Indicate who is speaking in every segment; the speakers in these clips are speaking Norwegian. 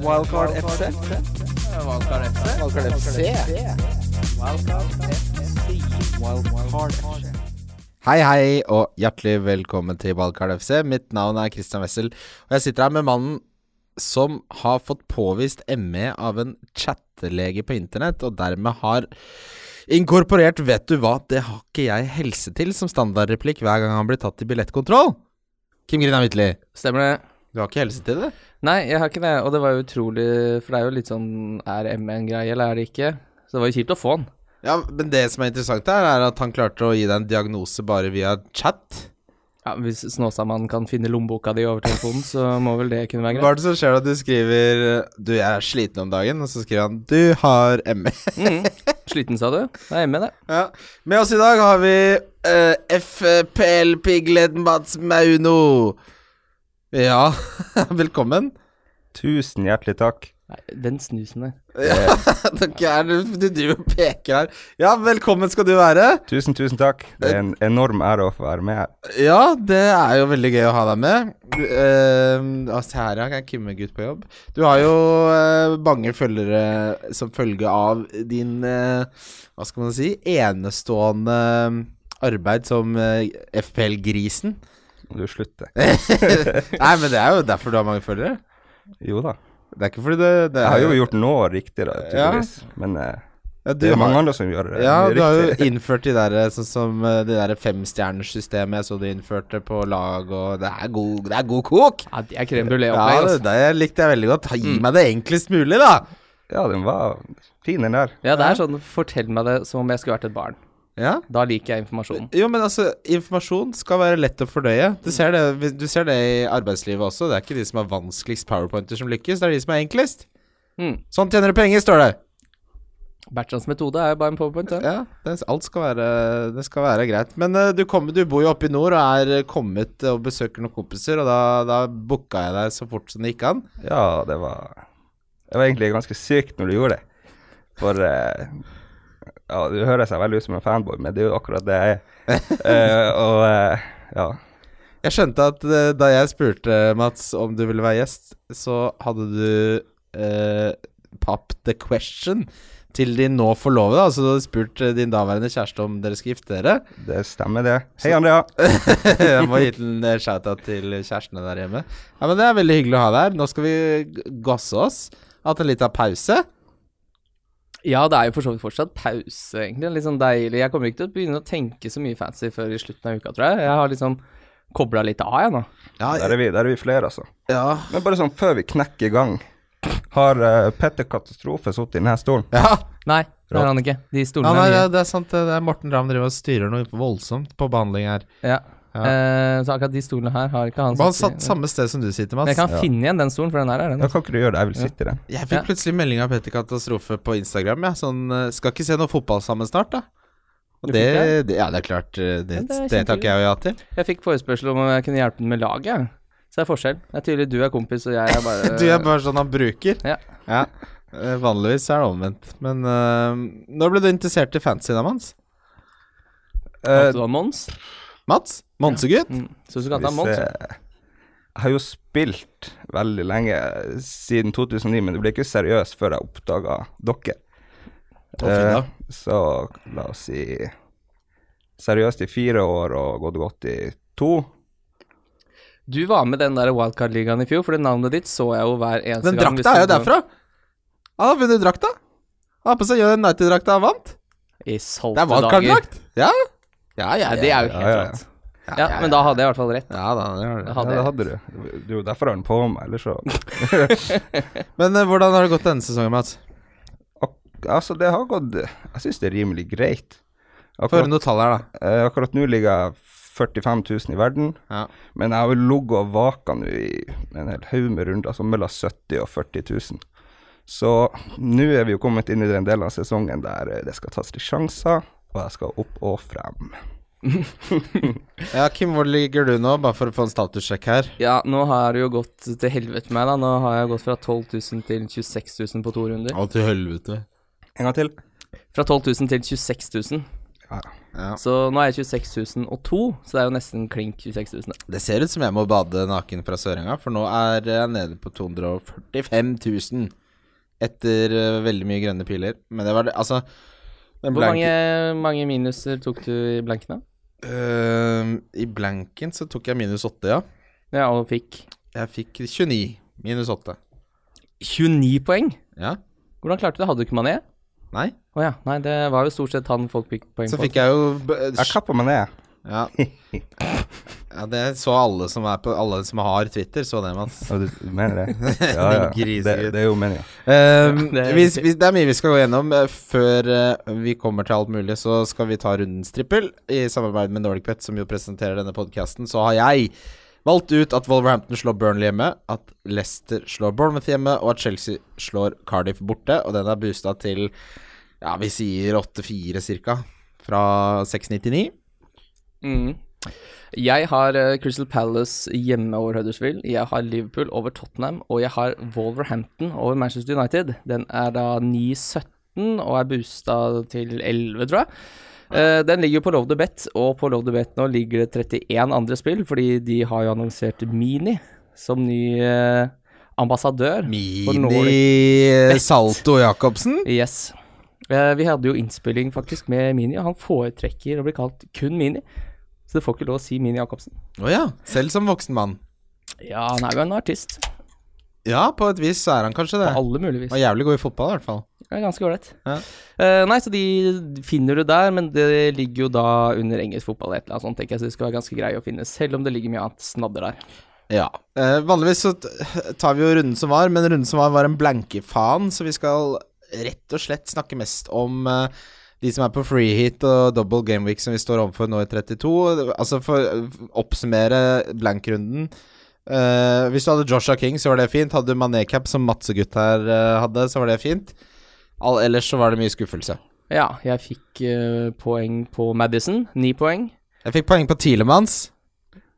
Speaker 1: Wildcard FC.
Speaker 2: Valgkar FC.
Speaker 1: Wildcard FC. Wildcard FC.
Speaker 3: Hei, hei, og hjertelig velkommen til Ballkard FC. Mitt navn er Christian Wessel, og jeg sitter her med mannen som har fått påvist ME av en chattelege på internett, og dermed har inkorporert 'vet du hva, det har ikke jeg helse til' som standardreplikk hver gang han blir tatt i billettkontroll. Kim Grina Midtly,
Speaker 2: Stemmer det?
Speaker 3: du har ikke helse til det?
Speaker 2: Nei, jeg har ikke det. Og det var jo utrolig For det er jo litt sånn Er ME en greie, eller er det ikke? Så det var jo kjipt å få den.
Speaker 3: Ja, men det som er interessant her, er at han klarte å gi deg en diagnose bare via chat.
Speaker 2: Ja, men Hvis Snåsamannen kan finne lommeboka di over telefonen, så må vel det kunne være
Speaker 3: Hva er
Speaker 2: greit.
Speaker 3: det som skjer da du skriver 'du, jeg er sliten om dagen', og så skriver han 'du har ME'?
Speaker 2: Mhm. Sliten, sa du? Det er ME, det.
Speaker 3: Ja. Med oss i dag har vi uh, FPL Piglet Mats Mauno. Ja, velkommen.
Speaker 4: Tusen hjertelig takk.
Speaker 2: Nei, den snusen der.
Speaker 3: Dere er, du driver og peker her. Ja, velkommen skal du være.
Speaker 4: Tusen, tusen takk. Det er en
Speaker 3: Eh.
Speaker 4: enorm ære å få være med her.
Speaker 3: Ja, det er jo veldig gøy å ha deg med. Uh, altså, her er en Kimme-gutt på jobb. Du har jo eh, mange følgere som følge av din eh, Hva skal man si enestående arbeid som eh, FPL-grisen.
Speaker 4: Må Du slutter.
Speaker 3: Eh. Nei, men det er jo derfor du har mange følgere.
Speaker 4: Jo da.
Speaker 3: Det er ikke fordi det, det
Speaker 4: Jeg
Speaker 3: er
Speaker 4: har jo gjort noe riktig, da,
Speaker 3: Ja.
Speaker 4: tydeligvis. Men eh,
Speaker 3: ja,
Speaker 4: det er mange
Speaker 3: har,
Speaker 4: andre som gjør det
Speaker 3: Ja, du har
Speaker 4: riktig.
Speaker 3: jo innført de der sånn som eh, det der femstjernesystemet jeg så du innførte på lag, og det er god, det er god kok!
Speaker 2: Ja, det er crème
Speaker 3: Ja,
Speaker 2: brulé-opplegg,
Speaker 3: det,
Speaker 2: altså.
Speaker 3: det likte jeg veldig godt. Gi meg det enklest mulig, da!
Speaker 4: Ja, den var fin, den der.
Speaker 2: Ja, det er sånn Fortell meg det som om jeg skulle vært et barn.
Speaker 3: Ja.
Speaker 2: Da liker jeg informasjonen.
Speaker 3: Jo, men altså, informasjon skal være lett å fordøye. Du ser det, du ser det i arbeidslivet også. Det er ikke de som har vanskeligst powerpointer som lykkes, det er de som er enklest.
Speaker 2: Mm.
Speaker 3: Sånn tjener du penger, står det.
Speaker 2: Bertrands metode er jo bare en powerpoint. Ja.
Speaker 3: Ja, det, alt skal være, det skal være greit. Men eh, du, kom, du bor jo oppe i nord og er eh, kommet og besøker noen kompiser, og da, da booka jeg deg så fort som det gikk an.
Speaker 4: Ja, det var Det var egentlig ganske sykt når du gjorde det. For eh, Ja, du hører seg veldig ut som en fanboy, men det er jo akkurat det jeg er. Eh, og eh, ja.
Speaker 3: Jeg skjønte at eh, da jeg spurte Mats om du ville være gjest, så hadde du eh, pop the question til din nå forlovede. Altså du hadde spurt eh, din daværende kjæreste om dere skal gifte dere.
Speaker 4: Det stemmer, det. Hei, Andrea.
Speaker 3: Eh. jeg må gi den eh, shout-out til kjærestene der hjemme. Ja, men Det er veldig hyggelig å ha deg her. Nå skal vi g- gasse oss. Hatt en liten pause.
Speaker 2: ja, det er jo for så vidt fortsatt pause, egentlig. Litt sånn deilig. Jeg kommer ikke til å begynne å tenke så mye fancy før i slutten av uka, tror jeg. Jeg har liksom kobla litt av, jeg nå.
Speaker 4: Der er vi, der er vi flere, altså.
Speaker 3: ja,
Speaker 4: Men bare sånn før vi knekker i gang Har eh, Petter Katastrofe sittet i denne stolen?
Speaker 3: Ja,
Speaker 2: Nei, det har han ikke. De
Speaker 3: ja,
Speaker 2: stolene
Speaker 3: nei, ja,
Speaker 2: er nye.
Speaker 3: det er sant. Det det er Morten Ramm driver og styrer noe voldsomt på behandling her.
Speaker 2: Ja. Eh, så akkurat de stolene her har ikke han
Speaker 3: Men han
Speaker 2: i.
Speaker 3: satt samme sted som du sitter,
Speaker 2: Men jeg
Speaker 3: Mats.
Speaker 2: kan finne igjen den stolen, for den her er
Speaker 4: Da
Speaker 2: den.
Speaker 4: kan ikke du gjøre det, jeg vil sitte i den.
Speaker 3: Jeg
Speaker 2: Ja.
Speaker 3: fikk plutselig melding av Petter Katastrofe på Instagram. Ja. Sånn eh, Skal ikke se noe fotball sammen snart, da. Og
Speaker 2: Du
Speaker 3: det,
Speaker 2: fikk
Speaker 3: det Ja, det er klart. eh, Det,
Speaker 2: Ja, det er
Speaker 3: det takker jeg jo ja til.
Speaker 2: Jeg fikk forespørsel om jeg kunne hjelpe den med laget, jeg. så det er forskjell. Det er tydelig du er kompis, og jeg er bare
Speaker 3: Du er bare sånn han bruker.
Speaker 2: Eh, Ja.
Speaker 3: Eh, Vanligvis er det omvendt. Men eh, når ble du interessert i fantasy da, Mats?
Speaker 4: Eh,
Speaker 2: Du var Mons.
Speaker 3: Mats? Monsegutt?
Speaker 2: Mm. Så du kan ta
Speaker 4: hvis,
Speaker 2: Mons.
Speaker 4: eh, jeg har jo spilt veldig lenge, eh, siden 2009, men det ble ikke seriøst før jeg oppdaga dere.
Speaker 3: Å, fy da.
Speaker 4: Eh, så la oss si seriøst i fire år og gått godt i to.
Speaker 2: Du var med den der wildcard-ligaen i fjor, for det navnet ditt så jeg jo hver eneste
Speaker 3: Den
Speaker 2: gang. hvis
Speaker 3: drakta er jo
Speaker 2: du-
Speaker 3: derfra. Han har vunnet drakta. Han har på seg United-drakta han vant.
Speaker 2: I solgte
Speaker 3: Det er
Speaker 2: dager.
Speaker 3: wildcard-drakt. Ja. Ja, ja,
Speaker 2: Ja, det er jo
Speaker 4: Ja,
Speaker 2: helt
Speaker 4: ja, ja.
Speaker 2: rått. Ja, men da hadde jeg i hvert fall rett.
Speaker 3: Ja da, det har
Speaker 2: Da
Speaker 3: det.
Speaker 4: Ja,
Speaker 2: hadde
Speaker 4: det
Speaker 2: jeg.
Speaker 4: hadde du. Det er jo derfor jeg har den på meg, ellers så
Speaker 3: Men eh, hvordan har det gått denne sesongen, Mats?
Speaker 4: Ak- Altså, det har gått Jeg syns det er rimelig greit.
Speaker 3: Få høre noen tall her, da.
Speaker 4: Eh, akkurat nå ligger jeg 45 000 i verden,
Speaker 3: Ja.
Speaker 4: men jeg har jo ligget og vaka nå i en hel haug med runder, altså mellom 70 000 og 40 000. Så nå er vi jo kommet inn i den delen av sesongen der eh, det skal tas litt sjanser, og jeg skal opp og frem.
Speaker 3: ja, Kim, hvor ligger du nå, bare for å få en statussjekk her?
Speaker 2: Ja, nå har det jo gått til helvete med meg, da. Nå har jeg gått fra 12 000 til 26 000 på to runder.
Speaker 3: Å, til helvete.
Speaker 4: En gang til.
Speaker 2: Fra 12 000 til 26 000.
Speaker 4: Ja.
Speaker 3: Ja.
Speaker 2: Så nå er jeg 26.002, så det er jo nesten klink 26.000. da.
Speaker 3: Det ser ut som jeg må bade naken fra Sørenga, for nå er jeg nede på 245 000 etter eh, veldig mye grønne piler. Men det var det, altså den
Speaker 2: Hvor mange,
Speaker 3: blanken,
Speaker 2: mange minuser tok du i blanken, da?
Speaker 3: Øhm, Eh, I blanken så tok jeg minus 8, ja.
Speaker 2: Ja, og fikk
Speaker 3: Jeg fikk 29 minus 8.
Speaker 2: 29 poeng.
Speaker 3: Ja?
Speaker 2: Hvordan klarte du det? Hadde du ikke mané?
Speaker 3: Nei?
Speaker 2: Å ja. Nei, det var jo stort sett han folk fikk poeng
Speaker 3: Så
Speaker 2: på.
Speaker 3: fikk jeg jo b-
Speaker 4: Jeg kappa meg ned.
Speaker 3: ja. ja, det så alle som er på Alle som har Twitter, så det, mann.
Speaker 4: Og du du mener det? Ja, ja. Det,
Speaker 3: Grisegutt.
Speaker 4: det er jo meninga.
Speaker 3: Ehm,
Speaker 2: det er
Speaker 3: hvis,
Speaker 2: riktig.
Speaker 3: hvis, det er mye vi skal gå gjennom. eh, Før eh, vi kommer til alt mulig, så skal vi ta rundens trippel. I samarbeid med NordicBet, som jo presenterer denne podkasten, så har jeg valgt ut at Wolverhampton slår Burnley hjemme, at Leicester slår Bournemouth hjemme, og at Chelsea slår Cardiff borte. Og den er boosta til ja, vi sier 8-4 cirka, fra 6,99.
Speaker 2: Mm. Jeg har eh, Crystal Palace hjemme over Huddersfield. Jeg har Liverpool over Tottenham. Og jeg har Wolverhampton over Manchester United. Den er da 9-17 og er boosta til 11, tror jeg. Eh, den ligger jo på Love the Bet, og på Love the Bet nå ligger det 31 andre spill, fordi de har jo annonsert Mini som ny eh, ambassadør. for Nordic.
Speaker 3: Mini Salto Jacobsen.
Speaker 2: Yes. Eh, Vi hadde jo innspilling faktisk med Mini, og han foretrekker å bli kalt kun Mini. Så du får ikke lov å si Mini Jacobsen.
Speaker 3: Å ja. Selv som voksen mann.
Speaker 2: Ja, han er jo en artist.
Speaker 3: Ja, på et vis så er han kanskje det.
Speaker 2: På alle mulige vis.
Speaker 3: Og jævlig god i fotball, i hvert fall.
Speaker 2: Det er ganske ålreit.
Speaker 3: Ja.
Speaker 2: Eh, nei, så de finner du der, men det ligger jo da under engelsk fotball eller et eller annet sånt, tenker jeg, så det skal være ganske grei å finne, selv om det ligger mye annet snadder der.
Speaker 3: Ja. Eh, vanligvis så t- tar vi jo runden som var, men runden som var, var en blankefaen, så vi skal rett og slett snakke mest om eh, de som er på free hit og double game week som vi står overfor nå i 32. Altså for å oppsummere blankrunden. Eh, hvis du hadde Joshua King, så var det fint. Hadde du Mané-cap, som Matsegutt her eh, hadde, så var det fint. All, ellers så var det mye skuffelse.
Speaker 2: Ja, jeg fikk eh, poeng på Madison, ni poeng.
Speaker 3: Jeg fikk poeng på Tilemanns.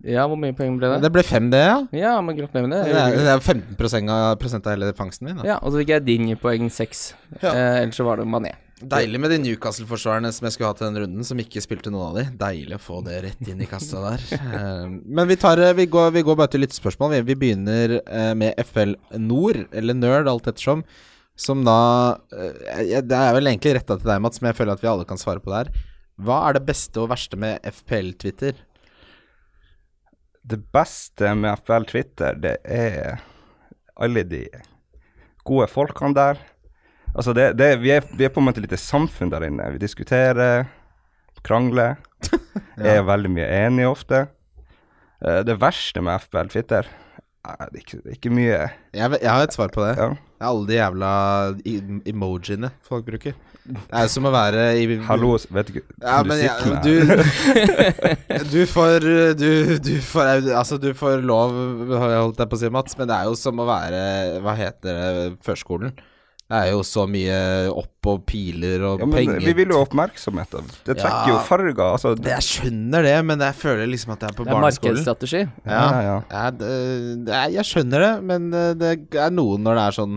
Speaker 2: Ja, hvor mye poeng ble det?
Speaker 3: Det ble fem, det, ja.
Speaker 2: Ja, men gratulerer med
Speaker 3: Det er,
Speaker 2: det.
Speaker 3: det er 15 av, prosent av hele fangsten min. Da.
Speaker 2: Ja, og så fikk jeg Ding poeng seks.
Speaker 3: Ja.
Speaker 2: Eh, ellers så var det Mané.
Speaker 3: Deilig med de Newcastle-forsvarerne som jeg skulle hatt i den runden, som ikke spilte noen av de. Deilig å få det rett inn i kassa der. Eh, Men vi, tar, vi, går, vi går bare til lyttespørsmål. Vi, vi begynner eh, med FL Nord, eller Nerd, alt ettersom. Som da eh, jeg- Det er vel egentlig retta til deg, Mats, men jeg føler at vi alle kan svare på det her. Hva er det beste og verste med FPL-Twitter?
Speaker 4: Det beste med FL Twitter, det er alle de gode folkene der. Altså, det, det, vi, er, vi er på en måte litt et samfunn der inne. Vi diskuterer, krangler. Er veldig mye enige ofte. Eh, Det verste med FL Twitter eh, det er ikke, det er ikke mye
Speaker 3: Jeg, vet- jeg har et svar på det.
Speaker 4: ja.
Speaker 3: Det er alle de jævla em- emojiene folk bruker. Det er jo som å være i
Speaker 4: Hallo, vet ikke
Speaker 3: Ja,
Speaker 4: du
Speaker 3: men ja,
Speaker 4: sitter med
Speaker 3: du, du får du, du får Altså, du får lov, holdt jeg på å si, Mats, men det er jo som å være Hva heter det, førskolen? Det er jo så mye opp og piler og
Speaker 4: ja, men
Speaker 3: penger
Speaker 4: Vi vil jo ha oppmerksomhet. da. Det trekker jo
Speaker 3: Ja.
Speaker 4: farger. Altså,
Speaker 3: Det- Jeg skjønner det, men jeg føler liksom at jeg er på
Speaker 2: Det er
Speaker 3: barneskolen.
Speaker 2: markedsstrategi.
Speaker 3: Ja,
Speaker 4: Ja, ja.
Speaker 3: Ja, det, det er, jeg skjønner det, men eh, det er noen når det er sånn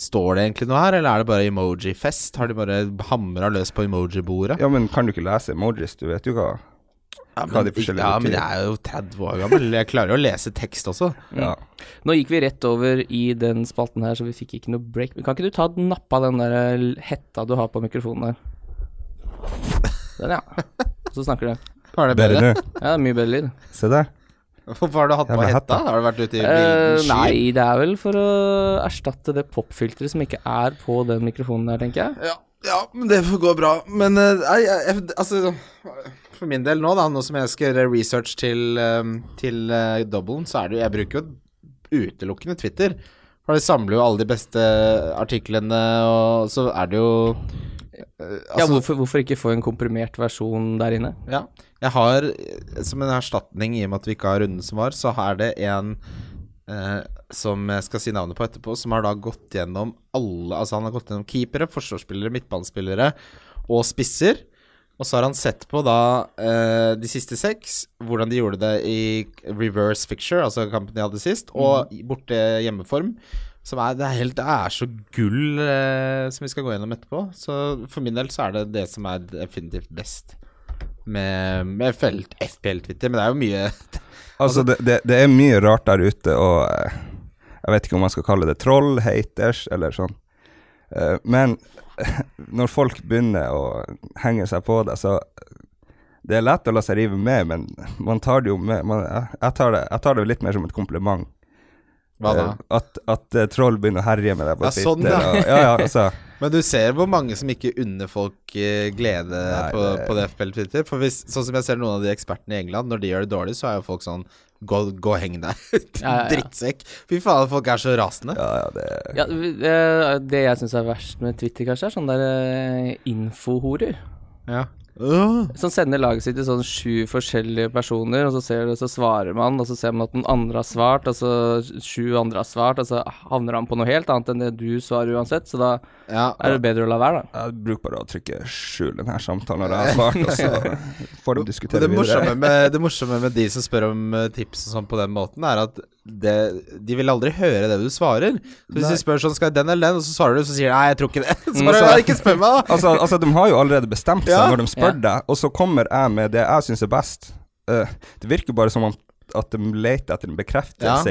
Speaker 3: Står det egentlig noe her, eller er det bare emoji-fest? Har de bare hamra løs på emoji-bordet?
Speaker 4: ja, men kan du ikke lese emojis? Du vet jo hva
Speaker 3: Ja,
Speaker 4: hva de forskjellige
Speaker 3: ja, men
Speaker 4: betyr.
Speaker 3: jeg er jo 30 år gammel. Jeg klarer jo å lese tekst også.
Speaker 4: ja.
Speaker 2: Nå gikk vi rett over i den spalten her, så vi fikk ikke noe break. Men kan ikke du ta napp av den der l- hetta du har på mikrofonen der? Den, ja. Så snakker du.
Speaker 3: Var det
Speaker 4: Bedre
Speaker 3: bedre?
Speaker 4: nå.
Speaker 2: Ja, det er mye bedre lyd.
Speaker 4: Se der.
Speaker 3: Hvorfor har du hatt på
Speaker 4: Jævla
Speaker 3: hetta?
Speaker 4: hetta.
Speaker 3: Har du vært ute i
Speaker 2: Eh,
Speaker 3: vilden sky?
Speaker 2: nei, det er vel for å erstatte det popfilteret som ikke er på den mikrofonen der, tenker jeg.
Speaker 3: Ja, ja, men det får gå bra. Men eh, nei, jeg, jeg- altså For min del nå, da, nå som jeg skal gjøre research til, um, til eh, doublen, så er det jo Jeg bruker jo utelukkende Twitter. For det samler jo alle de beste artiklene, og så er det jo eh,
Speaker 2: Ja,
Speaker 3: altså-
Speaker 2: hvorfor, hvorfor ikke få en komprimert versjon der inne?
Speaker 3: Ja. Jeg har, eh, som en erstatning i og med at vi ikke har runden som var, så er det en eh, som jeg skal si navnet på etterpå, som har da gått gjennom alle Altså han har gått gjennom keepere, forsvarsspillere, midtbanespillere og spisser. Og så har han sett på da eh, de siste seks, hvordan de gjorde det i reverse picture, altså kampen de hadde sist, og i- borte hjemmeform. Som er, det, er helt, det er så gull eh, som vi skal gå gjennom etterpå. Så for min del så er det det som er definitivt best. med, med felt, FPL-Twitter, men det er jo mye
Speaker 4: Altså, det, det, det er mye rart der ute, og eh, jeg vet ikke om man skal kalle det troll, haters eller sånn. Eh, Men når folk begynner å henge seg på deg, så Det er lett å la seg rive med, men man tar det jo med man, jeg- jeg, tar det, jeg tar det jo litt mer som et kompliment.
Speaker 3: Hva da?
Speaker 4: Eh, At, at eh, troll begynner å herje med deg på
Speaker 3: Ja,
Speaker 4: Twitter.
Speaker 3: sånn, ja.
Speaker 4: Og, ja, ja, altså,
Speaker 3: Men du ser hvor mange som ikke unner folk eh, glede
Speaker 4: Nei,
Speaker 3: på,
Speaker 4: det-
Speaker 3: på det FPL-Twitter. For hvis, sånn som jeg ser noen av de ekspertene i England, når de gjør det dårlig, så er jo folk sånn Gå, gå og heng deg.
Speaker 2: Ja, ja, ja.
Speaker 3: Drittsekk. Fy faen, folk er så rasende.
Speaker 4: ja, ja, det
Speaker 2: Ja, vi- eh, det jeg syns er verst med Twitter, kanskje, er sånne der eh, infohorer.
Speaker 3: Ja. Øh.
Speaker 2: Som sender laget sitt til sånn sju forskjellige personer, og så, ser du, så svarer man, og så ser man at den andre har svart, og så sju andre har svart, og så havner han på noe helt annet enn det du svarer uansett, så da
Speaker 3: ja.
Speaker 2: er det bedre å la være, da.
Speaker 4: Jeg bruker bare å trykke 'skjul denne samtalen' når jeg har svart, og så får de
Speaker 3: Og
Speaker 4: diskutere
Speaker 3: det
Speaker 4: videre.
Speaker 3: morsomme, med, det morsomme med de som spør om eh, tips og sånn på den måten, er at det, de vil aldri høre det du svarer. Så hvis
Speaker 4: Nei.
Speaker 3: du spør sånn, skal jeg den eller den, og så svarer du, så sier de nei, jeg tror ikke det. Mm. Så
Speaker 4: så-
Speaker 3: bare, «Nei, ikke spør meg, da.
Speaker 4: Altså, altså, de har jo allerede bestemt seg
Speaker 3: Ja.
Speaker 4: når de spør deg, og så kommer jeg med det jeg syns er best. Eh, det virker bare som om at de leter etter en bekreftelse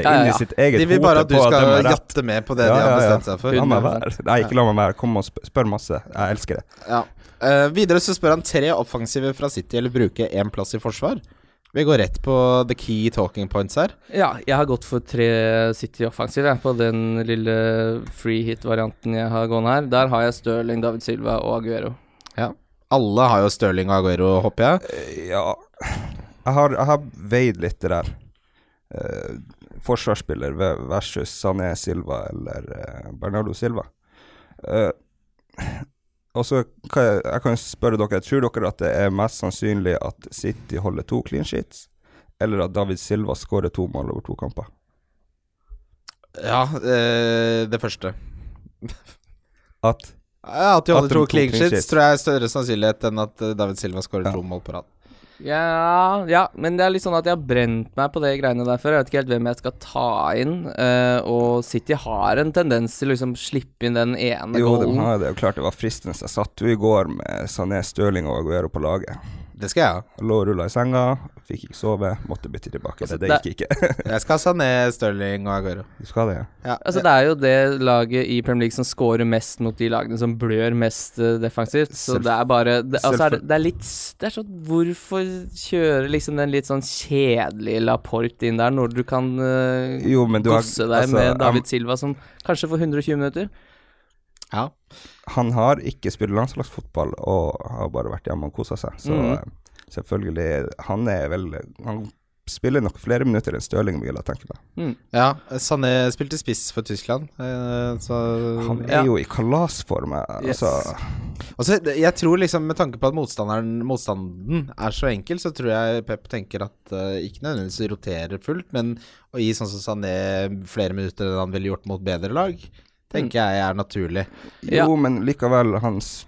Speaker 2: Ja. Ja, ja,
Speaker 4: inni
Speaker 2: ja.
Speaker 4: sitt eget
Speaker 3: De vil
Speaker 4: hode
Speaker 3: bare at du
Speaker 4: på at de
Speaker 3: skal
Speaker 4: har rett.
Speaker 3: jatte med på det
Speaker 4: Ja,
Speaker 3: de har
Speaker 4: ja, ja.
Speaker 3: bestemt seg for.
Speaker 4: La meg
Speaker 2: 100%.
Speaker 4: være. Nei, ikke la meg være. Kom og sp spør masse. Jeg elsker det.
Speaker 3: Ja. Eh, videre så spør han tre offensive fra City eller bruke én plass i forsvar. Vi går rett på the key talking points her.
Speaker 2: Ja, jeg har gått for tre City offensiv, jeg, på den lille free hit-varianten jeg har gående her. Der har jeg Stirling, David Silva og Aguero.
Speaker 3: Ja. Alle har jo Stirling og Aguero, håper jeg.
Speaker 4: Ja Jeg har, jeg har veid litt det der. Eh, forsvarsspiller ve- versus Sané Silva eller eh, Bernardo Silva. Eh, og så kan jeg, jeg kan spørre dere Tror dere at det er mest sannsynlig at City holder to clean sheets, eller at David Silva skårer to mål over to kamper?
Speaker 3: Ja, eh, det første.
Speaker 4: At
Speaker 3: Ja, At de
Speaker 4: At
Speaker 3: holder
Speaker 4: de
Speaker 3: to
Speaker 4: to
Speaker 3: clean
Speaker 4: clean
Speaker 3: sheets,
Speaker 4: sheets.
Speaker 3: tror jeg er større sannsynlighet enn at eh, David Silva skårer
Speaker 4: Ja.
Speaker 3: to mål på rad.
Speaker 2: Ja, ja, men det er litt sånn at jeg har brent meg på det greiene der før. Jeg vet ikke helt hvem jeg skal ta inn. eh, og City har en tendens til å liksom slippe inn den ene
Speaker 4: Jo, de
Speaker 2: goalen.
Speaker 4: har det. Og klart det var fristende. Jeg satt jo i går med Sané Støling og Aguero på laget.
Speaker 3: Det skal jeg ha.
Speaker 4: Jeg Lå og rulla i senga, fikk ikke sove, måtte bytte tilbake.
Speaker 2: Altså,
Speaker 4: det, det
Speaker 2: det-
Speaker 4: gikk ikke.
Speaker 3: Jeg skal ha Sané, Stirling og Aguero.
Speaker 4: du skal det, ja?
Speaker 3: Ja.
Speaker 2: Altså, det er jo det laget i Premier League som scorer mest mot de lagene som blør mest eh, defensivt. Så
Speaker 4: Selvf-
Speaker 2: det er bare det, altså, er det,
Speaker 4: selvfø-
Speaker 2: det er litt s- Det er sånn Hvorfor kjøre liksom den litt sånn kjedelige Laporte inn der, når du kan eh,
Speaker 4: Jo, men du har
Speaker 2: gosse deg
Speaker 4: altså,
Speaker 2: med
Speaker 4: han-
Speaker 2: David Silva, som kanskje får 120 minutter?
Speaker 3: ja.
Speaker 4: Han har ikke spilt landslagsfotball og har bare vært hjemme og kosa seg. Så
Speaker 2: Mhm.
Speaker 4: eh, selvfølgelig Han er vel Han spiller nok flere minutter enn Støling, vil jeg tenke meg.
Speaker 3: ja. Sané spilte spiss for Tyskland, eh, så
Speaker 4: Han
Speaker 3: ja.
Speaker 4: er jo i kalasform. eh,
Speaker 2: Mm, Yes.
Speaker 4: Altså,
Speaker 3: Og så, jeg tror liksom Med tanke på at motstanderen, motstanden er så enkel, så tror jeg Pep tenker at eh, ikke nødvendigvis roterer fullt, men å gi sånn som Sané flere minutter enn han ville gjort mot bedre lag, tenker jeg er naturlig.
Speaker 4: jo,
Speaker 2: Ja.
Speaker 4: men likevel, han s-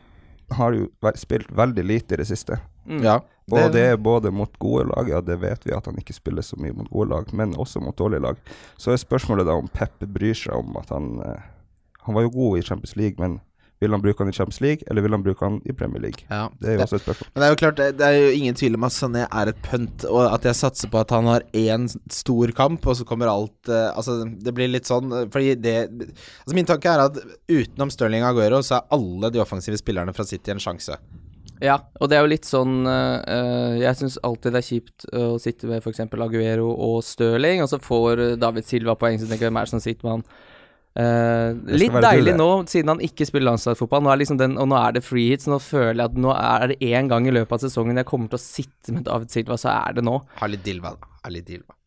Speaker 4: har jo ve- spilt veldig lite i det siste.
Speaker 3: Ja,
Speaker 4: Og det, er både mot gode lag, ja det vet vi at han ikke spiller så mye mot gode lag, men også mot dårlige lag. Så er spørsmålet da om Pep bryr seg om at han eh, Han var jo god i Champions League, men vil han bruke han i Champions League, eller vil han bruke han i Premier League?
Speaker 3: ja.
Speaker 4: Det er jo også et spørsmål.
Speaker 3: Men det er jo klart, det det er jo ingen tvil om at Sané er et pønt, og at jeg satser på at han har én stor kamp, og så kommer alt eh, Altså, det blir litt sånn eh, Fordi det Altså, min tanke er at utenom Stirling og Aguero, så er alle de offensive spillerne fra City en sjanse.
Speaker 2: Ja, og det er jo litt sånn eh, eh, Jeg syns alltid det er kjipt eh, å sitte med f.eks. Aguero og Stirling, og så får eh, David Silva poeng, så tenker jeg hvem er det som sitter med han? Eh, litt
Speaker 4: være
Speaker 2: deilig
Speaker 4: du, det.
Speaker 2: nå, siden han ikke spiller landslagsfotball. Nå er liksom den, og nå er det free hit, så nå føler jeg at nå er det én gang i løpet av sesongen jeg kommer til å sitte med David Silva, så er det nå.
Speaker 3: Harley Dilva, da. Harley Dilva.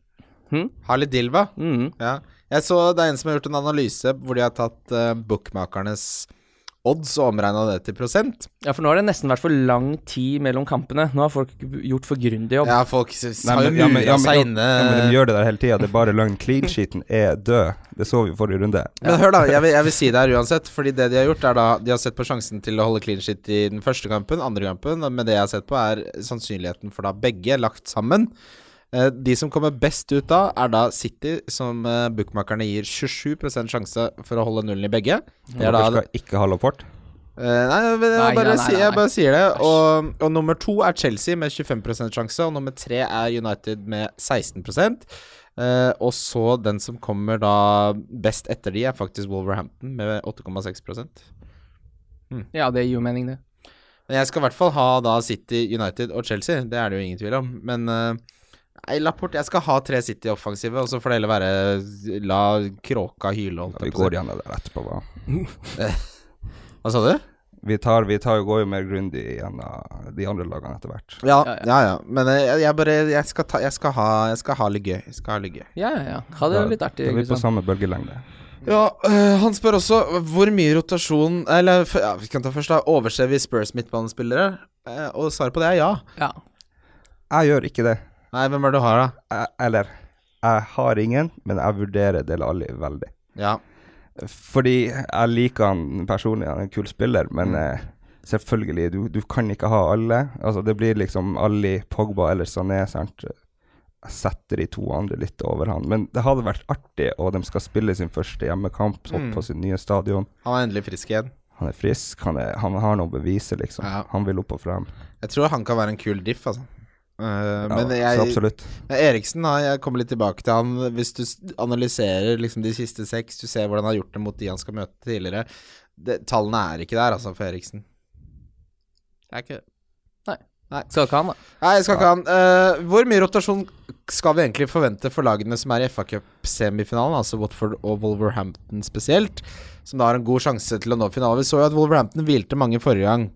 Speaker 2: Hm?
Speaker 3: Harley Dilva?
Speaker 2: Mm.
Speaker 3: Ja. Jeg så det er en som har gjort en analyse hvor de har tatt eh, bookmakernes odds og omregna det til prosent.
Speaker 2: Ja, for nå har det nesten vært for lang tid mellom kampene. Nå har folk gjort for grundig jobb.
Speaker 3: Ja, folk s-
Speaker 4: Nei,
Speaker 3: har jo
Speaker 4: men- ja, men-
Speaker 3: mura
Speaker 4: ja, men-
Speaker 3: seg eh.
Speaker 4: ja,
Speaker 3: inne.
Speaker 4: Ja, men de gjør det der hele tida, det er bare løgn. Clean sheeten er død. Det så vi i forrige runde.
Speaker 3: Men hør da, jeg vil, jeg vil si det her uansett, fordi det de har gjort er da De har sett på sjansen til å holde clean shit i den første kampen, andre kampen, men det jeg har sett på er sannsynligheten for da begge lagt sammen. Eh, De som kommer best ut da, er da City, som eh, bookmakerne gir 27 sjanse for å holde nullen i begge. Det er
Speaker 4: Dere
Speaker 3: da
Speaker 4: skal ikke ha Laporte.
Speaker 3: Eh, nei, men jeg,
Speaker 2: Nei,
Speaker 3: bare,
Speaker 2: nei, nei,
Speaker 3: sier- jeg
Speaker 2: nei.
Speaker 3: bare sier det. Og, og nummer to er Chelsea med 25 sjanse, og nummer tre er United med 16 Eh, Og så den som kommer da best etter de, er faktisk Wolverhampton med 8,6
Speaker 2: Ja, det gir jo mening, det.
Speaker 3: Men jeg skal i hvert fall ha da City, United og Chelsea. Det er det jo ingen tvil om. Men eh, nei, Laporte, jeg skal ha tre City-offensive, og så får det heller være La kråka hyle, holdt
Speaker 4: Vi
Speaker 3: jeg på å
Speaker 4: går
Speaker 3: si.
Speaker 4: gjennom det etterpå, hva?
Speaker 3: Hva sa du?
Speaker 4: Vi tar, vi tar og går jo mer grundig gjennom de andre lagene etter hvert.
Speaker 3: Ja,
Speaker 2: Ja,
Speaker 3: ja,
Speaker 2: ja.
Speaker 3: ja. Men eh, jeg, jeg bare jeg skal, ta, jeg, skal ha, jeg skal ha litt gøy. Jeg skal ha litt gøy.
Speaker 2: Ja, ja, ja. Ha det litt artig.
Speaker 4: Da er vi på
Speaker 3: liksom-
Speaker 2: Kristian.
Speaker 4: samme bølgelengde.
Speaker 3: Ja, øh, han spør også hvor mye rotasjon Eller f- ja, vi kan ta først, da. Overser vi Spurs midtbanespillere? Eh, og svaret på det er ja.
Speaker 2: Ja.
Speaker 4: Jeg gjør ikke det.
Speaker 3: Nei, hvem er det du har, da?
Speaker 4: Jeg, eller jeg har ingen, men jeg vurderer Del Alli veldig.
Speaker 3: Ja.
Speaker 4: Fordi jeg liker han personlig, han er en kul spiller, men
Speaker 3: Mm.
Speaker 4: eh, selvfølgelig, du, du kan ikke ha alle. Altså, det blir liksom Alli, Pogba eller Sané, sant. Jeg setter de to andre litt over han. Men det hadde vært artig, og de skal spille sin første hjemmekamp
Speaker 3: Mm.
Speaker 4: opp på sin nye stadion.
Speaker 3: Han er endelig frisk igjen.
Speaker 4: Han er frisk, han, er, han har noe å bevise, liksom.
Speaker 3: Ja.
Speaker 4: Han vil opp og frem.
Speaker 3: Jeg tror han kan være en kul diff, altså. Eh,
Speaker 4: Ja,
Speaker 3: men
Speaker 4: så
Speaker 3: jeg,
Speaker 4: absolutt.
Speaker 3: Men Eriksen, da, jeg kommer litt tilbake til han. Hvis du s- analyserer liksom de siste seks, du ser hvordan han har gjort det mot de han skal møte tidligere det, Tallene er ikke der, altså, for Eriksen. Det er ikke det.
Speaker 2: Skal ikke han, da.
Speaker 3: Nei, jeg skal ikke ha han. Eh, hvor mye rotasjon skal vi egentlig forvente for lagene som er i FA-cup-semifinalen, altså Watford og Wolverhampton spesielt, som da har en god sjanse til å nå finalen? Vi så jo at Wolverhampton hvilte mange forrige gang.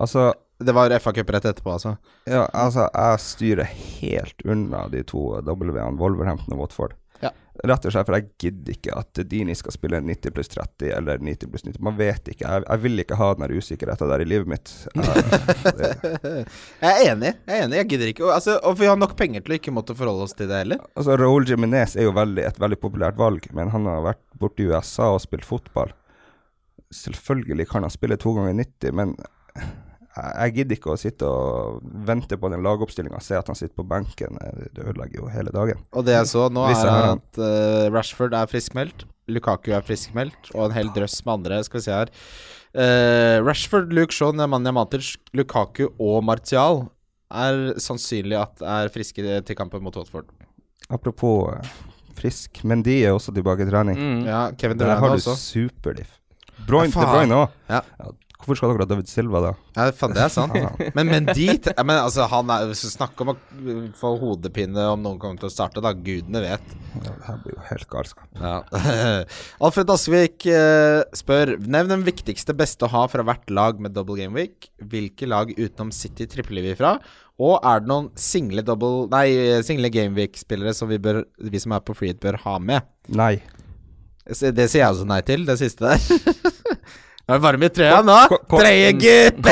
Speaker 4: Altså,
Speaker 3: Det var FA-cup rett etterpå, altså.
Speaker 4: Ja, altså, jeg styrer helt unna de to W-ene, Wolverhampton og Watford.
Speaker 3: Ja.
Speaker 4: Rett og slett, for jeg gidder ikke at Dini skal spille 90 pluss 30 eller 90 pluss 90. Man vet ikke. Jeg, jeg vil ikke ha den der usikkerheten der i livet mitt. Jeg,
Speaker 3: Jeg
Speaker 4: det,
Speaker 3: er enig. Jeg er enig, jeg gidder ikke. Og, altså, og vi har nok penger til å ikke måtte forholde oss til det heller.
Speaker 4: altså, Raúl Jiménez er jo veldig, et veldig populært valg, men han har vært borte i USA og spilt fotball. Selvfølgelig kan han spille to ganger 90, men jeg, jeg gidder ikke å sitte og vente på den lagoppstillinga og se at han sitter på benken. Det ødelegger jo hele dagen.
Speaker 3: Og det jeg så nå,
Speaker 4: Hvis
Speaker 3: er
Speaker 4: jeg har han.
Speaker 3: at eh, Rashford er friskmeldt, Lukaku er friskmeldt, og en hel drøss med andre. Skal vi se her Eh, Rashford, Luke Shaw, Nemanja Matic, Lukaku og Martial er sannsynlig at er friske til kampen mot Watford.
Speaker 4: Apropos eh, frisk, men de er også tilbake i trening.
Speaker 3: Ja, Kevin
Speaker 4: Der
Speaker 3: Durant
Speaker 4: har du
Speaker 3: også.
Speaker 4: superdiff. Bruyne,
Speaker 3: Ja,
Speaker 4: De Bruyne òg.
Speaker 3: Ja.
Speaker 4: Hvorfor skal dere ha David Silva, da?
Speaker 3: Ja, faen, det er sant. men, men dit ja, Men altså, han er så Snakk om å få hodepine om noen kommer til å starte, da. Gudene vet.
Speaker 4: Ja, det her blir jo helt galskap.
Speaker 3: Ja. Alfred Asvik eh, spør Nevn den viktigste beste å ha fra hvert lag med double game week. Hvilke lag utenom City tripler vi fra? Og er det noen single, double, nei, single game week-spillere som vi, bør, vi som er på freeheat, bør ha med?
Speaker 4: Nei.
Speaker 3: Så Det sier jeg også nei til, det siste der. Nå er det varm i trøya nå!
Speaker 4: Ko- ko-
Speaker 3: Trøye, gutt!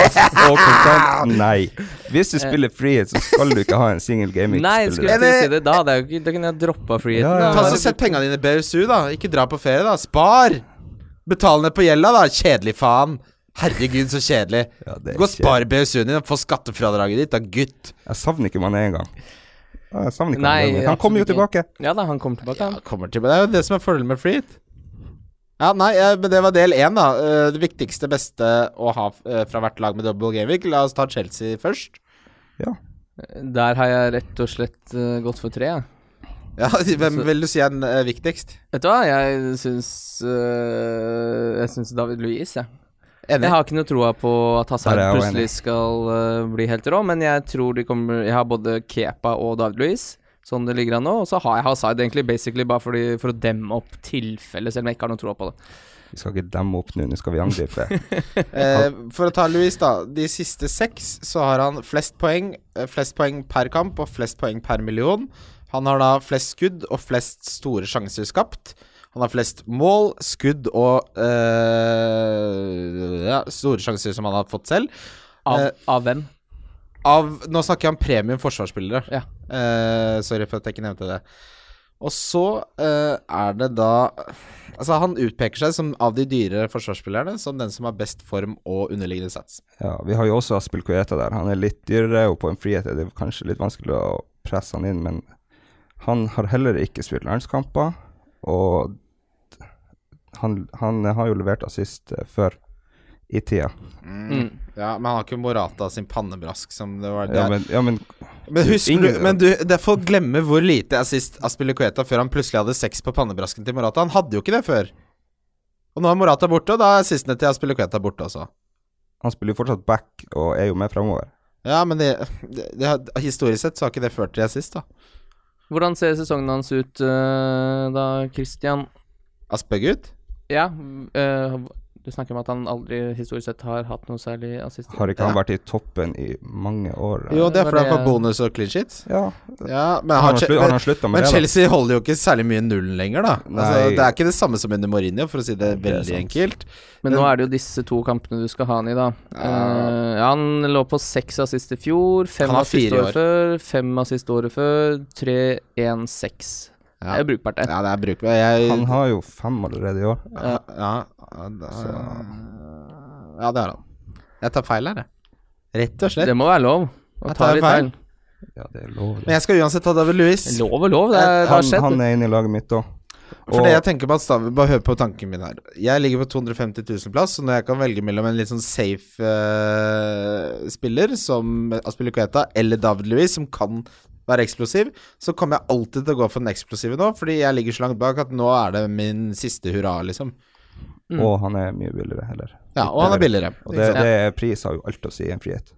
Speaker 4: Og kontant nei. Hvis du spiller frihet, så skal du ikke ha en single
Speaker 2: Nei, skulle
Speaker 4: gaming-spiller.
Speaker 2: jeg til å si det. Da hadde jeg jo ikke Da kunne jeg droppa friheten.
Speaker 4: Ja, ja.
Speaker 2: da.
Speaker 3: Ta så
Speaker 2: Bare-
Speaker 3: Sett pengene dine i BSU, da. Ikke dra på ferie, da. Spar! Betal ned på gjelda, da. Kjedelig faen. Herregud, så kjedelig.
Speaker 4: Ja, det er
Speaker 3: Gå og spar BSU-en din og få skattefradraget ditt, da, gutt.
Speaker 4: Jeg savner ikke Mané engang. Ja, Jeg savner ikke
Speaker 2: Nei,
Speaker 4: Mané. Han kommer jo
Speaker 2: absolutt ikke.
Speaker 4: tilbake.
Speaker 2: Ja da, han kommer tilbake, han.
Speaker 3: Ja, kommer til, men det er jo det som er fordelen med freeheat. Ja, nei, eh, men det var del én, da. Eh, Det viktigste, beste å ha eh, fra hvert lag med double gaming. La oss ta Chelsea først.
Speaker 4: Ja.
Speaker 2: Der har jeg rett og slett eh, gått for tre, jeg.
Speaker 3: Ja, Hvem vil du si er den eh, viktigst?
Speaker 2: Vet du hva, jeg syns eh, Jeg syns David Louis, jeg.
Speaker 3: Enig.
Speaker 2: Jeg har ikke noe troa på at Hazard
Speaker 4: Der er jeg jo
Speaker 2: plutselig
Speaker 4: enig.
Speaker 2: skal eh, bli helt rå, men jeg tror de kommer Jeg har både Kepa og David Louis, sånn det ligger an nå. Og så har jeg Hazard egentlig basically bare fordi, for å demme opp tilfellet, selv om jeg ikke har noe troa på det.
Speaker 4: Vi skal ikke demme opp nå, nå skal vi angripe.
Speaker 3: Eh, for å ta Louis, da. De siste seks så har han flest poeng, eh, flest poeng per kamp og flest poeng per million. Han har da flest skudd og flest store sjanser skapt. Han har flest mål, skudd og eh, ja, store sjanser som han har fått selv.
Speaker 2: Av,
Speaker 3: Eh,
Speaker 2: av hvem?
Speaker 3: Av, nå snakker jeg om premium forsvarsspillere.
Speaker 2: Ja.
Speaker 3: Eh, sorry for at jeg ikke nevnte det. Og så eh, er det da Altså, han utpeker seg som av de dyre forsvarsspillerne som den som har best form og underliggende sats.
Speaker 4: Ja, vi har jo også Aspilkueta der. Han er litt dyrere, og på en frihet er det kanskje litt vanskelig å presse han inn, men han har heller ikke spilt landskamper, og han, han har jo levert assist eh, før i tida.
Speaker 3: Ja, men han har ikke Morata sin pannebrask som det var
Speaker 4: Ja,
Speaker 3: der.
Speaker 4: men, ja, men
Speaker 3: Men husk
Speaker 4: Ingen-
Speaker 3: du, men du, det er folk glemmer hvor lite assist Aspilicueta før han plutselig hadde sex på pannebrasken til Morata. Han hadde jo ikke det før. Og nå er Morata borte, og da er assistene til Aspilicueta borte også.
Speaker 4: han spiller jo fortsatt back og er jo med framover.
Speaker 3: Ja, men det, det, det, har- historisk sett så har ikke det ført til assist, da.
Speaker 2: Hvordan ser sesongen hans ut eh, da, Christian?
Speaker 3: Aspegutt?
Speaker 2: Ja, eh, du snakker om at han aldri historisk sett har hatt noe særlig assist.
Speaker 4: Har ikke han
Speaker 3: Ja.
Speaker 4: vært i toppen i mange år?
Speaker 3: Jo, det er fordi han
Speaker 2: det-
Speaker 3: får bonus og clean sheets.
Speaker 4: Ja,
Speaker 3: Ja, men,
Speaker 4: han
Speaker 3: har,
Speaker 4: har
Speaker 3: Che-
Speaker 4: slutt- han har sluttet med
Speaker 3: men
Speaker 4: det, da.
Speaker 3: Chelsea holder jo ikke særlig mye nullen lenger, da. Altså,
Speaker 4: Nei.
Speaker 3: det er ikke det samme som under Mourinho, for å si det
Speaker 4: Det er
Speaker 3: veldig
Speaker 4: sant.
Speaker 3: enkelt.
Speaker 2: Men nå er det jo disse to kampene du skal ha han i, da. Eh, ja, han lå på seks assist i fjor, fem
Speaker 3: Han har
Speaker 2: assist
Speaker 3: fire i år.
Speaker 2: året før, fem assist året før, tre, én, seks.
Speaker 3: Ja.
Speaker 2: Det er jo brukbart, det.
Speaker 3: Ja, det er brukbart. Jeg
Speaker 4: Han har jo fem allerede i år.
Speaker 3: Ja, ja, ja, da, ja det har han. Jeg tar feil her, jeg. Rett og slett.
Speaker 2: Det må være lov å
Speaker 3: Jeg
Speaker 2: ta
Speaker 3: tar
Speaker 2: litt
Speaker 3: feil.
Speaker 2: feil.
Speaker 4: Ja, det er lov.
Speaker 3: Men jeg skal uansett ta David Louis.
Speaker 2: Lov og lov, det, er, det har
Speaker 4: Han,
Speaker 2: skjedd.
Speaker 4: han er inne i laget mitt òg.
Speaker 3: For det jeg tenker på at Stav, Bare hør på tanken min her. Jeg ligger på 250 000 plass, så når jeg kan velge mellom en litt sånn safe eh, spiller som Aspilicueta eller David Louis, som kan være eksplosiv, så kommer jeg alltid til å gå for den eksplosive nå, fordi jeg ligger så langt bak at nå er det min siste hurra, liksom.
Speaker 4: Og han er mye billigere, heller.
Speaker 3: Ja, og han er billigere.
Speaker 4: Og det, det er pris har jo alt å si i en frihet.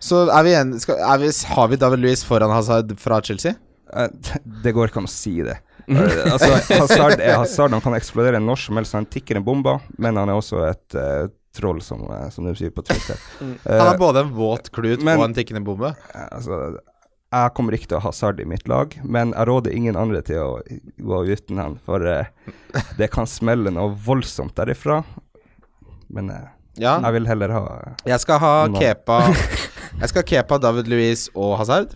Speaker 3: Så er vi en, skal, er vi, har vi David Louis foran Hazard fra Chelsea?
Speaker 4: Eh, Det går ikke an å si det. Eh, altså, Hazard er Hazard. Han kan eksplodere når som helst. Han tikker en bombe, men han er også et eh, troll, som, eh, som du sier på Twitter. Eh,
Speaker 3: Han har både en våt klut
Speaker 4: men-
Speaker 3: og en tikkende bombe.
Speaker 4: altså, jeg kommer ikke til å ha Hazard i mitt lag, men jeg råder ingen andre til å gå uten han, for eh, det kan smelle noe voldsomt derifra. Men eh,
Speaker 3: Ja.
Speaker 4: jeg vil heller ha
Speaker 3: Jeg skal ha
Speaker 4: Nå.
Speaker 3: Kepa Jeg skal ha Kepa, David Luiz og Hazard.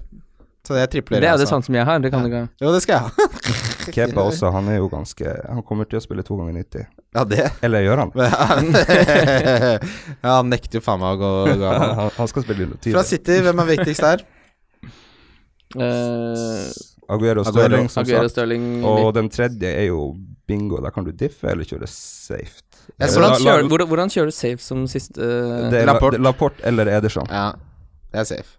Speaker 3: Så jeg tripler.
Speaker 2: Det er jo det
Speaker 3: altså.
Speaker 2: samme som jeg har. Det kan du ikke
Speaker 3: Jo, det skal jeg ha.
Speaker 4: Kepa også. Han er jo ganske Han kommer til å spille to ganger 90.
Speaker 3: Ja, det
Speaker 4: Eller gjør han?
Speaker 3: Ja, han nekter jo faen meg å gå, gå av.
Speaker 4: Han, han skal spille under 20.
Speaker 3: Fra City, hvem er viktigst der?
Speaker 2: Eh,
Speaker 4: Aguero
Speaker 3: Aguero.
Speaker 4: og Stirling, som
Speaker 2: Aguero
Speaker 4: sagt.
Speaker 2: Stirling
Speaker 4: Og den tredje er jo bingo. Da kan du diffe eller kjøre safe.
Speaker 3: Jeg så
Speaker 2: hvordan,
Speaker 3: la-
Speaker 2: kjører, hvordan, hvordan kjører du safe som siste eh,
Speaker 4: Det er Laporte,
Speaker 3: Laporte.
Speaker 4: La, Laporte eller Ederson.
Speaker 3: Ja, jeg er safe.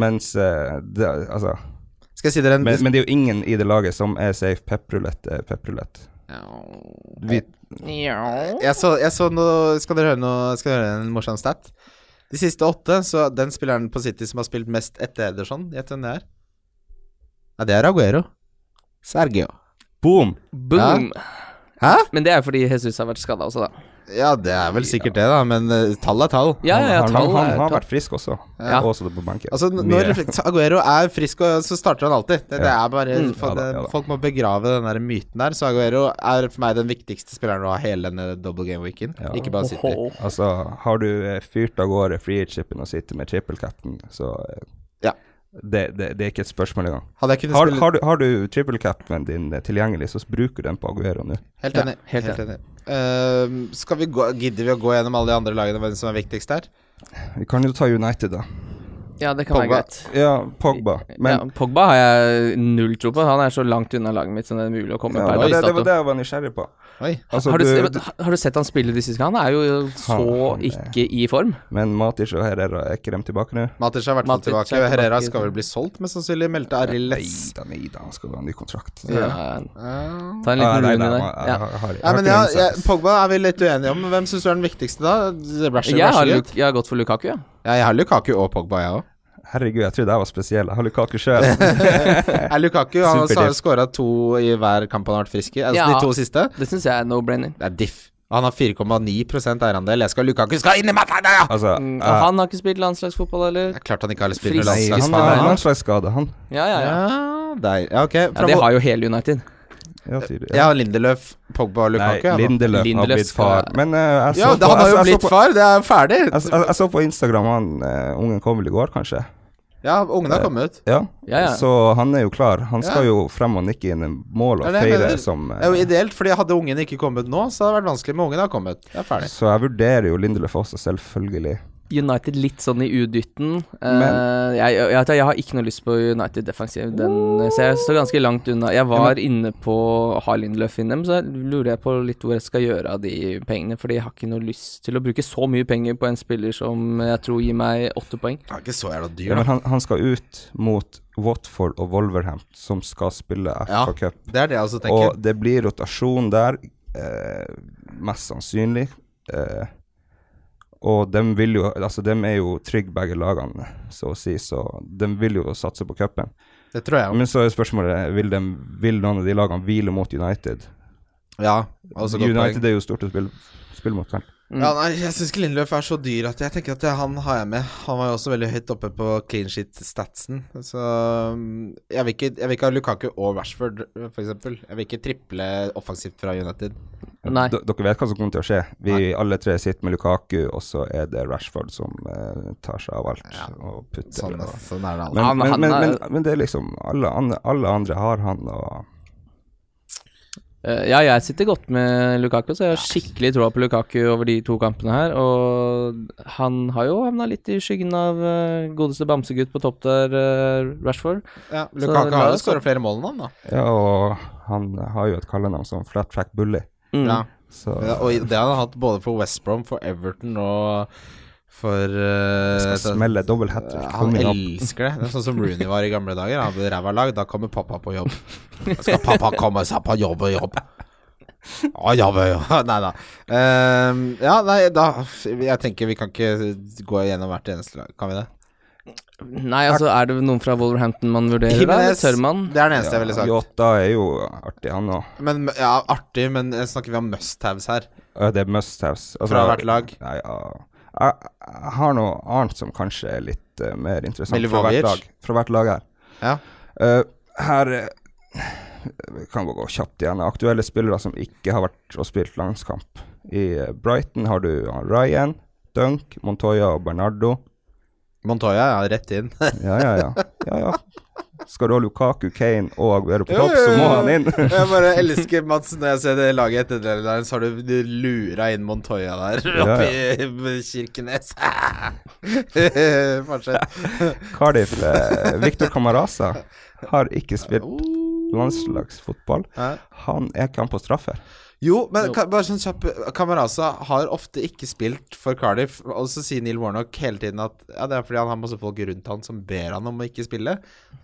Speaker 4: Mens eh, det, er- altså,
Speaker 3: Skal jeg si dere en
Speaker 4: men, men det er jo ingen i det laget som er safe. Pepperulett er pepperulett. Vi-
Speaker 3: jeg så, jeg så noe, skal, dere høre noe, skal dere høre en morsom stat? De siste åtte, så den spilleren på City som har spilt mest etter Ederson, gjett hvem det er? Ja, det er Aguero. Sergio.
Speaker 4: Boom!
Speaker 2: Boom!
Speaker 3: Hæ?
Speaker 2: Men det er fordi Jesus har vært skada også, da.
Speaker 3: Ja, det er vel sikkert det, da, men eh, tall er tall.
Speaker 2: Ja, ja, ja,
Speaker 4: han,
Speaker 2: tall
Speaker 4: han, han
Speaker 2: er
Speaker 4: har
Speaker 2: tall.
Speaker 4: vært frisk også.
Speaker 2: Ja.
Speaker 4: Også på banken.
Speaker 3: Altså, n-
Speaker 4: Mye.
Speaker 3: når Aguero er frisk, og så starter han alltid. Det, det
Speaker 4: Ja.
Speaker 3: er bare
Speaker 2: Mm.
Speaker 3: folk,
Speaker 4: Ja da, ja da.
Speaker 3: folk må begrave den der myten der, så Aguero er for meg den viktigste spilleren å ha hele denne double game-weeken.
Speaker 4: Ja.
Speaker 3: Ikke bare City.
Speaker 2: Oho.
Speaker 4: Altså, har du eh, fyrt av gårde free-chipen og sitter med triple cap'n, så eh,
Speaker 3: Ja.
Speaker 4: det, det, det er ikke et spørsmål engang.
Speaker 3: Hadde jeg kunnet
Speaker 4: Har,
Speaker 3: spille
Speaker 4: har, du, har du triple cap'n din eh, tilgjengelig, så bruker du den på Aguero nå.
Speaker 3: Helt
Speaker 2: Ja,
Speaker 3: enig.
Speaker 2: helt
Speaker 3: helt enig. Ehm, skal vi gå, gidder vi å gå gjennom alle de andre lagene hvem som er viktigst der?
Speaker 4: Vi kan jo ta United, da.
Speaker 2: Ja, det kan være
Speaker 3: Pogba.
Speaker 2: greit.
Speaker 4: Ja, Pogba. Men
Speaker 2: ja, Pogba har jeg null tro på. Han er så langt unna laget mitt som det er mulig å komme
Speaker 4: Ja,
Speaker 2: per
Speaker 4: det, det,
Speaker 2: dags
Speaker 4: det var
Speaker 2: dato.
Speaker 4: det jeg var nysgjerrig på.
Speaker 3: Oi.
Speaker 4: Altså,
Speaker 2: har, du,
Speaker 4: du,
Speaker 2: men har du sett han spille de siste gangene? Han er jo så
Speaker 4: Han- han er-
Speaker 2: ikke i form.
Speaker 4: men Matic og Herrera, er ikke dem tilbake nå?
Speaker 3: Matic er i hvert fall
Speaker 2: Matic er
Speaker 3: tilbake.
Speaker 2: tilbake.
Speaker 3: Herrera skal vel bli solgt, mest sannsynlig. Meldte Arild
Speaker 4: Nei
Speaker 3: Letz.
Speaker 4: da, nei da, han skal ha en ny kontrakt.
Speaker 2: Ja.
Speaker 3: Ja,
Speaker 2: Ta en
Speaker 4: Ah,
Speaker 2: liten
Speaker 4: nei,
Speaker 2: runde
Speaker 4: nei,
Speaker 2: der.
Speaker 4: jeg-
Speaker 2: Ja.
Speaker 4: jeg har- jeg har
Speaker 3: men
Speaker 4: ikke
Speaker 3: ja,
Speaker 4: innsats.
Speaker 3: jeg, Pogba er vi litt uenige om. Hvem syns du er den viktigste, da? Rashford,
Speaker 2: Jeg har,
Speaker 3: Rashford.
Speaker 2: Luk- jeg har gått for Lukaku, ja.
Speaker 3: Ja, jeg har Lukaku og Pogba, jeg òg.
Speaker 4: Herregud, jeg trodde jeg var spesiell. Jeg har Lukaku sjøl.
Speaker 3: Er Lukaku han
Speaker 4: Eh, Superdiff.
Speaker 3: har skåra to i hver kamp han har vært frisk i. Altså
Speaker 2: Ja.
Speaker 3: de to siste.
Speaker 2: Det syns jeg er no-brainer.
Speaker 3: Det er diff. Han har 4,9 eierandel. Jeg skal Lukaku skal inn i matta! Ja!
Speaker 4: altså,
Speaker 2: Mm,
Speaker 4: jeg-
Speaker 2: og han har ikke spilt landslagsfotball heller.
Speaker 3: Det er klart han ikke har lyst til å
Speaker 2: Frisk.
Speaker 4: nei, han
Speaker 3: landslagsspiller.
Speaker 4: har
Speaker 2: Spiller-
Speaker 4: landslagsskade, han.
Speaker 2: Ja, ja, ja.
Speaker 3: Ja, der. ja, ok.
Speaker 2: ja det har jo hele United.
Speaker 4: Ja, tydelig.
Speaker 3: Jeg har Lindeløf, Pogba og
Speaker 4: Nei,
Speaker 3: Lukaku. ja, nå.
Speaker 4: Lindeløf har
Speaker 2: Lindeløf
Speaker 4: blitt
Speaker 2: skal-
Speaker 4: far. Men eh, jeg så
Speaker 3: ja,
Speaker 4: på-
Speaker 3: da, han
Speaker 4: jeg-
Speaker 3: har jo
Speaker 4: jeg så
Speaker 3: blitt
Speaker 4: på- Altså,
Speaker 3: far. Det er ferdig.
Speaker 4: Jeg, jeg, jeg så på Instagram han eh, ungen kom vel i går, kanskje?
Speaker 3: Ja, ungene har kommet ut.
Speaker 4: Ja.
Speaker 2: Ja, ja.
Speaker 4: Så han er jo klar. Han skal
Speaker 3: Ja.
Speaker 4: jo frem og nikke inn en mål og
Speaker 3: Det er det jeg
Speaker 4: feire
Speaker 3: mener.
Speaker 4: som eh,
Speaker 3: Det er jo ideelt, fordi hadde ungene ikke kommet nå, så hadde det vært vanskelig. Men ungene har kommet. Det er ferdig.
Speaker 4: Så jeg vurderer jo Lindelöf også, selvfølgelig.
Speaker 2: United litt sånn i udytten. Eh,
Speaker 4: Men-
Speaker 2: jeg, jeg, vet du, jeg har ikke noe lyst på United defensiv, den, så jeg står ganske langt unna. Jeg var inne på Harlindløf innom, så lurer jeg på litt hvor jeg skal gjøre av de pengene. Fordi jeg har ikke noe lyst til å bruke så mye penger på en spiller som jeg tror gir meg åtte poeng.
Speaker 3: Han er ikke så jævla
Speaker 4: Ja,
Speaker 3: dyr,
Speaker 4: men
Speaker 3: da.
Speaker 4: han, han skal ut mot Watford og Wolverhampton, som skal spille
Speaker 3: Ja,
Speaker 4: FA Cup.
Speaker 3: det er det jeg også tenker.
Speaker 4: Og det blir rotasjon der, eh, mest sannsynlig. Eh, og de vil jo Altså, de er jo trygge, begge lagene, så å si, så de vil jo satse på cupen.
Speaker 3: det tror jeg òg.
Speaker 4: Men så er spørsmålet vil, dem- vil noen av de lagene hvile mot United.
Speaker 3: Ja, også godt Altså, poeng.
Speaker 4: United er jo stort å spille, spille mot. vel?
Speaker 2: Mm.
Speaker 3: Ja, nei, jeg syns ikke Lindløf er så dyr at jeg tenker at det- han har jeg med. Han var jo også veldig høyt oppe på clean sheet-statsen. Så mm, jeg vil, ikke, jeg vil ikke ha Lukaku og Rashford, f.eks. Jeg vil ikke triple offensivt fra United.
Speaker 2: Nei.
Speaker 4: D- Dere vet hva som kommer til å skje. Vi alle tre sitter med Lukaku, og så er det Rashford som eh, tar seg av alt og putter.
Speaker 3: Sånn,
Speaker 4: og,
Speaker 3: sånn er det alltid.
Speaker 4: men,
Speaker 2: Ja, men
Speaker 4: men,
Speaker 2: han
Speaker 4: men,
Speaker 2: er-
Speaker 4: men, men det er liksom Alle andre, alle andre har han, og
Speaker 2: Eh, ja, jeg sitter godt med Lukaku, så jeg har skikkelig troa på Lukaku over de to kampene her. Og han har jo havna litt i skyggen av eh, godeste bamsegutt på topp der, eh, Rashford.
Speaker 3: Ja,
Speaker 2: Så
Speaker 3: Lukaku
Speaker 2: la
Speaker 3: har jo
Speaker 2: oss-
Speaker 3: skåra flere mål enn han, da.
Speaker 4: Ja, og han har jo et kallenavn som Flat Track Bully.
Speaker 2: Mm.
Speaker 3: Ja.
Speaker 4: Så
Speaker 3: Ja, og det har han hatt både for West Brom, for Everton og for eh,
Speaker 4: skal
Speaker 3: så-
Speaker 4: smelle dobbel hat trick.
Speaker 3: Eh, Han elsker det. Det er Sånn som Rooney var i gamle dager. Han hadde ræva lag, da kommer pappa på jobb. Da skal pappa komme seg på jobb og jobb. Å, jobb og jobb. Nei da. Ehm, ja, nei, da Jeg tenker vi kan ikke gå gjennom hvert eneste lag, kan vi det?
Speaker 2: Nei, altså, er det noen fra Wolverhampton man vurderer, da? Eller tør man?
Speaker 3: Det er den eneste jeg ville sagt.
Speaker 4: Jota er jo artig, han òg.
Speaker 3: Men ja, artig, men eh, snakker vi om must-haves her?
Speaker 4: Det er must haves. Altså,
Speaker 3: Fra hvert lag?
Speaker 4: Nei, ja. jeg, jeg har noe annet som kanskje er litt eh, mer interessant fra
Speaker 3: Milivojevic?
Speaker 4: hvert, lag, fra hvert lag her.
Speaker 3: Ja.
Speaker 4: Eh, her eh, vi kan gå kjapt igjen. Aktuelle spillere som ikke har vært og spilt landskamp. I eh, Brighton har du eh, Ryan, Dunk, Montoya og Bernardo.
Speaker 3: Montoya, ja, rett inn.
Speaker 4: Ja, ja, ja. ja, ja. Skal du ha Lukaku, Kane og Aguero på topp, så må han inn.
Speaker 3: Jeg bare elsker Mats når jeg ser det laget etter det der, så har du du lura inn Montoya der
Speaker 4: Ja,
Speaker 3: oppe i Kirkenes. Fortsett.
Speaker 4: Cardiff, eh, Victor Camaraza har ikke spilt landslagsfotball.
Speaker 3: Ja.
Speaker 4: Han er ikke han på straffer.
Speaker 3: Jo, men ka- bare sånn kjapp Kamaraza har ofte ikke spilt for Cardiff, og så sier Neil Warnock hele tiden at ja, det er fordi han har masse folk rundt han som ber han om å ikke spille.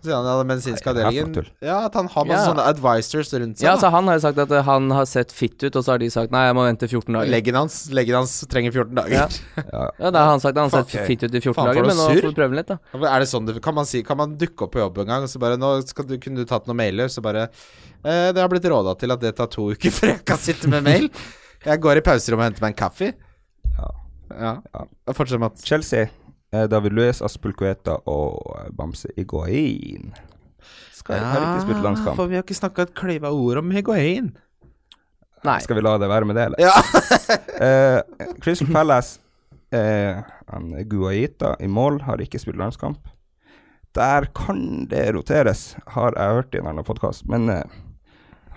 Speaker 3: Så sier han ja, den medisinske
Speaker 4: Nei, det er for
Speaker 3: avdelingen
Speaker 4: tull.
Speaker 3: Ja, at han har masse
Speaker 2: Ja.
Speaker 3: sånne advisors rundt seg.
Speaker 2: Ja,
Speaker 3: da.
Speaker 2: altså Han har jo sagt at eh, han har sett fit ut, og så har de sagt nei, jeg må vente 14 dager.
Speaker 3: Leggen hans, leggen hans trenger 14 dager.
Speaker 2: Ja. Ja, da har han sagt at han har
Speaker 4: Fuck,
Speaker 2: sett fit ut i
Speaker 3: Faen,
Speaker 2: 14
Speaker 3: for
Speaker 2: dager,
Speaker 3: noe
Speaker 2: men nå
Speaker 3: surr.
Speaker 2: får du prøve den litt, da.
Speaker 3: Ja, men Er det sånn det, kan, man si, kan man dukke opp på jobb en gang og så bare nå skal du, 'Kunne du tatt noen mailer?' Så bare eh, 'Det har blitt råda til at det tar to uker før jeg kan sitte med mail.' 'Jeg går i pauserommet og henter meg en kaffe.'
Speaker 4: Ja.
Speaker 3: Ja.
Speaker 4: Ja.
Speaker 3: Fortsett, Mats.
Speaker 4: Chelsea, eh, David Luiz, Aspelkueta og eh, Bamse Iguain. Skal, Har
Speaker 3: Ah.
Speaker 4: ikke spilt landskamp.
Speaker 3: for vi har ikke snakka et kløyva ord om Higuain.
Speaker 2: Nei.
Speaker 4: Skal vi la det være med det, eller?
Speaker 3: Ja.
Speaker 4: Eh, Crystal Palace eh, han Guaita i mål har ikke spilt landskamp. Der kan det roteres, har jeg hørt i en annen podkast, men eh,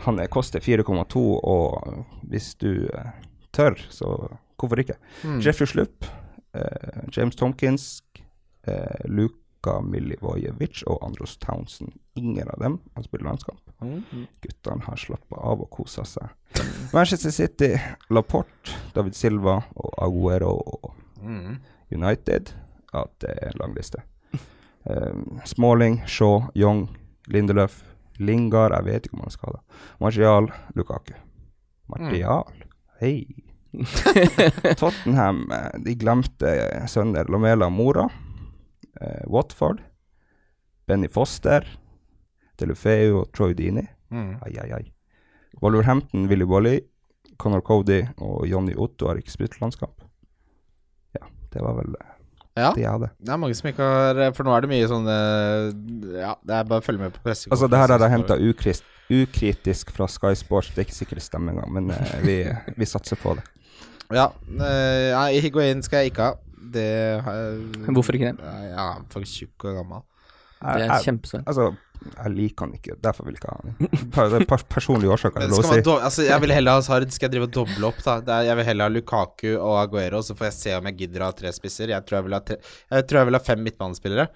Speaker 4: han er, koster 4,2, og hvis du eh, tør, så hvorfor ikke? Jeffrey Slupp, eh, James Tomkinsk, eh, Luka Milivojevic og Andros Townsend. Ingen av dem har spilt landskamp. Guttene har slappa av og kosa seg. Manchester City, Laporte, David Silva og Aguero og United. Ja, det er en lang liste. Um, Smalling, Shaw, Young, Lindelöf, Lingard Jeg vet ikke om han er skada. Martial, Lukaku. Martial, hei. Tottenham, eh, de glemte sønner Lomela Mora. Eh, Watford, Benny Foster, Delufeu og Troy Dini.
Speaker 3: Mm.
Speaker 4: Ai, ai, ai. Wolverhampton, Willy Bolly, Conor Cody og Johnny Otto har ikke spilt landskamp. Ja, det var vel eh,
Speaker 3: Ja.
Speaker 4: det jeg hadde.
Speaker 3: Det er mange som ikke har For nå er det mye sånn eh, Ja, det er bare å følge med på pressekonferansen.
Speaker 4: Altså, det her har jeg henta ukritisk fra Sky Sports. Det er ikke sikkert det stemmer engang, men eh, vi, vi satser på det.
Speaker 3: Ja. eh, nei, Higuain skal jeg ikke ha. Det har jeg-
Speaker 2: Hvorfor ikke det?
Speaker 3: Nei, Ja, han er for tjukk og gammel.
Speaker 2: Det
Speaker 4: Jeg,
Speaker 2: er
Speaker 4: jeg,
Speaker 2: kjempesvær.
Speaker 4: altså, Jeg liker han ikke, derfor vil jeg ikke ha han. Per, det er per, personlige årsaker, er
Speaker 3: Men
Speaker 4: det lov
Speaker 3: skal
Speaker 4: å
Speaker 3: man
Speaker 4: si.
Speaker 3: do altså, jeg vil heller ha Hazard. Skal jeg drive og doble opp, da? Det er, jeg vil heller ha Lukaku og Aguero, så får jeg se om jeg gidder å ha tre spisser. Jeg tror jeg vil ha, tre, jeg tror jeg vil ha fem midtbanespillere.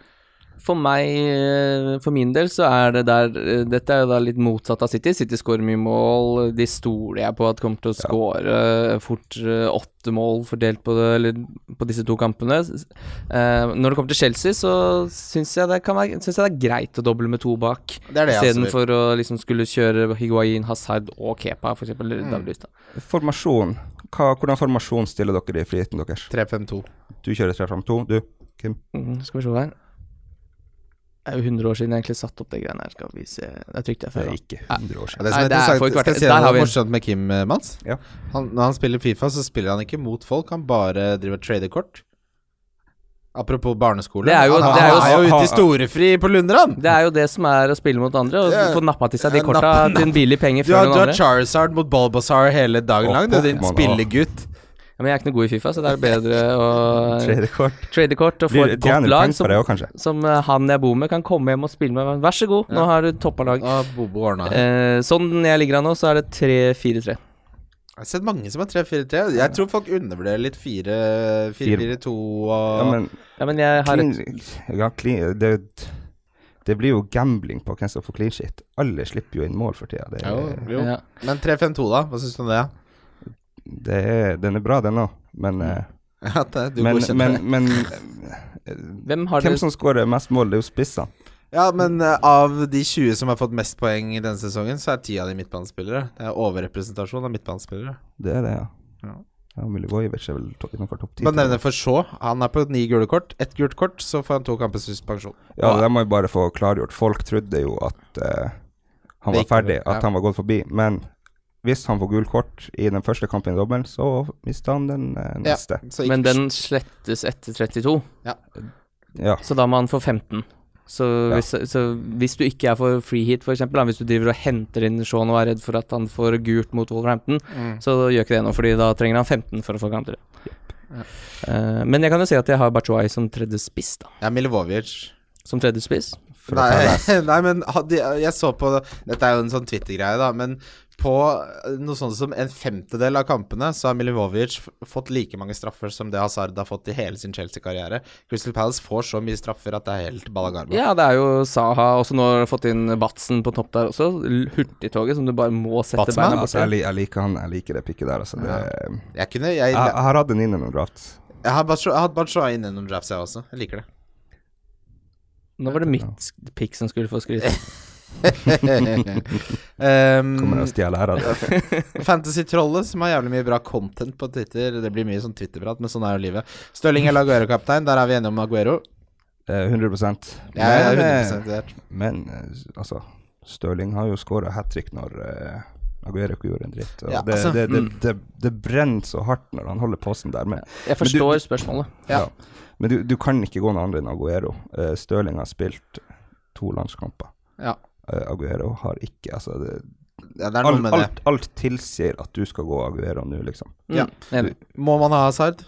Speaker 2: For meg, eh, for min del, så er det der eh, Dette er jo da litt motsatt av City. City skårer mye mål. De stoler jeg på at kommer til å skåre eh, fort eh, åtte mål fordelt på, det, eller, på disse to kampene. S- eh, når det kommer til Chelsea, så syns jeg, det kan være- synes jeg det er greit å doble med to bak.
Speaker 3: Det er det jeg også vil.
Speaker 2: Istedenfor å liksom skulle kjøre Higuain, Hazard og Kepa, f.eks. Mm. David Luiz, da.
Speaker 4: Formasjon. Hva, hvordan formasjon stiller dere i friheten deres?
Speaker 3: 3-5-2.
Speaker 4: Du kjører 3-5-2, du, Kim.
Speaker 2: Mm, Skal vi se her. Det er jo 100 år siden jeg egentlig satte opp det greiene her. Skal vi se Der trykte jeg
Speaker 4: Det
Speaker 2: feil.
Speaker 4: er
Speaker 2: da.
Speaker 4: ikke 100 år
Speaker 3: Ja,
Speaker 4: siden.
Speaker 3: det som
Speaker 2: Nei,
Speaker 3: er
Speaker 2: det er for
Speaker 3: interessant,
Speaker 2: kvarter.
Speaker 3: skal jeg si
Speaker 2: Der
Speaker 3: deg
Speaker 2: har
Speaker 3: noe
Speaker 2: vi en.
Speaker 3: morsomt med Kim eh, Mans?
Speaker 4: Ja.
Speaker 3: Han, når han spiller Fifa, så spiller han ikke mot folk, han bare driver og trader kort. Apropos barneskole.
Speaker 2: Det er jo-
Speaker 3: han,
Speaker 2: det er jo-
Speaker 3: han er jo ute i storefri på Lunder, han!
Speaker 2: Det er jo det som er å spille mot andre,
Speaker 3: Det er-
Speaker 2: og få nappa til seg de
Speaker 3: Ja,
Speaker 2: korta
Speaker 3: napp-
Speaker 2: til en billig penge
Speaker 3: Du
Speaker 2: før
Speaker 3: har, du
Speaker 2: noen
Speaker 3: har
Speaker 2: andre.
Speaker 3: Charizard mot Bulbasaur hele dagen
Speaker 4: Og
Speaker 3: lang, du din
Speaker 4: Pokémon,
Speaker 3: spillegutt.
Speaker 2: Ja, men jeg er ikke noe god i Fifa, så det er bedre å
Speaker 4: Tredje kort.
Speaker 2: trade kort og få
Speaker 4: Blir-
Speaker 2: et
Speaker 4: Tjener
Speaker 2: godt
Speaker 4: du
Speaker 2: lag
Speaker 4: penger
Speaker 2: som,
Speaker 4: på det òg, kanskje?
Speaker 2: som eh, han jeg bor med, kan komme hjem og spille med. Vær så god, nå har du toppa lag.
Speaker 3: Og Bobo ordna det.
Speaker 2: Eh, sånn jeg ligger an nå, så er det 3-4-3.
Speaker 3: Jeg har sett mange som har 3-4-3. Jeg tror folk undervurderer litt 4-4-2 og
Speaker 4: Ja, men
Speaker 2: Ja, men jeg har et
Speaker 4: clean, ja, clean, det, det blir jo gambling på hvem som får clean shit. Alle slipper jo inn mål for tida. Det, er-
Speaker 3: Jo, jo.
Speaker 2: ja.
Speaker 3: Men 3-5-2, da? Hva syns du om det?
Speaker 4: det er, den er bra, den òg, men, eh,
Speaker 3: Ja, det, Mm. du
Speaker 4: men,
Speaker 3: godkjenner
Speaker 4: men,
Speaker 3: det.
Speaker 4: men
Speaker 2: Hvem har
Speaker 4: Hvem
Speaker 2: det
Speaker 4: som skårer mest mål, det er jo spissene.
Speaker 3: Ja, men eh, av de 20 som har fått mest poeng i denne sesongen, så er 10 av de midtbanespillere. Det er overrepresentasjon av midtbanespillere.
Speaker 4: Det er det, ja.
Speaker 3: Ja.
Speaker 4: ja Milivojevic er vel to, innenfor topp ti.
Speaker 3: Bare nevne for Shaw. Han er på ni gule kort. Ett gult kort, så får han to kampers suspensjon.
Speaker 4: Ja, det må jeg bare få klargjort. Folk trodde jo at eh, han
Speaker 3: Det
Speaker 4: var
Speaker 3: gikk
Speaker 4: ferdig,
Speaker 3: over, ja.
Speaker 4: at han var gått forbi. Men hvis han får gult kort i den første kampen i dobbelen, så mister han den eh,
Speaker 3: Ja,
Speaker 4: neste.
Speaker 3: så ikke-
Speaker 2: Men den slettes etter 32,
Speaker 4: Ja.
Speaker 2: så da må han få 15. Så hvis, så hvis du ikke er for free hit, f.eks., hvis du driver og henter inn Shaun og er redd for at han får gult mot Wolverhampton,
Speaker 3: Mm.
Speaker 2: Så gjør ikke det nå, fordi da trenger han 15 for å få kamp til. Eh, men jeg kan jo si at jeg har Bachuay som tredje spiss, da.
Speaker 3: Ja, Milivojevic.
Speaker 2: Som tredje spiss.
Speaker 4: For å ta
Speaker 3: Nei,
Speaker 4: det.
Speaker 3: nei, men hadde, jeg så på Dette er jo en sånn Twitter-greie, da. Men på eh, noe sånt som en femtedel av kampene så har Milivojevic f- fått like mange straffer som det Hazard har fått i hele sin Chelsea-karriere. Crystal Palace får så mye straffer at det er helt ballagarma.
Speaker 2: Ja, det er jo Saha, også nå har jeg fått inn Batsen på topp der også. L- Hurtigtoget som du bare må sette
Speaker 3: Batsman?
Speaker 2: beina
Speaker 4: Altså,
Speaker 2: borti.
Speaker 4: jeg, li- jeg liker han, jeg liker det pikket der. Altså, det,
Speaker 3: Jeg kunne Jeg,
Speaker 4: jeg,
Speaker 3: jeg,
Speaker 4: jeg har hatt den inne noen draft.
Speaker 3: har Batshuayi- jeg har hatt Batshuayi inn gjennom drafts, jeg også. Jeg liker det.
Speaker 2: Nå var det mitt sk- pick som skulle få skryt.
Speaker 4: Kommer jeg
Speaker 3: um,
Speaker 4: og stjeler her av det.
Speaker 3: Fantasy-trollet som har jævlig mye bra content på Twitter. Det blir mye sånn Twitter-prat, men sånn er jo livet. Stirling eller Aguero-kaptein, der er vi enige om Aguero.
Speaker 4: Eh, 100
Speaker 3: Jeg er
Speaker 4: Men, eh,
Speaker 3: 100 der.
Speaker 4: Men eh, altså, Stirling har jo skåra hat trick når eh, Aguero ikke gjorde en dritt. Og
Speaker 3: Ja,
Speaker 4: det,
Speaker 3: altså,
Speaker 4: det, det, det, det brenner så hardt når han holder posen der. Men,
Speaker 2: Jeg forstår spørsmålet.
Speaker 3: Ja.
Speaker 4: ja. men du, du kan ikke gå noe andre enn Aguero. Eh, Stirling har spilt to landskamper.
Speaker 3: Ja.
Speaker 4: Eh, Aguero har ikke altså, det,
Speaker 3: Ja, det er noe
Speaker 4: alt,
Speaker 3: med det.
Speaker 4: alt, alt tilsier at du skal gå Aguero nå, liksom.
Speaker 2: Mm,
Speaker 3: Ja.
Speaker 2: Enig.
Speaker 3: Må man ha Hazard?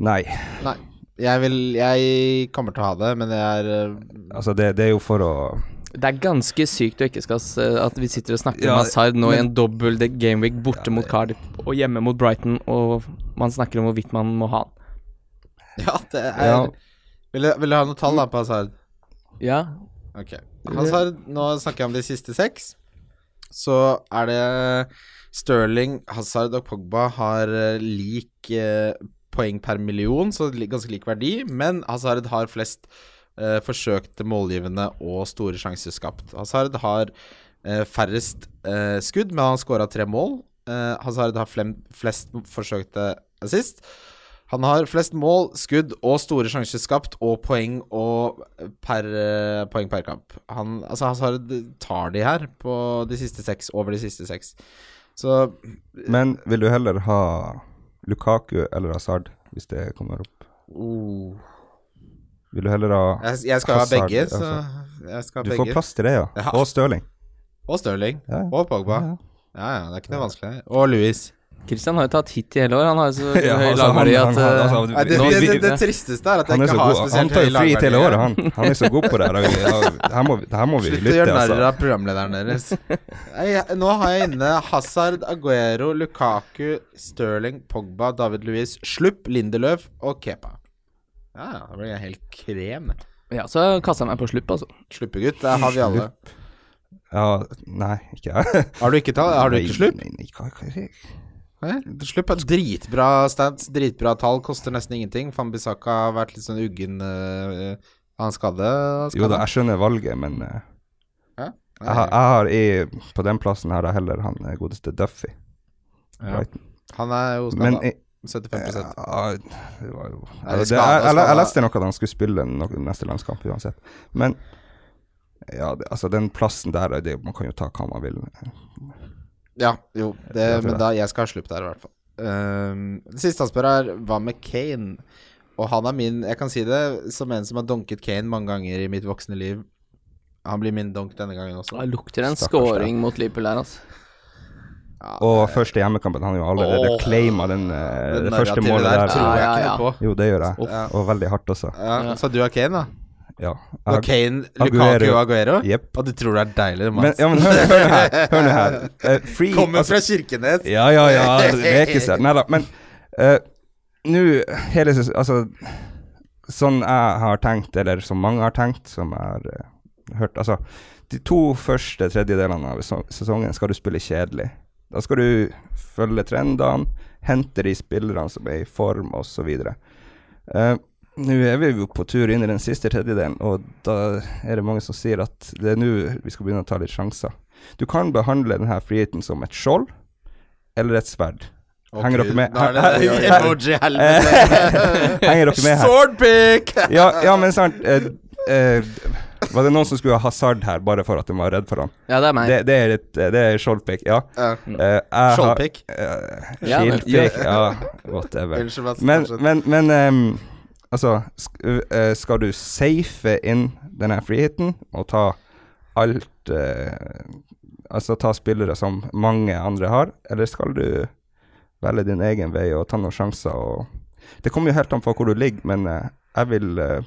Speaker 4: Nei.
Speaker 3: Nei. Jeg vil Jeg kommer til å ha det, men jeg er øh,
Speaker 4: Altså, det, det er jo for å
Speaker 2: Det er ganske sykt å ikke skal s- at vi sitter og snakker
Speaker 4: Ja,
Speaker 2: om Hazard nå i en dobbel de- gameweek borte mot Cardiff og hjemme mot Brighton, og man snakker om hvorvidt man må ha han.
Speaker 3: Ja, det er
Speaker 4: Ja.
Speaker 3: vil, du, vil du ha noe tall da på Hazard?
Speaker 2: Ja,
Speaker 3: Ok. Hazard, nå snakker jeg om de siste seks. Så er det Sterling, Hazard og Pogba har øh, lik øh, poeng per million, så li- ganske lik verdi, men Hazard har flest øh, forsøkte målgivende og store sjanser skapt. Hazard har eh, færrest eh, skudd, men han skåra tre mål. Eh, Hazard har flem, flest forsøkte assist. Han har flest mål, skudd og store sjanser skapt og poeng og per, eh, poeng per kamp. Han, altså Hazard tar de her på de siste seks, over de siste seks. Så
Speaker 4: Men vil du heller ha Lukaku eller Hazard hvis det kommer opp?
Speaker 3: oh,
Speaker 4: Vil du heller ha
Speaker 3: jeg, jeg skal ha
Speaker 4: Hazard,
Speaker 3: begge, så
Speaker 4: altså.
Speaker 3: jeg skal ha
Speaker 4: Du
Speaker 3: begge.
Speaker 4: får plass til det, ja.
Speaker 3: Ja.
Speaker 4: Og Stirling.
Speaker 3: Og Stirling.
Speaker 4: Ja, ja.
Speaker 3: Og Pogba.
Speaker 4: Ja, ja.
Speaker 3: Ja, ja, det er ikke noe vanskelig. Og Louis.
Speaker 2: Kristian har jo tatt hit i hele år. Han har jo så
Speaker 4: Ja,
Speaker 2: høy
Speaker 4: altså, han-
Speaker 2: lagverdi
Speaker 4: han-
Speaker 2: at eh,
Speaker 4: altså,
Speaker 3: Nei, det,
Speaker 4: nå-
Speaker 3: det, det,
Speaker 4: vi-
Speaker 3: det tristeste er at jeg
Speaker 4: Han er så
Speaker 3: ikke har
Speaker 4: god. Han
Speaker 3: spesielt
Speaker 4: tar
Speaker 3: høy
Speaker 4: jo fri
Speaker 3: lagverdi.
Speaker 4: til året, han. Han er så god på det her. og vi- ja, Det her må, vi- det her må vi
Speaker 3: Slutt å
Speaker 4: lytte
Speaker 3: gjøre
Speaker 4: til,
Speaker 3: narr
Speaker 4: altså.
Speaker 3: av programlederen deres. Jeg, nå har jeg inne Hazard, Aguero, Lukaku, Sterling, Pogba, David Luiz, Slupp, Lindeløf og Kepa. Ja, ja, da blir jeg helt krem. jeg.
Speaker 2: Ja, så kasta jeg meg på slupp, altså.
Speaker 3: Sluppegutt, der har vi alle.
Speaker 4: Ja, nei, ikke jeg.
Speaker 3: Har du ikke, tall? Har du
Speaker 4: Nei,
Speaker 3: ikke slupp?
Speaker 4: Nei, nei, hva- hva-
Speaker 3: Hæ? Slupp er dritbra stats, dritbra tall, koster nesten ingenting. Fanbisaka har vært litt sånn uggen øh, Han skadde,
Speaker 4: Jo da,
Speaker 3: skadde.
Speaker 4: jeg skjønner valget, men eh,
Speaker 3: Nei,
Speaker 4: jeg, har- jeg har i, på den plassen har jeg heller han eh, godeste Duffy.
Speaker 3: Ja.
Speaker 4: Brighton.
Speaker 3: Han er jo
Speaker 4: Men
Speaker 3: skada.
Speaker 4: i-
Speaker 3: 75
Speaker 4: Ja, det var jo
Speaker 3: Er det
Speaker 4: det, jeg, jeg,
Speaker 3: skada-
Speaker 4: jeg leste noe at han skulle spille no neste landskamp uansett. Men ja, det, altså den plassen der det, Man kan jo ta hva man vil.
Speaker 3: Ja, jo, det,
Speaker 4: tror
Speaker 3: men
Speaker 4: det.
Speaker 3: da, jeg skal ha slupp der i hvert fall. Ehm, det siste han spør, er hva med Kane? Og han er min Jeg kan si det som en som har dunket Kane mange ganger i mitt voksne liv. Han blir min dunk denne gangen
Speaker 2: Da
Speaker 3: også.
Speaker 2: lukter det en
Speaker 4: Stakkars deg.
Speaker 2: scoring mot Liverpool der, altså.
Speaker 4: Og første hjemmekampen Han har jo allerede
Speaker 3: Åh.
Speaker 4: claima den, eh,
Speaker 3: Det
Speaker 4: det første
Speaker 3: narrativet
Speaker 4: målet
Speaker 3: der
Speaker 4: der.
Speaker 3: tror jeg
Speaker 2: Ja,
Speaker 3: ikke
Speaker 2: ja,
Speaker 3: noe på.
Speaker 4: Jo, det gjør jeg.
Speaker 3: Uff.
Speaker 4: Og veldig hardt også.
Speaker 3: Ja, så du har Kane, da?
Speaker 4: Ja.
Speaker 3: Du har
Speaker 4: Jeg,
Speaker 3: Kane,
Speaker 4: Aguero.
Speaker 3: Lukaku og Aguero?
Speaker 4: Jepp.
Speaker 3: Og du tror det er deilig,
Speaker 4: men,
Speaker 3: Mats?
Speaker 4: ja, men hør, hør nå her. Hør nå her. Eh, free,
Speaker 3: Kommer
Speaker 4: altså-
Speaker 3: fra Kirkenes!
Speaker 4: Ja, ja, ja. Lekesel. Nei da, men eh, nå hele ses- Altså, sånn jeg har tenkt, eller som mange har tenkt, som jeg har eh, hørt Altså, de to første tredjedelene av sesong- sesongen skal du spille kjedelig. Da skal du følge trendene, hente de spillerne som er i form, osv. Uh, nå er vi jo på tur inn i den siste tredjedelen, og da er det mange som sier at det er nå vi skal begynne å ta litt sjanser. Du kan behandle denne friheten som et skjold eller et sverd.
Speaker 3: Å,
Speaker 4: Henger
Speaker 3: Gud,
Speaker 4: dere med?
Speaker 3: Da er det
Speaker 4: He- he-
Speaker 3: emoji-helvete!
Speaker 4: Henger dere med her?
Speaker 3: Swordpick!
Speaker 4: Ja, ja men sant. eh, eh, var det noen som skulle ha hasard her, bare for at de var redd for han?
Speaker 2: Ja, det er meg.
Speaker 4: Det, det er et eh, det er skjoldpikk, ja.
Speaker 3: Ja.
Speaker 4: Eh, jeg har-
Speaker 3: Skjoldpikk?
Speaker 4: Eh,
Speaker 2: Ja, vel.
Speaker 4: Skiltpikk, ja. Whatever.
Speaker 3: Unnskyld, Mats.
Speaker 4: Men,
Speaker 3: fortsett.
Speaker 4: men, men ehm, altså sk eh, Skal du safe inn denne friheten og ta alt eh, Altså ta spillere som mange andre har, eller skal du velge din egen vei og ta noen sjanser og Det kommer jo helt an på hvor du ligger, men eh, jeg vil eh,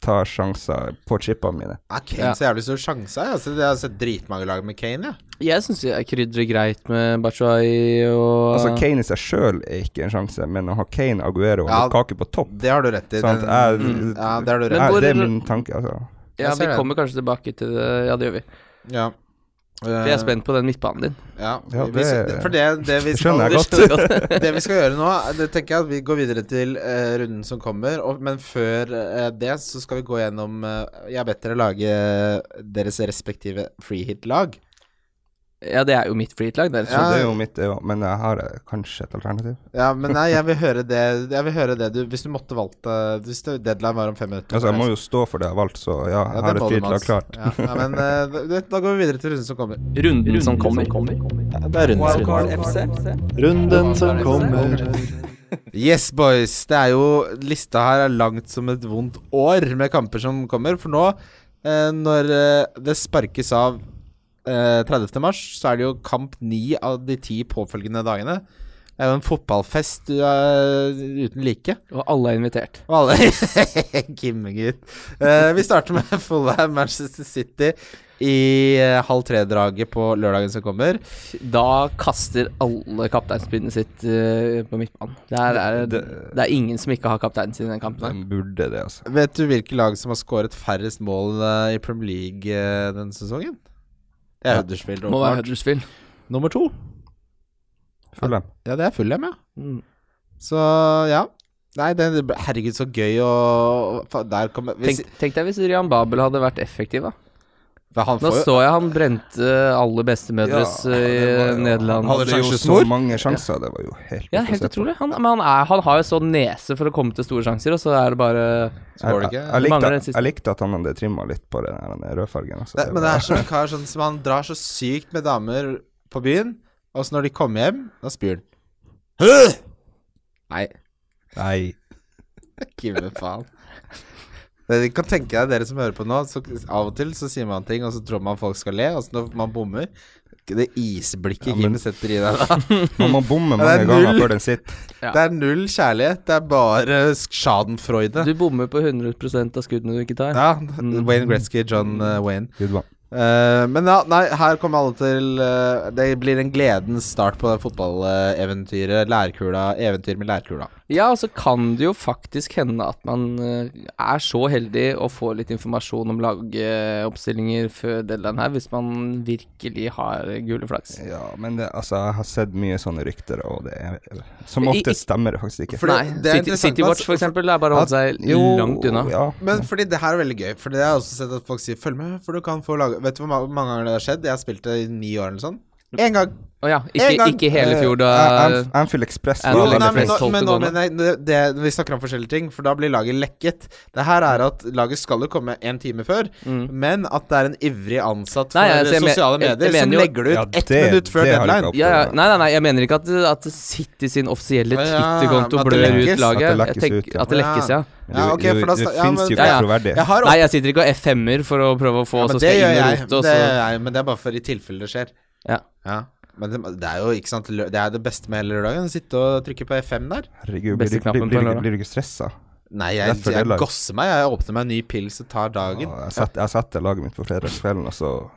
Speaker 4: ta sjanser på chipene mine.
Speaker 3: Er Ah, Kane så jævlig stor sjanse? jeg? Altså, jeg har sett dritmange lag med Kane, ja.
Speaker 2: Jeg syns jeg krydrer greit med Bachuay og
Speaker 4: Altså Kane i seg sjøl er ikke en sjanse, men å ha Kane, Aguero og
Speaker 3: Ja.
Speaker 4: Lukaku på topp
Speaker 3: Det har du rett i. Den-
Speaker 4: Sant,
Speaker 3: Mm.
Speaker 4: jeg-
Speaker 3: ja, det har du
Speaker 2: Men
Speaker 3: rett i.
Speaker 2: hvor-
Speaker 4: Det er min tanke, altså.
Speaker 2: Ja,
Speaker 3: jeg ser
Speaker 2: vi
Speaker 3: det.
Speaker 2: kommer kanskje tilbake til det. Ja, det gjør vi.
Speaker 3: Ja.
Speaker 2: For
Speaker 3: Eh,
Speaker 2: jeg er spent på den midtbanen din.
Speaker 3: Ja,
Speaker 4: Ja,
Speaker 3: vi-
Speaker 4: det-
Speaker 3: for det, det, vi
Speaker 4: Det
Speaker 3: skal,
Speaker 4: skjønner jeg godt.
Speaker 3: det vi skal gjøre nå, det tenker jeg at vi går videre til eh, runden som kommer. Og, men før eh, det så skal vi gå gjennom eh, Jeg har bedt dere lage deres respektive freehit-lag.
Speaker 2: Ja, det er jo mitt freeheat-lag. Det er
Speaker 4: Så
Speaker 3: Ja.
Speaker 2: sånn-
Speaker 4: det er jo mitt øye, men jeg har eh, kanskje et alternativ.
Speaker 3: Ja, men nei, jeg vil høre det, jeg vil høre det du Hvis du måtte valgt eh, Hvis det- deadline var om fem minutter
Speaker 4: Altså, jeg må jo stå for det jeg har valgt, så ja, jeg har
Speaker 3: det
Speaker 4: et
Speaker 3: må du,
Speaker 4: fint lag
Speaker 3: Mats.
Speaker 4: klart.
Speaker 3: Ja, ja, men eh, det, da går vi videre til runden som kommer.
Speaker 2: Runden som kommer.
Speaker 3: Det er rundens runde.
Speaker 1: Wildcard FC.
Speaker 5: Runden som kommer.
Speaker 3: Yes, boys. Det er jo Lista her er langt som et vondt år med kamper som kommer. For nå, eh, når eh, det sparkes av eh, 30. mars, så er det jo kamp ni av de ti påfølgende dagene. Det er jo en fotballfest eh, uten like.
Speaker 2: Og alle er invitert.
Speaker 3: Og alle Kimmegutt. Eh, vi starter med Fulham Manchester City i eh, halv tre-draget på lørdagen som kommer.
Speaker 2: Da kaster alle kapteinspinnet sitt eh, på midtbanen. Der er, det, det er ingen som ikke har kapteinen sin i den kampen. her.
Speaker 4: Den burde det, altså.
Speaker 3: Vet du hvilke lag som har skåret færrest mål eh, i Premier League eh, denne sesongen? Det er Huddersfield.
Speaker 2: Må være
Speaker 3: åpenbart.
Speaker 2: Huddersfield.
Speaker 3: Nummer to.
Speaker 4: Fulham.
Speaker 3: Ja, det er Fulham, ja.
Speaker 2: Mm.
Speaker 3: Så ja. Nei, det, det ble- herregud, så gøy å fa- Der kommer hvis,
Speaker 2: Tenk, tenk deg hvis Rian Babel hadde vært effektiv, da.
Speaker 3: for Han
Speaker 2: Nå
Speaker 3: får jo
Speaker 2: så jeg han brente alle bestemødres
Speaker 4: Ja,
Speaker 2: eh,
Speaker 4: det var
Speaker 2: i
Speaker 4: jo-
Speaker 2: Nederland.
Speaker 4: Han hadde jo
Speaker 3: Sanchez
Speaker 4: så
Speaker 3: snor.
Speaker 4: mange sjanser, det var jo helt
Speaker 2: Ja, helt utrolig. Han, men han, er, han har jo sånn nese for å komme til store sjanser, og så er det bare
Speaker 3: Så går det
Speaker 4: Jeg,
Speaker 3: ikke.
Speaker 4: jeg, jeg, likte,
Speaker 2: Mangler den
Speaker 4: at-
Speaker 2: siste.
Speaker 4: jeg likte at han hadde trimma litt på den her, den rødfargen. Altså.
Speaker 3: det, Men det er sånn kar sånn som han drar så sykt med damer på byen, og så når de kommer hjem, da spyr han. Hø! Nei,
Speaker 4: Nei.
Speaker 3: give a faen. Dere kan tenke deg, dere som hører på nå, så av og til så sier man ting, og så tror man folk skal le, og så når man bommer ikke Det isblikket Kim setter i deg da.
Speaker 4: Man må bomme
Speaker 3: Ja, det
Speaker 4: mange
Speaker 3: er
Speaker 4: ganger
Speaker 3: null.
Speaker 4: før den sitter.
Speaker 2: Ja.
Speaker 3: Det er null kjærlighet, det er bare schadenfreude.
Speaker 2: Du Mm. bommer på 100 av skuddene du ikke tar.
Speaker 3: Ja, Wayne Gretzky, John eh, Wayne.
Speaker 4: Gud, hva-
Speaker 3: Eh, men ja, nei, her kommer alle til eh, Det blir en gledens start på det fotballeventyret. Lærkula, eventyr med lærkula.
Speaker 2: Ja, og så kan det jo faktisk hende at man eh, er så heldig å få litt informasjon om lagoppstillinger før deadline her, hvis man virkelig har gule flaks.
Speaker 4: Ja, men det, altså, jeg har sett mye sånne rykter, og det er Som
Speaker 2: I- i-
Speaker 4: ofte stemmer det faktisk ikke.
Speaker 3: For det-
Speaker 2: Nei,
Speaker 3: det er
Speaker 2: City,
Speaker 3: interessant,
Speaker 2: City Watch
Speaker 3: Mats,
Speaker 2: for eksempel er bare å holde seg langt unna.
Speaker 4: Ja,
Speaker 3: Men fordi det her er veldig gøy, Fordi jeg har også sett at folk sier 'følg med', for du kan få lage Vet du hvor ma- mange ganger det har skjedd? Jeg har spilt det i ni år eller sånn. Én gang.
Speaker 2: Å ja,
Speaker 3: En
Speaker 2: ikke,
Speaker 3: gang,
Speaker 2: ikke hele
Speaker 4: Eh,
Speaker 2: fjor, da.
Speaker 4: Anf- Anfield Express var
Speaker 2: Jo,
Speaker 3: Jo,
Speaker 2: veldig
Speaker 4: veldig
Speaker 3: nei, men,
Speaker 2: flest
Speaker 3: nå,
Speaker 2: holdt
Speaker 3: men
Speaker 2: det
Speaker 3: nå
Speaker 2: gående.
Speaker 3: mener jeg det, det, Vi snakker om forskjellige ting, for da blir laget lekket. Det her er at laget skal jo komme en time før,
Speaker 2: Mm.
Speaker 3: men at det er en ivrig ansatt for
Speaker 2: Mhm. Nei, altså, jeg- jeg men-
Speaker 3: sosiale
Speaker 2: jeg- jeg
Speaker 3: medier
Speaker 2: mener
Speaker 3: som
Speaker 2: jo-
Speaker 3: legger det ut
Speaker 4: Ja,
Speaker 3: ett
Speaker 4: det-
Speaker 3: minutt før
Speaker 4: det har de
Speaker 3: deadline.
Speaker 4: ikke
Speaker 2: Ja, ja. Nei, nei, nei, jeg mener ikke at, at City sin offisielle
Speaker 3: Å ja,
Speaker 2: Twitter-konto
Speaker 3: at det
Speaker 2: blør
Speaker 3: lekkes.
Speaker 2: ut laget.
Speaker 4: At det
Speaker 2: Jeg
Speaker 4: lekkes
Speaker 2: tenker-
Speaker 4: ut, ja.
Speaker 2: At det lekkes, ja.
Speaker 3: Ja, ok, for da
Speaker 4: det
Speaker 3: sta- ja,
Speaker 4: finnes
Speaker 3: men-
Speaker 4: jo
Speaker 2: Ja,
Speaker 4: ikke
Speaker 2: ja.
Speaker 4: troverdig.
Speaker 3: Jeg har
Speaker 2: Nei, jeg sitter ikke og F5-er for å prøve å få
Speaker 3: Ja,
Speaker 2: så
Speaker 3: men det
Speaker 2: skal
Speaker 3: gjør
Speaker 2: jeg inn og
Speaker 3: jeg,
Speaker 2: rote, og
Speaker 3: det
Speaker 2: så
Speaker 3: gjør jeg, men det er bare for i tilfelle det skjer.
Speaker 2: ja.
Speaker 3: Ja. Men det, det er jo ikke sant, lø- det er det beste med hele lørdagen, å sitte og trykke på F5 der.
Speaker 4: Herregud, blir,
Speaker 2: Beste
Speaker 4: du-
Speaker 2: knappen på
Speaker 4: blir, blir, du
Speaker 2: lørdag.
Speaker 4: ikke- blir du ikke stressa?
Speaker 3: Nei, jeg,
Speaker 4: Rett før
Speaker 3: jeg
Speaker 4: deadline.
Speaker 3: gosser meg, jeg åpner meg en ny pils og tar dagen.
Speaker 4: Jeg satt- jeg satte laget mitt på altså. fredagskvelden, og så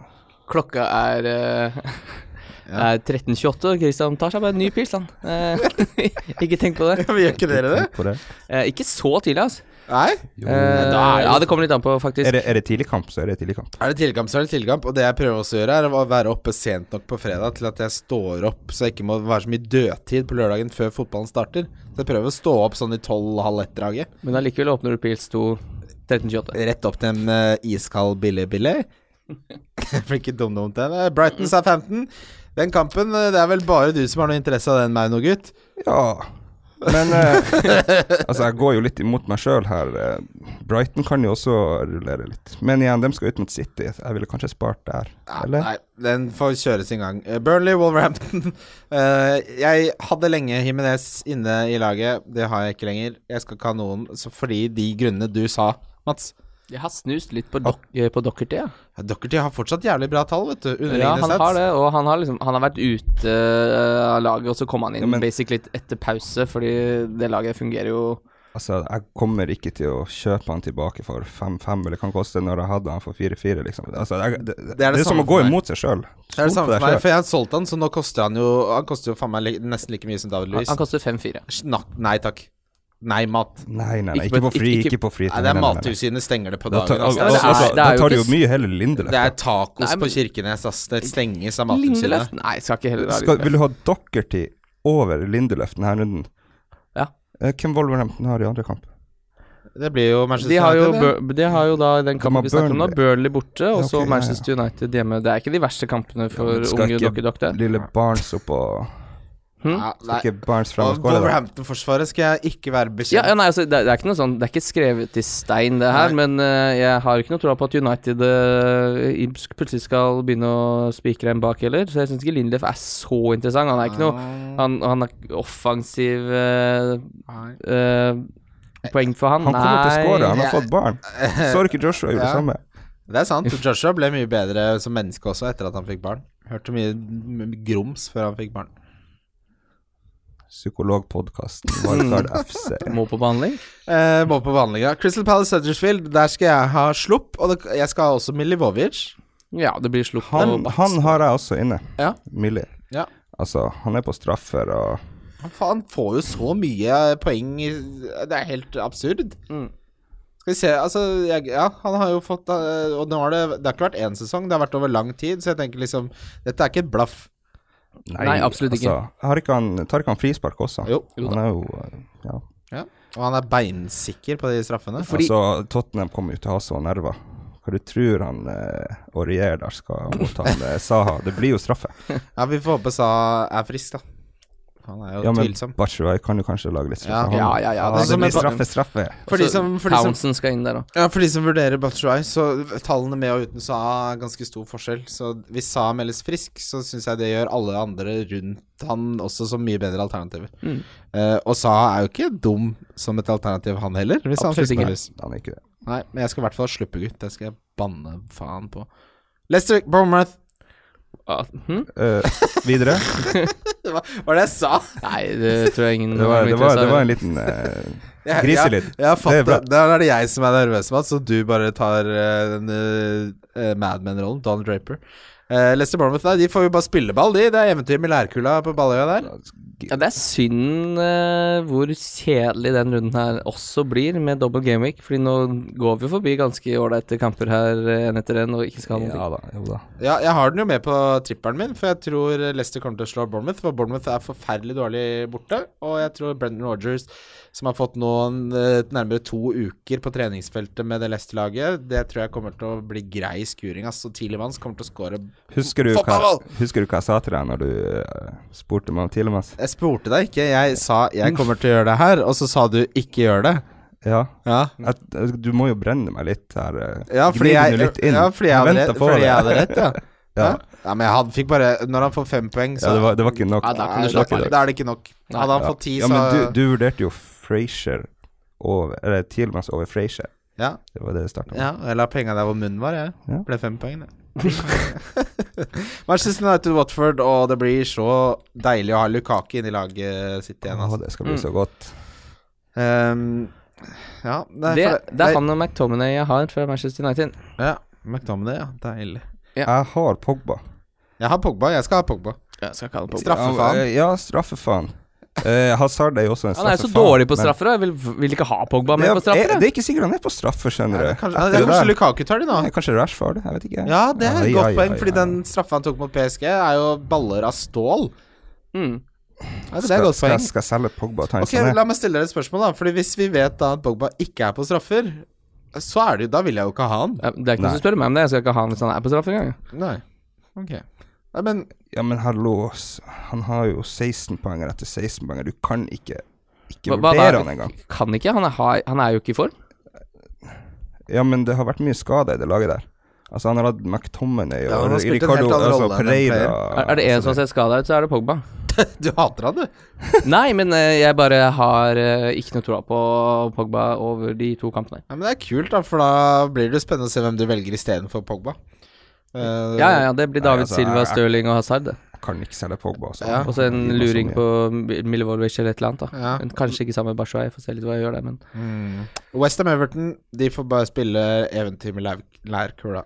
Speaker 2: Klokka er eh, er 13.28, og Christian tar seg bare en ny pils, han. Eh, ikke tenk på det.
Speaker 3: Gjør ikke dere det?
Speaker 4: Tenk på det.
Speaker 2: Eh, ikke så tidlig, altså.
Speaker 3: Ah. Nei?
Speaker 2: Eh,
Speaker 3: da er det-
Speaker 2: ja, det kommer litt an på, faktisk.
Speaker 4: Er det, er det tidlig kamp, så er det tidlig kamp.
Speaker 3: Er det tilkamp, så er det tilkamp. Og det jeg prøver også å gjøre, er å være oppe sent nok på fredag til at jeg står opp, så jeg ikke må være så mye dødtid på lørdagen før fotballen starter. Så jeg prøver å stå opp sånn i tolv-halv ett-draget.
Speaker 2: Men allikevel åpner du pils 2 13.28.
Speaker 3: Rett opp til en eh, iskald billig-billig. Blir ikke dum dumt, det. Eh, Brighton sa 15. Den kampen, eh, det er vel bare du som har noe interesse av den, Mauno, gutt.
Speaker 4: Ja, men eh, Altså, jeg går jo litt imot meg sjøl her. eh, Brighton kan jo også rullere litt. Men igjen, de skal ut mot City. så Jeg ville kanskje spart der, eller?
Speaker 3: Ah, Nei, den får kjøre sin gang. Eh, Burnley, Wolverhampton. Eh, jeg hadde lenge Jimenez inne i laget. Det har jeg ikke lenger. Jeg skal ikke ha noen så fordi de grunnene du sa, Mats.
Speaker 2: Jeg har snust litt på, dok eh, på Dockerty, ja.
Speaker 3: Ja, Doherty har fortsatt jævlig bra tall, vet du.
Speaker 2: ja.
Speaker 3: Underliggende
Speaker 2: Han
Speaker 3: stats.
Speaker 2: har det, og han har, liksom, han har vært ute eh, av laget, og så kom han inn
Speaker 4: Ja, men-
Speaker 2: basically etter pause, fordi det laget fungerer jo
Speaker 4: Altså, jeg kommer ikke til å kjøpe han tilbake for 5-5, eller kan koste når jeg hadde han for 4-4, liksom. Altså, jeg, det, det,
Speaker 3: det
Speaker 4: er det, som
Speaker 3: samme
Speaker 4: å gå
Speaker 3: for meg.
Speaker 4: imot seg sjøl.
Speaker 3: Det er det samme for meg, for jeg har solgt han, så nå koster han jo Han koster jo faen meg li- nesten like mye som David
Speaker 2: Han,
Speaker 3: Louis.
Speaker 2: han koster 5-4.
Speaker 3: Snakk Nei takk. Nei, mat.
Speaker 4: Nei, nei, nei,
Speaker 2: Ikke
Speaker 4: ikke
Speaker 2: på-
Speaker 4: på fri.
Speaker 2: ikke-
Speaker 4: Ikke på fri.
Speaker 3: Nei, det er
Speaker 4: Nei, nei, nei, nei.
Speaker 3: Mattilsynet stenger det på
Speaker 4: Da tar,
Speaker 3: dagen.
Speaker 4: altså,
Speaker 2: Ja, men
Speaker 3: ass.
Speaker 2: det er-
Speaker 4: altså,
Speaker 2: det er
Speaker 4: da
Speaker 2: jo
Speaker 4: tar du jo
Speaker 2: ikke s-
Speaker 4: mye heller
Speaker 3: Det
Speaker 4: Lindeløf.
Speaker 3: er tacos
Speaker 2: Nei, men-
Speaker 3: på Kirkenes, ass. Det stenges av
Speaker 2: Lindeløf?
Speaker 3: Mattilsynet.
Speaker 2: Nei, skal ikke heller være
Speaker 4: Skal,
Speaker 2: Lindeløf.
Speaker 4: vil du ha Dockerty over Lindeløf denne runden?
Speaker 2: Ja.
Speaker 4: Eh, Hvem Wolverhampton har i andre kamp?
Speaker 3: Det blir jo Manchester
Speaker 2: De har, jo,
Speaker 3: United, det.
Speaker 2: Bur- de har jo da den
Speaker 4: har
Speaker 2: kampen vi snakker om nå,
Speaker 4: Burnley.
Speaker 2: Burnley borte, og
Speaker 4: Ja,
Speaker 2: så
Speaker 4: ok, ja,
Speaker 2: Manchester United hjemme. Det er ikke de verste kampene for
Speaker 4: men skal
Speaker 2: unge
Speaker 4: ikke
Speaker 2: Docky Dock, det.
Speaker 4: Lille Barnes opp og
Speaker 3: Ja, nei.
Speaker 4: Ikke Barnes frem og
Speaker 3: Og
Speaker 4: skåre der.
Speaker 3: Wolverhampton-forsvaret skal jeg ikke være bekjent.
Speaker 2: Ja, ja, nei, altså, det, er- det er ikke noe sånn Det er ikke skrevet i stein, det her, men eh, jeg har ikke noe tro på at United eh, i- plutselig skal begynne å spikre en bak heller. Så jeg syns ikke Lindlef er så interessant. Han er ikke noe Han, han er ikke offensiv eh,
Speaker 3: Ah, Nei.
Speaker 2: eh, poeng for han.
Speaker 4: Han kommer til å skåre, han har
Speaker 3: Nei.
Speaker 4: fått barn. Så ikke Joshua gjorde
Speaker 3: Ja.
Speaker 4: det samme.
Speaker 3: Det er sant. Joshua ble mye bedre som menneske også etter at han fikk barn. Hørte mye m- grums før han fikk barn.
Speaker 4: Psykologpodkasten Wildcard FC.
Speaker 2: Må på behandling.
Speaker 3: Eh, må på behandlinga. Crystal Palace Huddersfield, der skal jeg ha slupp. Og det, jeg skal ha også Milivojevic.
Speaker 2: Ja, det blir slutt på
Speaker 4: Han, han har jeg også inne.
Speaker 3: Ja.
Speaker 4: Millie.
Speaker 3: Ja.
Speaker 4: Altså, han er på straffer og
Speaker 3: Han faen får jo så mye eh, poeng i Det er helt absurd.
Speaker 2: Mm.
Speaker 3: Skal vi se Altså, jeg, ja, han har jo fått eh, Og nå har det Det har ikke vært én sesong, det har vært over lang tid, så jeg tenker liksom Dette er ikke et blaff.
Speaker 2: Nei, absolutt ikke.
Speaker 4: Altså, har ikke han, tar ikke han frispark også?
Speaker 3: Jo, jo
Speaker 4: han er jo ja.
Speaker 3: Ja. Og han er beinsikker på de straffene.
Speaker 4: Altså, Tottenham kommer jo til å ha så nerver. Hva du tror han eh, Aurier der skal motta han eh, Saha? Det blir jo straffe.
Speaker 3: Ja, vi får håpe Sa er frisk, da. Han er jo
Speaker 4: Ja, men
Speaker 3: tvilsom.
Speaker 4: Batshuayi kan jo kanskje lage litt
Speaker 3: Ja.
Speaker 4: straffe. han.
Speaker 2: Ja, ja, ja,
Speaker 4: det,
Speaker 3: det- men-
Speaker 4: blir straffe, straffe.
Speaker 3: For de som, for de som,
Speaker 2: Townsend skal inn der òg.
Speaker 3: ja, for de som vurderer Batshuayi, så tallene med og uten Sa er ganske stor forskjell. Så hvis Sa meldes frisk, så syns jeg det gjør alle andre rundt han også som mye bedre alternativer.
Speaker 4: Mm.
Speaker 3: Eh, og Sa er jo ikke dum som et alternativ, han heller. Hvis han
Speaker 2: Absolutt ikke.
Speaker 3: friskmeldes.
Speaker 4: Han er ikke det.
Speaker 3: Nei, men jeg skal i hvert fall ha sluppegutt. Det skal jeg banne faen på. Leicester, Bournemouth
Speaker 2: Ah, hm?
Speaker 4: Eh, videre.
Speaker 3: Hva var det jeg sa?
Speaker 2: Nei, det tror jeg ingen
Speaker 4: Det var, det var, det var en
Speaker 2: litt
Speaker 4: liten eh,
Speaker 3: Jeg-
Speaker 4: Griselyd.
Speaker 3: Jeg, jeg har
Speaker 4: Det er
Speaker 3: fattet-
Speaker 4: bra.
Speaker 3: Da er det jeg som er nervøs, Mats, og du bare tar eh, den uh, Madman-rollen. Donald Draper. Eh, Leicester Bournemouth, nei, de får jo bare spilleball, de. Det er eventyr med lærkula på Balløya der.
Speaker 2: ja, Det er synd eh, hvor kjedelig den runden her også blir med double gameweek, fordi nå går vi forbi ganske ålreite kamper her eh, en etter en og ikke skal ha noe.
Speaker 4: Ja da, jo da.
Speaker 3: Ja, jeg har den jo med på tripperen min, for jeg tror Leicester kommer til å slå Bournemouth. For Bournemouth er forferdelig dårlig borte, og jeg tror Brendan Rogers, som har fått noen eh, nærmere to uker på treningsfeltet med det Leicester-laget, det tror jeg kommer til å bli grei skuring. ass. Og Tilemans kommer til å skåre
Speaker 4: Husker du, hva,
Speaker 3: Fotball!
Speaker 4: husker du hva jeg sa til deg når du eh, spurte meg om Tilemas?
Speaker 3: Jeg spurte deg ikke, jeg sa 'jeg kommer til å gjøre det her', og så sa du 'ikke gjør det'.
Speaker 4: Ja.
Speaker 3: Ja.
Speaker 4: Jeg, jeg- du må jo brenne meg litt her. eh.
Speaker 3: Ja, fordi
Speaker 4: Gni
Speaker 3: jeg,
Speaker 4: den jo litt inn.
Speaker 3: ja, fordi jeg, hadde,
Speaker 4: ventet
Speaker 3: rett,
Speaker 4: på
Speaker 3: fordi
Speaker 4: det.
Speaker 3: jeg hadde rett, ja. ja.
Speaker 4: Ja.
Speaker 3: ja men han fikk bare Når han får fem poeng, så
Speaker 4: Ja, det, var, det var ikke nok.
Speaker 2: Ja, da kan
Speaker 3: Nei,
Speaker 2: du slappe
Speaker 3: da-
Speaker 2: av.
Speaker 3: Da er det ikke nok. Hadde han
Speaker 4: Ja.
Speaker 3: fått ti,
Speaker 4: ja,
Speaker 3: så
Speaker 4: men du, du vurderte jo Frazier over Eller Tielmans over Frazier.
Speaker 3: Ja,
Speaker 4: Det var det det starta med.
Speaker 3: ja, jeg la penga der hvor munnen var, jeg.
Speaker 4: Ja.
Speaker 3: Ble fem poeng, det. Manchester United Watford, og det blir så deilig å ha Lukaki inn i laget sitt igjen.
Speaker 4: Å,
Speaker 3: Altså.
Speaker 4: det skal
Speaker 2: Mm.
Speaker 4: bli så godt.
Speaker 3: Ehm, ja, nei,
Speaker 2: Det,
Speaker 3: for
Speaker 2: det er han og McTominay jeg har fra Manchester United.
Speaker 3: Ja, McDominay, ja. Deilig.
Speaker 4: Jeg har Pogba.
Speaker 3: Jeg har Pogba, jeg skal ha Pogba.
Speaker 2: Jeg skal ikke ha på.
Speaker 3: Straffefaen.
Speaker 4: Ja, ja, straffefaen. Eh, Hazard er jo også en
Speaker 2: Han er jo så
Speaker 4: straffefaen.
Speaker 2: dårlig på
Speaker 4: men-
Speaker 2: straffer, og jeg vil, vil ikke ha Pogba med
Speaker 4: det, er-
Speaker 2: på straffer.
Speaker 4: er,
Speaker 2: jeg.
Speaker 4: det er ikke sikkert han er på straffer, skjønner du.
Speaker 3: Ja, kanskje, det er kanskje Lukaku tar de nå.
Speaker 4: Nei, Kanskje Rashford, jeg vet ikke.
Speaker 3: Ja, det er et
Speaker 4: Ai,
Speaker 3: godt
Speaker 4: ai,
Speaker 3: poeng,
Speaker 4: ai,
Speaker 3: fordi
Speaker 4: ai.
Speaker 3: den straffa han tok mot PSG, er jo baller av stål.
Speaker 2: Mm.
Speaker 3: Ja, det er et godt
Speaker 4: Skal,
Speaker 3: poeng.
Speaker 4: skal jeg selge Pogba og ta en
Speaker 3: Ok,
Speaker 4: sånn?
Speaker 3: La meg stille dere et spørsmål, da. Fordi hvis vi vet da at Bogba ikke er på straffer, så er det jo Da vil jeg jo ikke ha han.
Speaker 2: Ja, Det er ikke noe som spør meg om det. Jeg skal ikke ha han hvis han er på straff engang.
Speaker 3: Nei. Ok. Nei, men
Speaker 4: Ja, men hallo, s- han har jo 16 poenger etter 16 poenger. Du kan ikke, ikke
Speaker 2: Hva- hva da?
Speaker 4: vurdere han engang.
Speaker 2: Kan ikke. Han er, ha- han er jo ikke i form.
Speaker 4: Ja, men det har vært mye skade i det laget der. Altså, han har hatt McTominay
Speaker 3: Ja, han
Speaker 4: og
Speaker 3: har
Speaker 4: ja,
Speaker 3: spilt en
Speaker 4: Ricardo
Speaker 3: helt annen
Speaker 4: altså,
Speaker 3: rolle enn en
Speaker 4: Pereira.
Speaker 2: Er, er det en som har sett skada ut, så er det Pogba.
Speaker 3: du hater han, du.
Speaker 2: Nei, men eh, jeg bare har eh, ikke noe troa på Pogba over de to kampene.
Speaker 3: Nei, men det er kult, da, for da blir det jo spennende å se hvem du velger istedenfor Pogba. Eh,
Speaker 2: Ja, ja, ja, det blir
Speaker 4: Nei,
Speaker 2: David
Speaker 4: altså,
Speaker 2: Silva,
Speaker 4: jeg-
Speaker 2: Stirling og Hazard. det.
Speaker 4: Kan ikke selge Pogba, altså.
Speaker 3: Ja.
Speaker 2: Og så en
Speaker 4: Gi meg så
Speaker 2: luring
Speaker 4: mye.
Speaker 2: på Mil- Milivojevic eller et eller annet. da
Speaker 3: Ja.
Speaker 2: Men Kanskje ikke sammen med Bashua, jeg får se litt hva jeg gjør der, men
Speaker 3: Mm. Westham Everton, de får bare spille eventyr med lær- lærkula.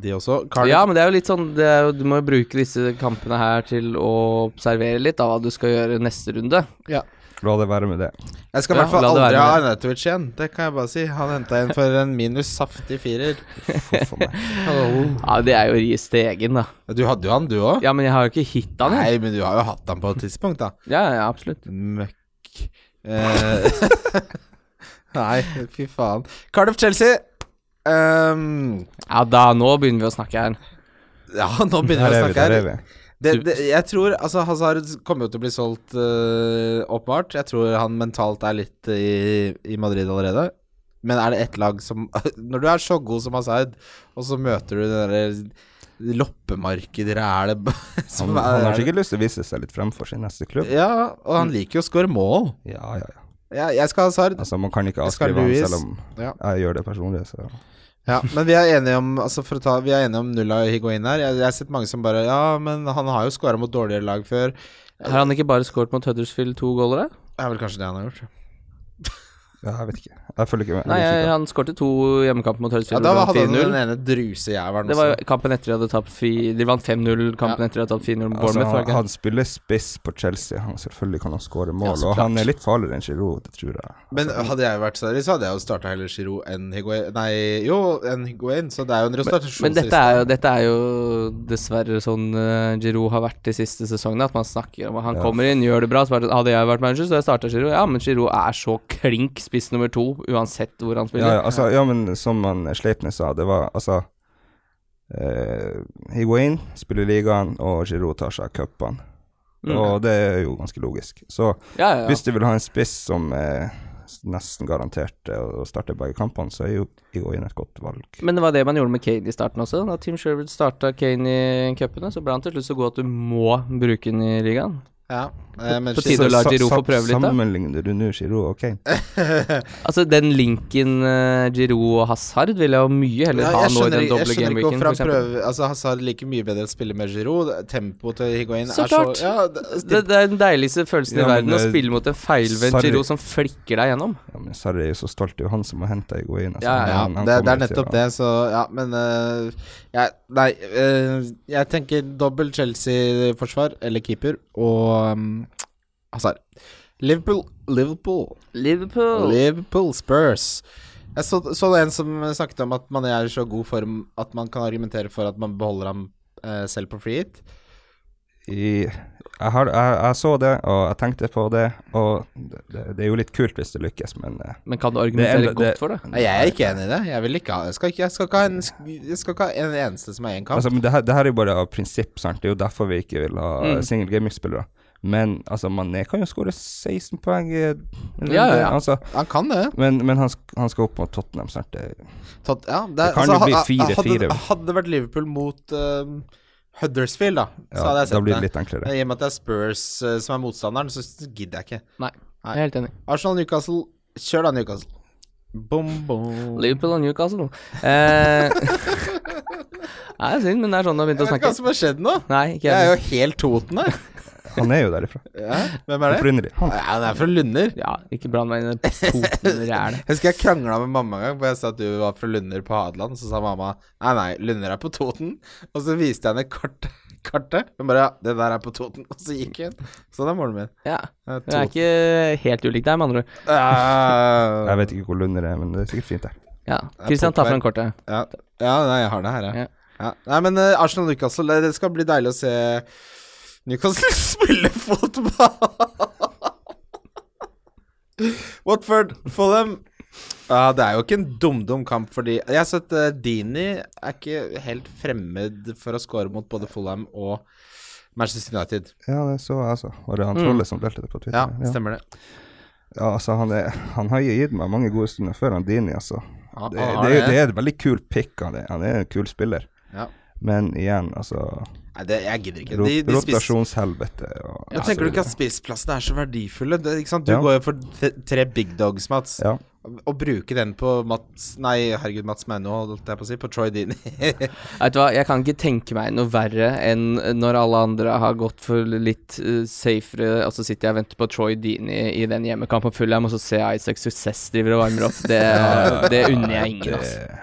Speaker 3: De også. Cardiff
Speaker 2: Ja, men det er jo litt sånn det er jo, Du må jo bruke disse kampene her til å servere litt av hva du skal gjøre neste runde.
Speaker 4: La det være med det.
Speaker 3: Jeg skal i
Speaker 2: Ja,
Speaker 3: hvert fall
Speaker 2: la det
Speaker 3: aldri
Speaker 2: være
Speaker 3: ha
Speaker 2: med
Speaker 3: Arnautovic igjen, det kan jeg bare si. Han henta en for en minus saftig firer.
Speaker 4: Huff a meg.
Speaker 2: Ja, Det er jo å ri stegen, da.
Speaker 3: Du hadde jo han, du òg?
Speaker 2: Ja, men jeg har jo ikke hitta den. jeg.
Speaker 3: Nei, men du har jo hatt han på et tidspunkt, da.
Speaker 2: Ja, ja, absolutt.
Speaker 3: Møkk. Eh, Nei, fy faen. Cardiff Chelsea. Ehm,
Speaker 2: Ja da, nå begynner vi å snakke her.
Speaker 3: ja, nå begynner
Speaker 4: Der
Speaker 3: vi å
Speaker 4: er vi,
Speaker 3: snakke
Speaker 4: der
Speaker 3: her.
Speaker 4: er vi.
Speaker 3: Det, det, jeg tror altså Hazard kommer jo til å bli solgt eh, åpenbart. Jeg tror han mentalt er litt i, i Madrid allerede. Men er det ett lag som Når du er så god som Hazard, og så møter du det eh, derre loppemarkedet-rælet
Speaker 4: Han, han har sikkert lyst til å vise seg litt frem for sin neste klubb.
Speaker 3: Ja, og han liker jo å score mål.
Speaker 4: Ja, ja, ja.
Speaker 3: Ja, jeg skal ha Hazard.
Speaker 4: Altså, man kan ikke
Speaker 3: Jeg skal
Speaker 4: avskrive ham
Speaker 3: Louis.
Speaker 4: selv om
Speaker 3: Ja.
Speaker 4: jeg gjør det personlig, så
Speaker 3: Ja, men vi er enige om altså for å ta, Vi er enige om nulla Higuain her. Jeg, jeg har sett mange som bare Ja, men han har jo scora mot dårligere lag før.
Speaker 2: Har han ikke bare skåret mot Huddersfield to goaler, da?
Speaker 3: Det er vel kanskje det han har gjort.
Speaker 4: ja, jeg vet ikke. Jeg følger ikke med.
Speaker 2: Nei,
Speaker 4: jeg,
Speaker 2: han skårte to hjemmekamper mot
Speaker 3: Ja,
Speaker 2: Huddersfield.
Speaker 3: Da
Speaker 2: og vant
Speaker 3: hadde han
Speaker 2: 4-0.
Speaker 3: den ene drusejævelen
Speaker 2: Det var
Speaker 3: også.
Speaker 2: jo kampen etter de hadde tapt fi, De vant 5-0 kampen etter de hadde tapt 4-0 mot
Speaker 4: altså,
Speaker 2: Bournemouth. var
Speaker 4: han,
Speaker 2: det ikke?
Speaker 4: han spiller spiss på Chelsea. Han selvfølgelig kan han skåre mål,
Speaker 3: så
Speaker 4: og han er litt farligere enn Giroud, det tror jeg.
Speaker 3: Men
Speaker 2: Altså,
Speaker 3: hadde jeg vært seriøs, hadde jeg jo starta heller Giro enn Higuain Nei, jo, enn Higuain, så det er jo en restitusjon.
Speaker 2: Men dette er, jo, dette er jo dessverre sånn uh, Giroud har vært de siste sesongene. At man snakker om at han
Speaker 4: Ja.
Speaker 2: kommer inn, gjør det bra. Så bare, sånn, hadde jeg vært manager, så hadde jeg starta Giroud. Ja, men Giroud er så klink spiss nummer to uansett hvor han
Speaker 4: Ja,
Speaker 2: spiller.
Speaker 4: ja, altså, ja, men som han Sleipnes sa, det var altså eh, Higuain spiller ligaen, og Giroud tar seg av cupene. Og det er jo ganske logisk. Så
Speaker 2: Ja, Mm. ja, ja.
Speaker 4: hvis du vil ha en spiss som er nesten garantert eh, å starte begge kampene, så er jo Higuain et godt valg.
Speaker 2: Men det var det man gjorde med Kane i starten også. Da Team Sherwood starta Kane i cupene, så ble han til slutt så god at du må bruke den i ligaen.
Speaker 3: Ja, eh, men
Speaker 2: På tide å la Giroud få prøve litt, da.
Speaker 4: Sammenligner du nå Giroud og Kane?
Speaker 2: Altså, den linken uh, Giroud og Hazard vil jeg jo mye heller
Speaker 3: Ja,
Speaker 2: ha
Speaker 3: jeg
Speaker 2: nå i
Speaker 3: skjønner,
Speaker 2: den
Speaker 3: ikke- jeg
Speaker 2: doble
Speaker 3: skjønner ikke
Speaker 2: gameweeken,
Speaker 3: hvorfor han
Speaker 2: for eksempel.
Speaker 3: prøver Altså Hazard liker mye bedre å spille med Giroud. Tempoet til Higuain
Speaker 2: Så
Speaker 3: er
Speaker 2: klart.
Speaker 3: så ja, det-
Speaker 2: Det, det er den deiligste følelsen
Speaker 4: Ja,
Speaker 2: i verden
Speaker 4: men,
Speaker 2: å
Speaker 4: eh,
Speaker 2: spille mot en feilvendt
Speaker 4: sorry.
Speaker 2: Giroud som flikker deg gjennom.
Speaker 4: Ja, men Sarri er jo så stolt, det er jo han som har altså. henta Iguain.
Speaker 2: Ja, ja,
Speaker 3: Ja, det, det er nettopp det, så ja, men eh, jeg, Nei, eh, jeg tenker dobbel Chelsea-forsvar, eller keeper, og um, Hazard. Liverpool, Liverpool,
Speaker 2: Liverpool.
Speaker 3: Liverpool Spurs. Jeg så, så det en som snakket om at man er i så god form at man kan argumentere for at man beholder ham eh, selv på free hit.
Speaker 4: I, jeg, har, jeg, jeg så det, og jeg tenkte på det, og det, det, det er jo litt kult hvis det lykkes, men eh,
Speaker 2: Men kan du argumentere
Speaker 4: Det er- det-
Speaker 2: godt for det?
Speaker 3: Nei, jeg er ikke enig i det. Jeg vil ikke ha Jeg skal ikke, jeg skal ikke, ha, en, sk- jeg skal ikke ha en eneste som er én kamp.
Speaker 4: altså, men det, her, det her er jo bare av prinsipp, sant? det er jo derfor vi ikke vil ha
Speaker 2: Mm.
Speaker 4: single gaming-spillere. Men altså, Mané kan jo skåre 16 poeng. i en runde,
Speaker 2: Ja, ja, ja.
Speaker 4: Altså,
Speaker 3: han kan det.
Speaker 4: men men han, sk- han skal opp mot Tottenham snart. Det,
Speaker 3: Tot, ja, det, altså,
Speaker 4: kan jo
Speaker 3: ha-
Speaker 4: bli
Speaker 3: ha-
Speaker 4: 4-4.
Speaker 3: Hadde, hadde det vært Liverpool mot eh, Huddersfield, da, så
Speaker 4: ja,
Speaker 3: hadde jeg
Speaker 4: da
Speaker 3: sett
Speaker 4: blir
Speaker 3: det.
Speaker 4: det litt enklere.
Speaker 3: Men I og med at det er Spurs eh, som er motstanderen, så s- gidder jeg ikke.
Speaker 2: Nei, jeg er helt enig.
Speaker 3: Arsenal Newcastle, kjør da, Newcastle. Bom, bom.
Speaker 2: Liverpool og Newcastle. Eh, Nei, det er synd, men det er sånn
Speaker 3: Jeg
Speaker 2: det har begynt å
Speaker 3: vet ikke
Speaker 2: snakke.
Speaker 3: hva som har skjedd nå.
Speaker 2: Nei, ikke
Speaker 3: Jeg
Speaker 2: jeg.
Speaker 3: er jo helt Toten her.
Speaker 4: Han er jo derifra.
Speaker 3: Ja, hvem er det?
Speaker 4: Opprinnelig. Han.
Speaker 3: Ja, han er fra Lunder.
Speaker 2: Ja, ikke bland meg inn i Toten-rælet.
Speaker 3: Jeg husker jeg krangla med mamma en gang, for jeg sa at du var fra Lunder på Hadeland. Så sa mamma nei, nei, Lunder er på Toten. Og så viste jeg henne kartet. kartet. Hun bare ja, det der er på Toten. Og så gikk hun. Sånn er moren min.
Speaker 2: Ja.
Speaker 3: Ja,
Speaker 2: Det er ikke helt ulikt deg, med andre ord.
Speaker 3: Eh,
Speaker 4: Jeg vet ikke hvor Lunder er, men det er sikkert fint der.
Speaker 2: Ja. Christian, ta
Speaker 3: popvær.
Speaker 2: frem kortet.
Speaker 3: ja, ja, nei, jeg har det her, ja.
Speaker 2: Ja.
Speaker 3: ja. Nei, men eh, Arsenal Newcastle, det, det skal bli deilig å se Newcastle spille fotball! Watford, Fulham Ja, Det er jo ikke en dumdum kamp, fordi Jeg har sett uh, Dini er ikke helt fremmed for å score mot både Fulham og Manchester United.
Speaker 4: Ja, det så jeg, altså. Var
Speaker 2: Mm.
Speaker 4: det han trollet som delte det på Twitter?
Speaker 3: Ja, stemmer det.
Speaker 4: Ja, altså, han, er, han har jo gitt meg mange gode stunder før han Dini, altså.
Speaker 3: Ja, han
Speaker 4: Det, det,
Speaker 3: har
Speaker 4: er-
Speaker 3: det.
Speaker 4: det er et veldig kul pick. Han er, han er en kul spiller.
Speaker 3: Ja.
Speaker 4: Men igjen, altså
Speaker 3: Nei, det, jeg gidder ikke.
Speaker 4: rot,
Speaker 3: De, de spiser
Speaker 4: Rotasjonshelvete og
Speaker 3: Jeg tenker du ikke at spissplassene er så verdifulle? Det, ikke sant? Du
Speaker 4: Ja.
Speaker 3: går jo for t- tre big dogs, Mats.
Speaker 4: Ja.
Speaker 3: Å bruke den på Mats Nei, herregud, Mats Mauno, holdt jeg på å si. På Troy Dini.
Speaker 2: Vet du hva, jeg kan ikke tenke meg noe verre enn når alle andre har gått for litt uh, safere, og så sitter jeg og venter på Troy Dini i den hjemmekampen på Fulham, og så ser jeg Isaac Success driver og varmer opp. Det, det unner jeg ingen, altså.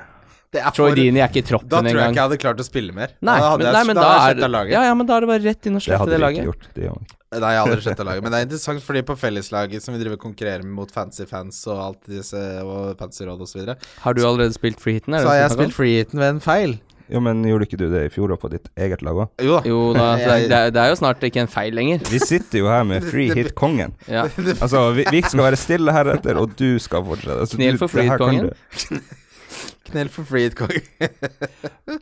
Speaker 3: Det er
Speaker 2: Troy
Speaker 3: for-
Speaker 2: Dini er ikke i
Speaker 3: Da
Speaker 2: troppen
Speaker 3: tror jeg ikke
Speaker 2: engang.
Speaker 3: jeg hadde klart å spille mer.
Speaker 2: Nei,
Speaker 3: da hadde
Speaker 2: men,
Speaker 3: jeg,
Speaker 2: nei, men da,
Speaker 3: hadde jeg
Speaker 2: er det
Speaker 3: sletta laget.
Speaker 2: Ja, ja, men da er det bare rett inn og
Speaker 4: Det
Speaker 2: slette det
Speaker 4: hadde vi ikke
Speaker 2: laget.
Speaker 4: gjort. Det gjør man ikke.
Speaker 3: Nei, jeg hadde sletta laget. Men det er interessant, fordi på felleslaget som vi driver og konkurrerer med mot fancy fans og alt disse og fancy råd osv., så, videre,
Speaker 2: Har du allerede spilt freehiten?
Speaker 3: så har jeg spilt freehiten ved en feil.
Speaker 4: Jo, men gjorde ikke du det i fjor òg, på ditt eget lag òg?
Speaker 3: Jo da.
Speaker 2: Jo da, så det, det, er- det er jo snart ikke en feil lenger.
Speaker 4: Vi sitter jo her med free hit-kongen.
Speaker 2: Ja.
Speaker 4: Altså, vi, vi skal være stille heretter, og du skal fortsette. Altså,
Speaker 2: Knel
Speaker 4: du-
Speaker 2: for
Speaker 4: det her kan
Speaker 2: free-hit-kongen.
Speaker 4: du.
Speaker 3: Knell for freehit, kong. det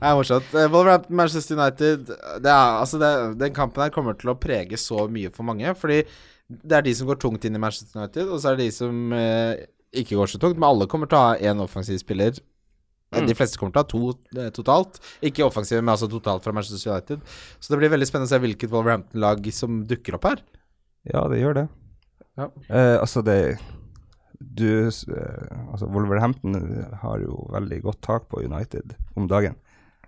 Speaker 3: er morsomt. Eh, Wolverhampton, Manchester United det er, altså det, Den kampen her kommer til å prege så mye for mange. Fordi det er de som går tungt inn i Manchester United, og så er det de som eh, ikke går så tungt. Men alle kommer til å ha én offensiv spiller. Eh, De fleste kommer til å ha to eh, totalt. Ikke offensive, men altså totalt fra Manchester United. Så det blir veldig spennende å se hvilket Wolverhampton-lag som dukker opp her.
Speaker 4: Ja, det gjør det.
Speaker 3: Ja.
Speaker 4: Eh, altså, det Du s- eh, Altså, Wolverhampton har jo veldig godt tak på United om dagen.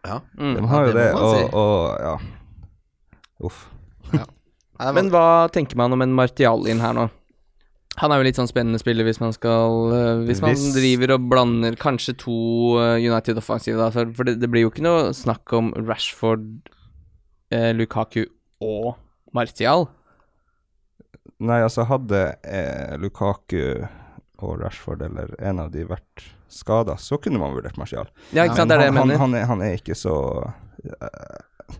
Speaker 3: Ja.
Speaker 2: Mm.
Speaker 4: De har
Speaker 3: Ja,
Speaker 4: jo
Speaker 3: det
Speaker 4: det,
Speaker 3: må man
Speaker 4: og,
Speaker 3: si.
Speaker 4: og ja. Uff.
Speaker 3: Nei,
Speaker 2: Men hva tenker man om en Martial inn her nå? Han er jo litt sånn spennende spiller hvis man skal øh, Hvis man
Speaker 4: Hvis-
Speaker 2: driver og blander kanskje to øh, United offensive, da. For for det, det blir jo ikke noe snakk om Rashford, eh, Lukaku og Martial.
Speaker 4: Nei, altså, hadde eh, Lukaku og Rashford eller en av de vært skada, så kunne man vurdert Martial.
Speaker 2: Ja, ikke sant, det er det jeg
Speaker 4: han,
Speaker 2: mener.
Speaker 4: Han, han, er, han er ikke så eh,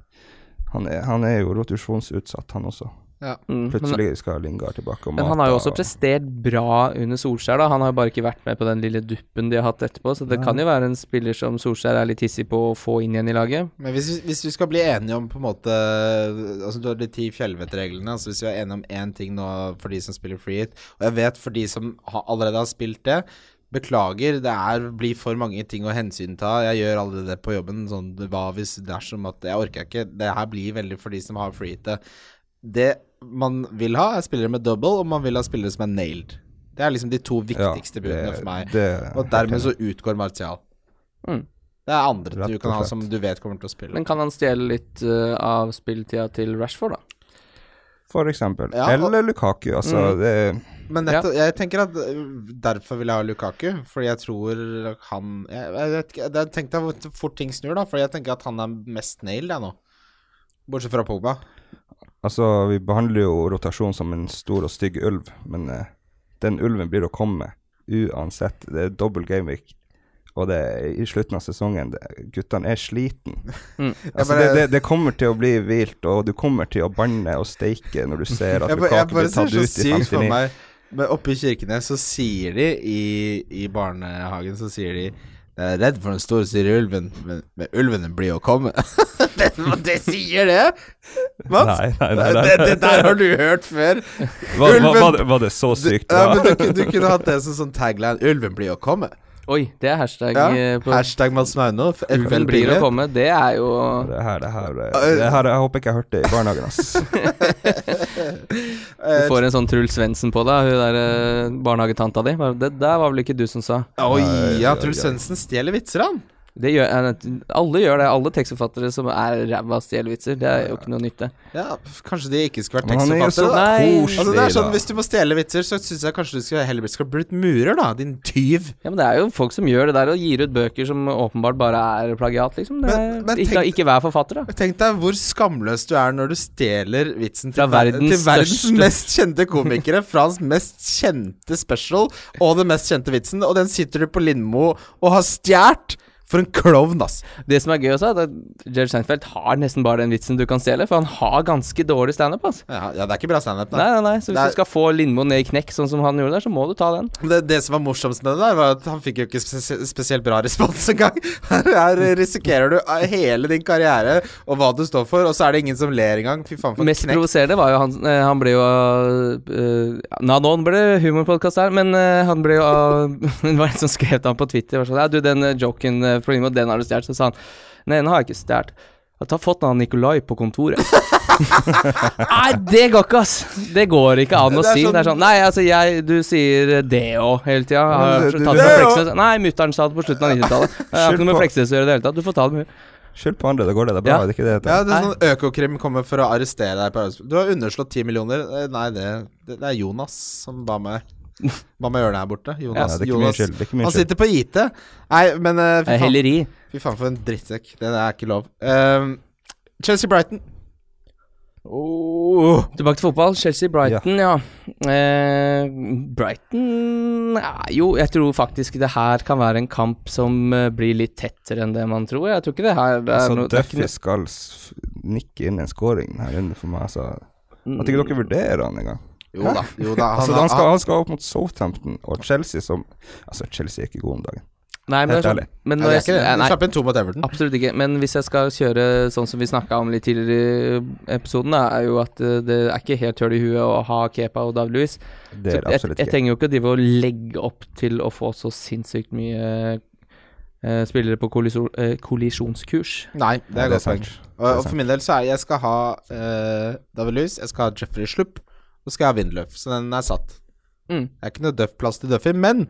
Speaker 4: han, er, han er jo rotasjonsutsatt, han også.
Speaker 2: Mm, men,
Speaker 4: Plutselig skal Lingard tilbake. Og
Speaker 2: men han har jo
Speaker 4: Mata
Speaker 2: også
Speaker 4: og-
Speaker 2: prestert bra under Solskjær, da. Han har jo bare ikke vært med på den lille duppen de har hatt etterpå, så det kan jo være en spiller som Solskjær er litt hissig på å få inn igjen i laget.
Speaker 3: Men hvis, vi- hvis vi skal bli enige om på en måte Altså Du har de ti fjellvettreglene. Altså hvis vi er enige om én ting nå for de som spiller free hit Og jeg vet for de som ha, allerede har spilt det Beklager, det er, blir for mange ting å hensynta. Jeg gjør aldri det på jobben. Sånn hva hvis dersom at Jeg orker ikke. Det her blir veldig for de som har free hit. det. det man vil ha, er spillere med double, og man vil ha spillere som er nailed. Det er liksom de to viktigste budene for meg.
Speaker 4: det-
Speaker 3: og dermed så utgår Martial.
Speaker 2: Mm.
Speaker 3: Det er andre
Speaker 4: Rett
Speaker 3: du
Speaker 4: og
Speaker 3: kan ha
Speaker 4: slett.
Speaker 3: som du vet kommer til å spille.
Speaker 2: Men kan han stjele litt eh, av spilletida til Rashford, da?
Speaker 4: For eksempel.
Speaker 3: Ja, og-
Speaker 4: Eller Lukaku, altså.
Speaker 2: Mm.
Speaker 4: Det,
Speaker 3: Men nettopp, jeg tenker at øh, derfor vil jeg ha Lukaku, fordi jeg tror han Jeg, jeg vet ikke, jeg tenkte hvor fort ting snur, da, fordi jeg tenker at han er mest nailed, jeg nå. Bortsett fra Pogba.
Speaker 4: altså, vi behandler jo rotasjon som en stor og stygg ulv, men eh, den ulven blir å komme uansett. Det er dobbel gameweek, og det er i slutten av sesongen. Det, guttene er sliten. Altså,
Speaker 3: bare-
Speaker 4: det, det, det kommer til å bli vilt, og du kommer til å banne og steike når du ser at
Speaker 3: Jeg, ba- jeg bare
Speaker 4: Lukaku blir
Speaker 3: ser
Speaker 4: tatt
Speaker 3: så
Speaker 4: ut i
Speaker 3: sykt for
Speaker 4: 59.
Speaker 3: meg Men oppe i Kirkenes så sier de i, i barnehagen Så sier de Jeg er redd for den store, sier ulven Men, men ulven blir å komme det, det sier det Mats
Speaker 4: Nei, nei, nei, nei.
Speaker 3: Det, det der har du hørt før
Speaker 4: Var, var,
Speaker 3: Ulven-
Speaker 4: var, det, var det så sykt?
Speaker 3: ja, men
Speaker 4: Ja.
Speaker 3: du, kunne- du kunne hatt det som sånn tagline Ulven blir å komme
Speaker 2: Oi, det er hashtag
Speaker 3: ja.
Speaker 2: eh, på
Speaker 3: Hashtag Mads Magnov
Speaker 2: Ulven blir å komme. Det er jo
Speaker 4: Det her, det her, eh, det her Jeg håper ikke jeg hørte det i barnehagen, ass.
Speaker 3: Eh,
Speaker 2: Du får en sånn Truls Svendsen på deg, hun der eh, barnehagetanta di. Hva- Det der var vel ikke du som sa.
Speaker 3: Oi, ja, Truls Svendsen stjeler vitser han
Speaker 2: Det gjør, eh, alle gjør det. Alle tekstforfattere som er ræva stjelvitser. Det er jo ikke noe nytte.
Speaker 3: Ja, kanskje de ikke skulle vært
Speaker 4: Men han er jo så
Speaker 3: tekstforfattere da
Speaker 2: Nei.
Speaker 3: Altså det er sånn,
Speaker 4: koselig,
Speaker 3: Hvis du må stjele vitser, så syns jeg kanskje du skal, heller bli- skal bli et murer, da. Din tyv.
Speaker 2: Ja, men det er jo folk som gjør det der og gir ut bøker som åpenbart bare er plagiat, liksom. Det,
Speaker 3: Men- men
Speaker 2: ikke,
Speaker 3: tenk-
Speaker 2: ikke hver forfatter, da.
Speaker 3: Tenk deg hvor skamløs du er når du stjeler vitsen til,
Speaker 2: Fra
Speaker 3: til
Speaker 2: verdens
Speaker 3: verdens
Speaker 2: største-
Speaker 3: mest kjente komikere, fra hans mest kjente special og den mest kjente vitsen, og den sitter du på Lindmo og har stjålet! For en klovn, ass.
Speaker 2: Det som er gøy også, er at Jerry Seinfeld har nesten bare den vitsen du kan stjele, for han har ganske dårlig standup, altså.
Speaker 3: Ja, ja, det er ikke bra standup,
Speaker 2: Nei,
Speaker 3: nei.
Speaker 2: nei, nei, så hvis
Speaker 3: Nei.
Speaker 2: du skal få Lindmo ned i knekk, sånn som han gjorde der, så må du ta den.
Speaker 3: Det, det som var morsomst med det der, var at han fikk jo ikke spes spesielt bra respons engang. Her risikerer du eh, hele din karriere og hva du står for, og så er det ingen som ler engang. Fy faen, for en
Speaker 2: Mest
Speaker 3: knekk.
Speaker 2: provoserende var jo han eh, Han ble jo av eh, Nanon ble humorpodkast her, men eh, han ble jo av Det var en som skrev til ham på Twitter. Var sånn, ja, du, den eh, joken eh, fra Lindmo, den har du stjålet. Så sa han nei, den har jeg ikke stjålet. Jeg har fått den av Nikolai på kontoret. nei, det går ikke, ass! Det går ikke an å
Speaker 3: Det er
Speaker 2: si. Det er
Speaker 3: sånn-
Speaker 2: sånn Nei, altså, jeg Du sier eh, det òg hele tida. Har jeg
Speaker 4: Men du-
Speaker 2: tatt
Speaker 4: du-
Speaker 2: det
Speaker 4: det
Speaker 2: fra
Speaker 4: også.
Speaker 2: Fleksnes? Nei, mutter'n sa det på slutten av 90-tallet. Jeg har
Speaker 4: Skyld
Speaker 2: ikke noe med
Speaker 4: på-
Speaker 2: Fleksnes å gjøre i det hele tatt. Du får ta det med henne.
Speaker 4: Skyld på andre, da går det deg bra,
Speaker 2: Ja.
Speaker 4: er det ikke det? det
Speaker 3: Ja, det er sånn Økokrim kommer for å arrestere deg på arbeidsplassen. Du har underslått 10 millioner. Eh, Nei, det, det, det er Jonas som ba meg Ba meg gjøre det her borte. Jonas.
Speaker 4: Ja, det er ikke min
Speaker 3: Jonas.
Speaker 4: skyld, det er ikke min
Speaker 3: Han
Speaker 4: skyld.
Speaker 3: sitter på IT. Nei, men eh, fy,
Speaker 2: Eh,
Speaker 3: faen,
Speaker 2: Helleri.
Speaker 3: fy faen for en drittsekk. Det er ikke lov. Ehm, Chelsea Brighton. Oh.
Speaker 2: Tilbake til fotball. Chelsea-Brighton, ja. Eh, Brighton er jo Jeg tror faktisk det her kan være en kamp som eh, blir litt tettere enn det man tror. Jeg tror ikke det her er
Speaker 4: Altså,
Speaker 2: noe- det er ikke
Speaker 4: Duffy skal s- nikke inn en scoring denne runden for meg. Altså. At ikke
Speaker 2: Mm.
Speaker 4: dere vurderer han engang.
Speaker 3: Jo da. Jo da. Han,
Speaker 4: Altså,
Speaker 3: har-
Speaker 4: han, skal, han skal opp mot Southampton og Chelsea, som Altså, Chelsea er ikke gode om dagen.
Speaker 2: noe- Nei, men,
Speaker 4: Helt
Speaker 2: det er sånn-
Speaker 4: ærlig.
Speaker 2: men
Speaker 3: Nei,
Speaker 2: når
Speaker 3: det er
Speaker 2: jeg,
Speaker 3: ikke det.
Speaker 2: nei,
Speaker 3: De slapp inn to mot Everton.
Speaker 2: absolutt ikke. Men hvis jeg skal kjøre sånn som vi snakka om litt tidligere i episoden, da, er jo at eh, det er ikke helt høl i huet å ha Kepa og Dav Louis.
Speaker 4: Det er
Speaker 2: Så
Speaker 4: det
Speaker 2: jeg,
Speaker 4: absolutt
Speaker 2: jeg
Speaker 4: ikke.
Speaker 2: trenger jo ikke å drive og legge opp til å få så sinnssykt mye eh, spillere på kollisjon, eh, kollisjonskurs.
Speaker 3: Nei, det
Speaker 4: Nei,
Speaker 3: er
Speaker 4: det er
Speaker 3: godt poeng.
Speaker 4: sant.
Speaker 3: Og, og for min del så er jeg skal ha eh, David Lewis, jeg skal ha Jeffrey Slupp, og skal ha Windløf. Så den er satt. Det
Speaker 2: Mm.
Speaker 3: er ikke noe Duff-plass til Duffy, men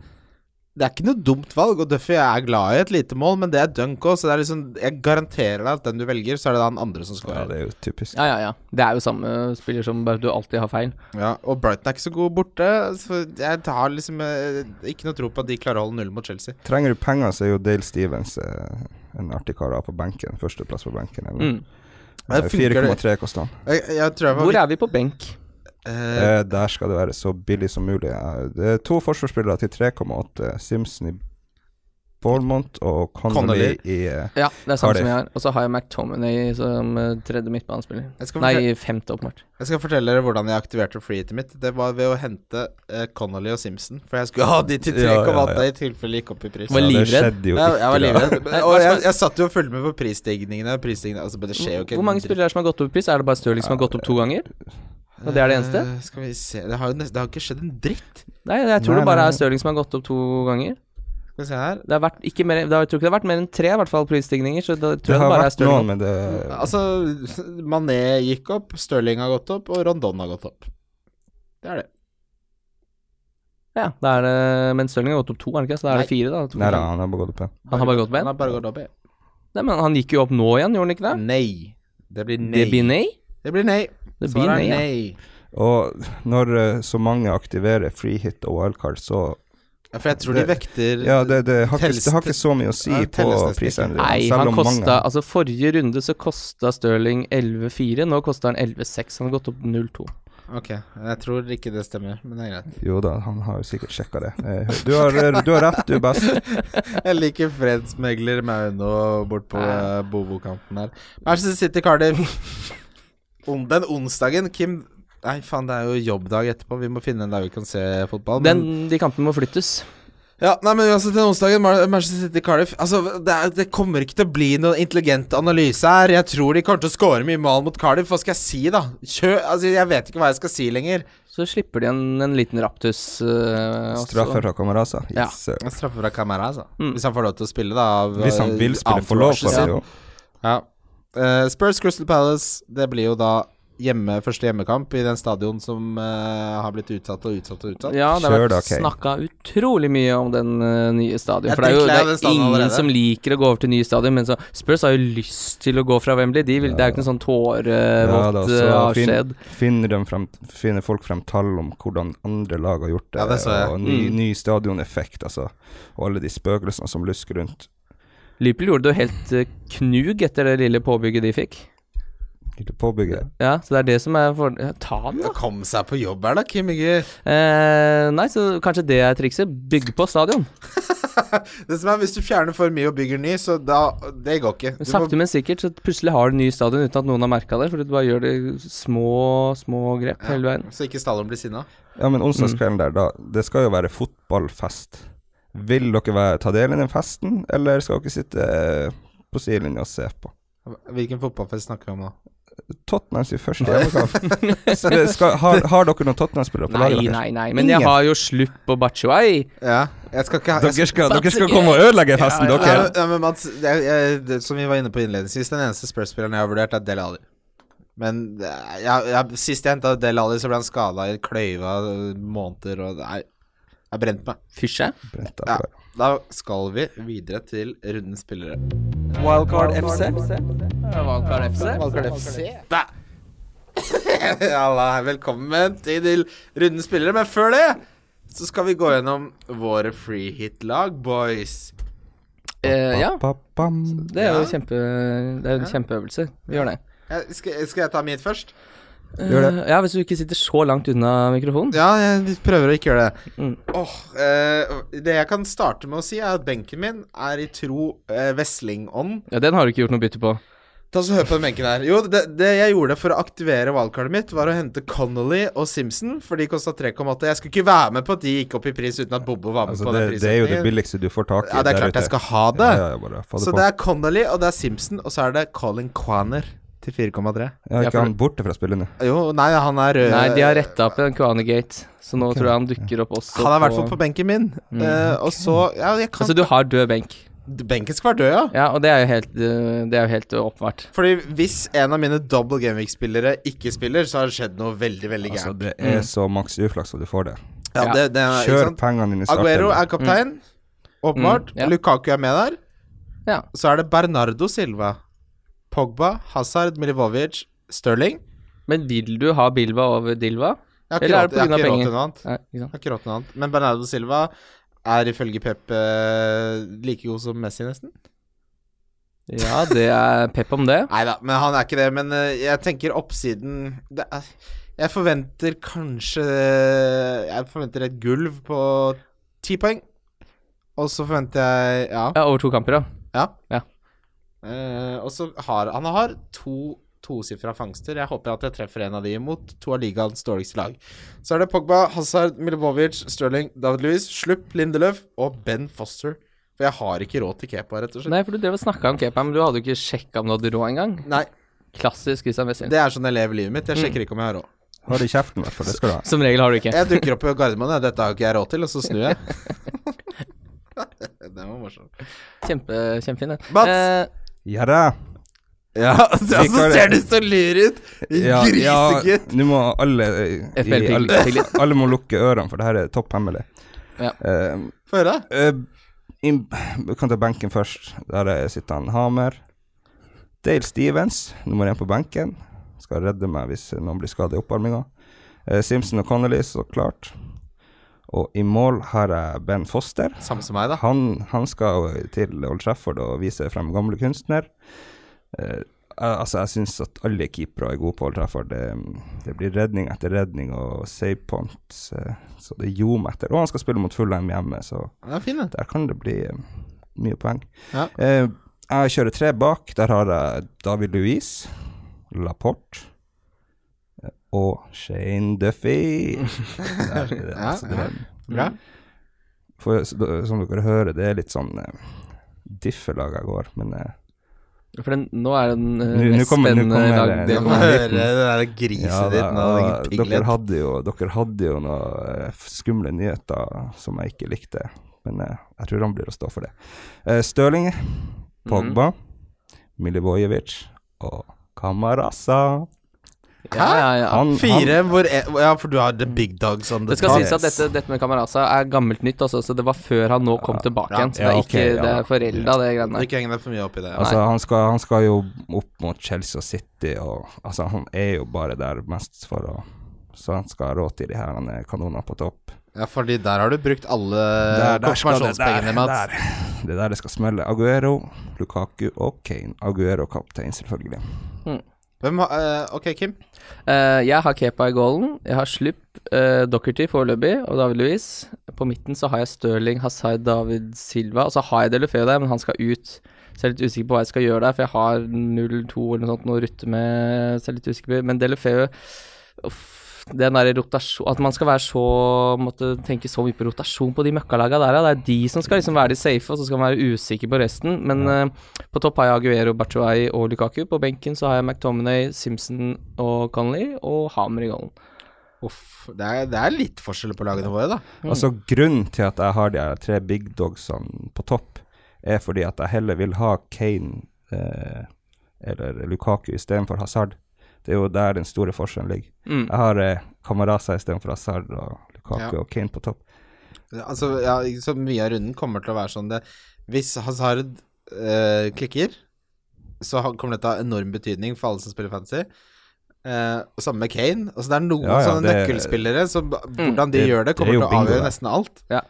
Speaker 3: det er ikke noe dumt valg. Og Duffy er glad i et lite mål, men det er dunk òg, så det er liksom Jeg garanterer deg at den du velger, så er det den andre som
Speaker 4: Ja,
Speaker 3: scorer.
Speaker 4: det er jo typisk.
Speaker 2: Ja, ja, ja. Det er jo samme spiller som bare du alltid har feil.
Speaker 3: Ja, og Brighton er ikke så god borte, så jeg har liksom eh, ikke noe tro på at de klarer å holde null mot Chelsea.
Speaker 4: Trenger du penger, så er jo Dale Stevens eh, en artig kar å ha på benken. Førsteplass på benken. eller?
Speaker 2: Mm.
Speaker 4: Eh,
Speaker 3: Men funker det?
Speaker 4: 4,3 koster han.
Speaker 3: Jeg, jeg tror jeg var
Speaker 2: Hvor er vi på benk?
Speaker 3: Eh,
Speaker 4: Eh, der skal det være så billig som mulig. Eh, Det er to forsvarsspillere til 3,8. Simpson i Bournemouth og Connolly
Speaker 3: Connolly.
Speaker 4: i eh,
Speaker 2: Ja, det er samme
Speaker 4: Cardiff.
Speaker 2: som jeg har. Og så har jeg McTominay som eh, tredje midtbanespiller.
Speaker 3: Jeg skal
Speaker 2: Nei, femte, åpenbart.
Speaker 3: Jeg skal fortelle dere hvordan jeg aktiverte freehitet mitt. Det var ved å hente eh, Connolly og Simpson. For jeg skulle ha de til 3,8
Speaker 4: Ja, ja, ja.
Speaker 3: i tilfelle gikk opp i pris.
Speaker 2: Var
Speaker 4: ja, Det
Speaker 2: livredd.
Speaker 4: skjedde jo
Speaker 3: Jeg, jeg var
Speaker 4: ikke, da.
Speaker 3: livredd. Og jeg, jeg satt jo og fulgte med på prisstigningene. prisstigningene altså, men det skjer jo ikke
Speaker 2: Hvor mange spillere er det som har gått opp i pris? Er det bare Stirling som har gått opp to ganger? Og det er det eneste?
Speaker 3: Eh, skal vi se Det har jo nesten, det har ikke skjedd en dritt.
Speaker 2: Nei, jeg tror
Speaker 4: Nei,
Speaker 2: det bare
Speaker 4: nei,
Speaker 2: er Stirling som har gått opp to ganger.
Speaker 3: Skal vi se her
Speaker 2: Det har vært ikke mer, det har, jeg tror ikke det har vært mer enn tre i hvert fall prisstigninger, så da tror
Speaker 4: Det
Speaker 2: jeg det
Speaker 4: har
Speaker 2: bare er
Speaker 4: vært
Speaker 2: Stirling.
Speaker 4: noen, men det
Speaker 3: Altså, Mané gikk opp, Stirling har gått opp, og Rondon har gått opp. Det er det.
Speaker 2: Ja, da er det, men Stirling har gått opp to, er det ikke? Så da er det fire, da.
Speaker 4: Nei da, han har bare gått opp igjen.
Speaker 2: Han har bare gått med
Speaker 3: Han
Speaker 2: en.
Speaker 3: har bare gått opp, ja.
Speaker 2: Nei, men han gikk jo opp nå igjen, gjorde han ikke det?
Speaker 3: Nei. Det blir nei.
Speaker 2: Det blir nei.
Speaker 3: Det blir nei.
Speaker 2: Det blir
Speaker 3: Svaret
Speaker 2: nei,
Speaker 3: er
Speaker 2: ja.
Speaker 3: nei.
Speaker 4: Og når eh, så mange aktiverer free hit og wildcard, så
Speaker 3: Ja, for jeg tror de
Speaker 4: Det-
Speaker 3: vekter
Speaker 4: Ja, det, det, har, ikke,
Speaker 3: Telles-
Speaker 4: det har ikke så mye å si
Speaker 3: Nei,
Speaker 4: på
Speaker 3: telles nesten ikke.
Speaker 4: prisendringen.
Speaker 2: Nei,
Speaker 4: selv
Speaker 2: han
Speaker 4: om
Speaker 2: kosta
Speaker 4: mange-
Speaker 2: Altså, forrige runde så kosta Stirling 11,4. Nå koster han 11,6. Han har gått opp 0,2.
Speaker 3: Ok, jeg tror ikke det stemmer, men det er greit.
Speaker 4: Jo da, han har jo sikkert sjekka det. Eh, Du har, du har rett, du er best.
Speaker 3: Jeg liker fredsmegler Mauno bort på eh, Bobo-kanten her. Manchester City Cardiff. Om den onsdagen, Kim Nei, faen, det er jo jobbdag etterpå. Vi må finne en dag vi kan se fotball.
Speaker 2: Den, de kampene må flyttes.
Speaker 3: Ja, nei, men uansett, den onsdagen, Mar- Manchester City Cardiff Altså, det, er, det kommer ikke til å bli noen intelligent analyse her. Jeg tror de kommer til å score mye mål mot Cardiff. Hva skal jeg si, da? Kjø, altså, jeg vet ikke hva jeg skal si lenger.
Speaker 2: Så slipper de en, en liten raptus. eh, også.
Speaker 4: Straffer fra Kamaraza.
Speaker 2: Ja.
Speaker 4: Yes. sir.
Speaker 3: En straffe fra Kamara, altså.
Speaker 2: Mm.
Speaker 3: Hvis han får lov til å spille, da. Av, eh,
Speaker 4: Hvis han vil spille,
Speaker 3: av
Speaker 4: får lov
Speaker 3: Rogers,
Speaker 4: for det,
Speaker 3: ja.
Speaker 4: jo.
Speaker 3: Ja. Eh, Spurs Crystal Palace, det blir jo da hjemme, første hjemmekamp i den stadion som eh, har blitt utsatt og utsatt og utsatt.
Speaker 2: Ja, det har
Speaker 4: Kjør
Speaker 2: vært
Speaker 4: da, Kane.
Speaker 2: snakka utrolig mye om den eh, nye stadion.
Speaker 3: Jeg
Speaker 2: For det er jo
Speaker 3: drikker av
Speaker 2: det
Speaker 3: den
Speaker 2: er
Speaker 3: stadion
Speaker 2: ingen
Speaker 3: allerede.
Speaker 2: som liker å gå over til nye stadion, men så Spurs har jo lyst til å gå fra Wembley. De vil, Det er jo ikke en sånn
Speaker 4: Ja, da,
Speaker 2: tårevåt eh,
Speaker 4: så
Speaker 2: avskjed.
Speaker 4: fin, finner, de frem, finner folk frem tall om hvordan andre lag har gjort det,
Speaker 3: Ja, det så jeg.
Speaker 4: og ny, ny stadioneffekt, altså. Og alle de spøkelsene som lusker rundt.
Speaker 2: Liverpool gjorde det jo helt eh, knug etter det lille påbygget de fikk.
Speaker 4: Lite påbygget.
Speaker 2: Ja, så det er det som er for... ja, Ta den, da!
Speaker 3: Ja, Kom seg på jobb her, da, Kim Inger.
Speaker 2: Eh, nei, så kanskje det er trikset. Bygg på stadion.
Speaker 3: Det som er, Hvis du fjerner for mye og bygger ny, så da Det går ikke. Du må-
Speaker 2: Sakte, men sikkert, så plutselig har du ny stadion uten at noen har merka det. Fordi du bare gjør det små, små grep hele veien.
Speaker 3: Så ikke Stallone blir sinna.
Speaker 4: Ja, men
Speaker 3: Mm.
Speaker 4: onsdagskvelden der, da. Det skal jo være fotballfest. Vil dere være, ta del i den festen, eller skal dere sitte eh, på sidelinja og se på?
Speaker 3: Hvilken fotballfest snakker vi om nå?
Speaker 4: Tottenham sin første hjemmekamp. Så det skal, har, har dere noen Tottenham-spillere på
Speaker 2: Nei,
Speaker 4: laget?
Speaker 2: nei, nei. Men jeg
Speaker 4: Ingen.
Speaker 2: har jo Slupp og Bachuay.
Speaker 3: Ja, jeg skal ikke ha jeg
Speaker 4: Dere
Speaker 3: skal,
Speaker 4: skal, dere skal komme og ødelegge festen,
Speaker 3: Nei,
Speaker 4: dere.
Speaker 3: men- nei, men Mats, jeg, jeg, det, som vi var inne på innledningsvis, den eneste Spurs-spilleren jeg har vurdert, er Del Ali. Men det er- jeg, jeg, sist jeg henta Del Ali, så ble han skada i kløyva øh, måneder og Nei, jeg brente meg.
Speaker 2: Fysje.
Speaker 4: Brent
Speaker 3: Ja,
Speaker 4: av.
Speaker 3: da skal vi videre til rundens spillere.
Speaker 1: Wildcard FC.
Speaker 2: Valgkar FC.
Speaker 1: Wildcard FC.
Speaker 3: Jalla, velkommen til til rundens spillere. Men før det så skal vi gå gjennom våre free hit-lag, boys.
Speaker 2: Eh, ja,
Speaker 4: Ba, bam.
Speaker 2: det er jo
Speaker 3: Ja.
Speaker 2: kjempe, det er en kjempeøvelse. Vi gjør det.
Speaker 3: Jeg, skal, skal jeg ta mitt først?
Speaker 4: Gjør det.
Speaker 2: Eh, ja, hvis du ikke sitter så langt unna mikrofonen.
Speaker 3: Ja, jeg prøver å ikke gjøre det.
Speaker 2: Mm.
Speaker 3: Åh, eh, det jeg kan starte med å si, er at benken min er i tro eh, Wesling-ånd.
Speaker 2: Ja, den har du ikke gjort noe bytte på.
Speaker 3: Ta så Hør på den benken her. Jo, det, det jeg gjorde for å aktivere valgkartet mitt, var å hente Connolly og Simpson, for de kosta 3,8. Jeg skulle ikke være med på at de gikk opp i pris uten at Bobo var med
Speaker 4: Altså,
Speaker 3: på
Speaker 4: det,
Speaker 3: den
Speaker 4: det er jo det
Speaker 3: prisøkningen.
Speaker 4: billigste du får tak i.
Speaker 3: Ja, det er
Speaker 4: der
Speaker 3: klart
Speaker 4: ute.
Speaker 3: jeg skal ha det.
Speaker 4: Ja, ja, ja, bare få det
Speaker 3: Så
Speaker 4: på.
Speaker 3: det er Connolly, og det er Simpson, og så er det Colin Quaner til 4,3.
Speaker 4: Ja,
Speaker 2: Ja,
Speaker 4: ikke
Speaker 2: for-
Speaker 4: han borte fra spillene.
Speaker 3: Jo, nei, han er rød.
Speaker 2: Nei, de har retta opp i den Kvanegate, så nå tror jeg han dukker opp også
Speaker 3: Han er i hvert fall på benken min.
Speaker 4: Mm,
Speaker 3: Eh, og så Ja, jeg kan
Speaker 2: Altså, du har død benk.
Speaker 3: Benken skal være død, ja.
Speaker 2: Ja, og det er jo helt, eh, det er jo helt åpenbart.
Speaker 3: Fordi hvis en av mine double gameweek-spillere ikke spiller, så har det skjedd noe veldig, veldig
Speaker 4: Altså,
Speaker 3: gærent.
Speaker 4: det er så maks uflaks at du får det.
Speaker 3: Ja,
Speaker 2: ja.
Speaker 3: det, det, er- ikke
Speaker 4: Kjør
Speaker 3: sant?
Speaker 4: pengene dine i
Speaker 3: Aguero er
Speaker 4: starten.
Speaker 3: kaptein, åpenbart.
Speaker 2: Mm, ja.
Speaker 3: Lukaku er med der.
Speaker 2: Ja.
Speaker 3: Så er det Bernardo Silva, Pogba, Hazard, Milivovic, Sterling.
Speaker 2: Men vil du ha Bilva over Dilva?
Speaker 3: Jeg har ikke
Speaker 2: Eller er
Speaker 3: råd-
Speaker 2: det
Speaker 3: jeg har
Speaker 2: på grunn av
Speaker 3: ikke råd
Speaker 2: penger?
Speaker 3: til noe annet.
Speaker 2: Nei, ikke
Speaker 3: Jeg
Speaker 2: sant?
Speaker 3: har ikke råd til noe annet. Men Bernardo Silva er ifølge Pep eh, like god som Messi, nesten.
Speaker 2: Ja, det er pepp om det.
Speaker 3: Nei da, men han er ikke det. Men eh, jeg tenker oppsiden det er, Jeg forventer kanskje eh, Jeg forventer et gulv på ti poeng. Og så forventer jeg Ja.
Speaker 2: Ja, Over to kamper, ja.
Speaker 3: ja.
Speaker 2: Ja.
Speaker 3: Eh, og så har han har to tosifra fangster. Jeg håper at jeg treffer en av de mot to av ligaens dårligste lag. Så er det Pogba, Hazard, Milivovic, Sterling, David Louis, Slupp, Lindeløf og Ben Foster. For jeg har ikke råd til Kepa, rett og slett.
Speaker 2: Nei, for du drev og snakka om Kepa, men du hadde jo ikke sjekka om du hadde råd engang.
Speaker 3: Nei,
Speaker 2: Klassisk Christian Wessel.
Speaker 3: det er sånn jeg lever livet mitt. Jeg sjekker ikke om jeg har råd.
Speaker 4: Har det i kjeften, i hvert fall. Det skal du ha.
Speaker 2: Som regel har du ikke.
Speaker 3: Jeg dukker opp på Gardermoen, ja, dette har ikke jeg råd til, og så snur jeg. morsom.
Speaker 2: Kjempe, kjempefin, den.
Speaker 3: Mats!
Speaker 2: Eh,
Speaker 4: Ja da.
Speaker 3: Ja, så, så
Speaker 4: Rikard-
Speaker 3: ser du så lur ut! Din
Speaker 4: Ja, ja,
Speaker 3: grisegutt!
Speaker 4: nå må alle, i,
Speaker 2: FL til-
Speaker 4: alle,
Speaker 2: til-
Speaker 4: alle må lukke ørene, for det her er topp hemmelig.
Speaker 2: Ja.
Speaker 4: Eh,
Speaker 3: Få høre.
Speaker 4: Eh, inn- Vi kan ta benken først. Der sitter han Hamer. Dale Stevens, nummer én på benken. Skal redde meg hvis noen blir skadet i oppvarminga. Eh, Simpson og Connolly, så klart. Og i mål har jeg Ben Foster.
Speaker 3: Samme som meg, da.
Speaker 4: Han, han skal jo til Old Trafford og vise frem gamle kunstner. Eh, al- altså, jeg syns at alle keepere er gode på Old Trafford. Det, det blir redning etter redning og save points, eh, så det ljomer etter. Og han skal spille mot Fulham hjemme, så
Speaker 3: Den er fin, den.
Speaker 4: der kan det bli eh, mye poeng.
Speaker 3: Ja.
Speaker 4: Eh, jeg kjører tre bak. Der har jeg David Louise, Laporte eh, og Shane Duffy. Der, er det,
Speaker 3: Ja,
Speaker 4: altså, det, er-
Speaker 3: Bra.
Speaker 4: for, s- da- som dere hører, det er litt sånn eh, diffelag jeg går, men eh,
Speaker 2: for den, nå er den eh,
Speaker 4: Nå- nå
Speaker 2: mest
Speaker 4: kommer- nå
Speaker 2: spennende
Speaker 4: kommer
Speaker 2: lag.
Speaker 4: det-
Speaker 2: Det
Speaker 4: nå
Speaker 3: Få
Speaker 4: kommer
Speaker 2: kommer.
Speaker 4: det.
Speaker 3: høre det der griset
Speaker 4: ja,
Speaker 3: ditt nå.
Speaker 4: da,
Speaker 3: din
Speaker 4: dere,
Speaker 3: piglet.
Speaker 4: hadde jo, dere hadde jo noen eh, skumle nyheter som jeg ikke likte, men eh, jeg tror han blir å stå for det. Eh, Stirling,
Speaker 3: Mhm.
Speaker 4: Pogba, Milivojevic og Kamaraza.
Speaker 2: Ja, ja, ja.
Speaker 4: Han-
Speaker 3: Fire hvor en, Ja, for du har the big dogs on the
Speaker 2: Det skal
Speaker 3: top.
Speaker 2: sies at dette, dette med Kamaraza er gammelt nytt, også, så det var før han nå kom tilbake igjen. Så
Speaker 4: Ja,
Speaker 2: det er
Speaker 4: ok,
Speaker 2: ikke
Speaker 4: ja.
Speaker 2: det er forelda, det greiene der.
Speaker 3: Ikke heng deg for mye opp i det.
Speaker 4: Altså, han skal, han skal jo opp mot Chelsea og City, og altså, han er jo bare der mest for å Så han skal ha råd til de her han er kanonene på topp.
Speaker 3: Ja, fordi der har du brukt alle
Speaker 4: Der, der skal det, der,
Speaker 3: konfirmasjonspengene, Mats.
Speaker 4: Eh, der. Det er der det skal smelle. Aguero, Lukaku og Kane. Aguero kaptein, selvfølgelig.
Speaker 3: Hvem har eh, Ok, Kim.
Speaker 2: Eh, jeg har Kepa i goalen. Jeg har Slupp, uh, Dockerty foreløpig og David Louise. På midten så har jeg Stirling, Hazard, David Silva. Og så har jeg Delufeu der, men han skal ut. Så jeg er litt usikker på hva jeg skal gjøre der, for jeg har 0-2 eller noe sånt nå å rutte med. Så jeg er litt usikker på. Men Delufeu uff, den der rotasjon At man skal være så Måtte tenke så mye på rotasjon på de møkkalaga der, ja. Det er de som skal liksom være de safe, og så skal man være usikker på resten. Men eh, på topp har jeg Aguero, Bachuay og Lukaku. På benken så har jeg McTominay, Simpson og Connolly, og Hamer i golden.
Speaker 3: Uff, det er, det er litt forskjell på lagene våre, da.
Speaker 4: Altså, grunnen til at jeg har de her tre big dogsene på topp, er fordi at jeg heller vil ha Kane eh, eller Lukaku istedenfor Hazard. Det er jo der den store forskjellen ligger.
Speaker 2: Mm.
Speaker 4: Jeg har eh, Kamaraza istedenfor Hazard og Lukaku
Speaker 3: Ja.
Speaker 4: og Kane på topp.
Speaker 3: Altså, ja, ikke så mye av runden kommer til å være sånn det Hvis Hazard eh, klikker, så ha- kommer det til å ha enorm betydning for alle som spiller fantasy. Eh, og samme med Kane. Altså, det er noen
Speaker 4: Ja, ja,
Speaker 3: sånne
Speaker 4: det-
Speaker 3: nøkkelspillere, så b- hvordan de
Speaker 4: Det-
Speaker 3: gjør det,
Speaker 4: det er
Speaker 3: kommer
Speaker 4: jo
Speaker 3: til å
Speaker 4: bingo,
Speaker 3: avgjøre
Speaker 4: det.
Speaker 3: nesten alt.
Speaker 2: Ja.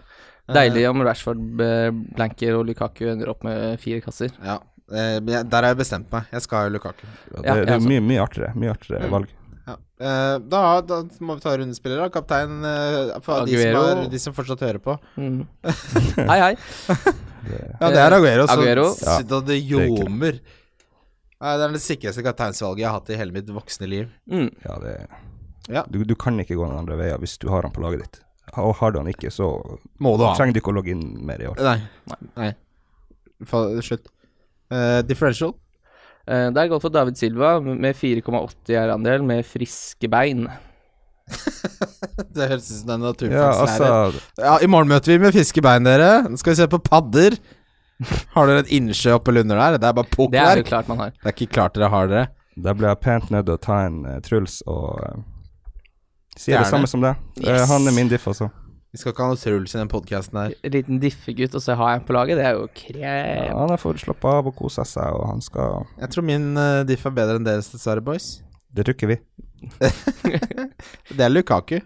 Speaker 2: Deilig om Rashford eh, blanker og Lukaku ender opp med fire kasser.
Speaker 3: Ja. Eh, men jeg, der har jeg bestemt meg. Jeg skal ha Lukaku.
Speaker 4: Og
Speaker 2: Ja,
Speaker 4: det, det
Speaker 2: ja,
Speaker 4: er
Speaker 2: sant.
Speaker 4: mye, mye artigere, mye artigere valg.
Speaker 3: Ja. Eh, da, da må vi ta rundespillere. da. Kaptein eh, for de som,
Speaker 2: Aguero.
Speaker 3: er, de som fortsatt hører på.
Speaker 2: Mm. hei, hei.
Speaker 3: Ja, det er Aguero. Så
Speaker 2: Aguero.
Speaker 3: så da det
Speaker 4: er ikke-
Speaker 3: ljomer. Nei, Det er det sikreste kapteinsvalget jeg har hatt i hele mitt voksne liv.
Speaker 2: Mm.
Speaker 4: Ja, det,
Speaker 3: Ja.
Speaker 4: Du, du kan ikke gå den andre veien hvis du har han på laget ditt. Og har du han ikke, så
Speaker 3: Må du ha.
Speaker 4: trenger du ikke å logge inn mer i år.
Speaker 3: Nei. Nei. Fa- Slutt. Eh, differential.
Speaker 2: Eh, det er godt for David Silva med 4,80 R-andel med friske bein.
Speaker 3: Det høres ut som en naturfagslærer.
Speaker 4: Ja, altså
Speaker 3: ja, I morgen møter vi med fiskebein, dere. Nå skal vi se på padder. Har dere en innsjø oppe lunder der? Det er bare
Speaker 2: Det er det
Speaker 3: pukkverk.
Speaker 2: klart man har.
Speaker 3: Det er ikke klart dere har dere.
Speaker 4: Da ble jeg pent nødt til å ta en eh, Truls og eh, sier
Speaker 3: Gjerne.
Speaker 4: det samme som deg. Eh, han er min diff også.
Speaker 3: Vi skal ikke ha noe Truls i den podkasten her.
Speaker 2: En liten diffegutt, og så har jeg en på laget. Det er jo
Speaker 3: Eh.
Speaker 4: Ja,
Speaker 2: krem.
Speaker 4: han har fått slappe av og kose seg, og han skal
Speaker 3: Jeg tror min eh, diff er bedre enn deres, dessverre, boys.
Speaker 4: Det trykker vi.
Speaker 3: Det er Lukaku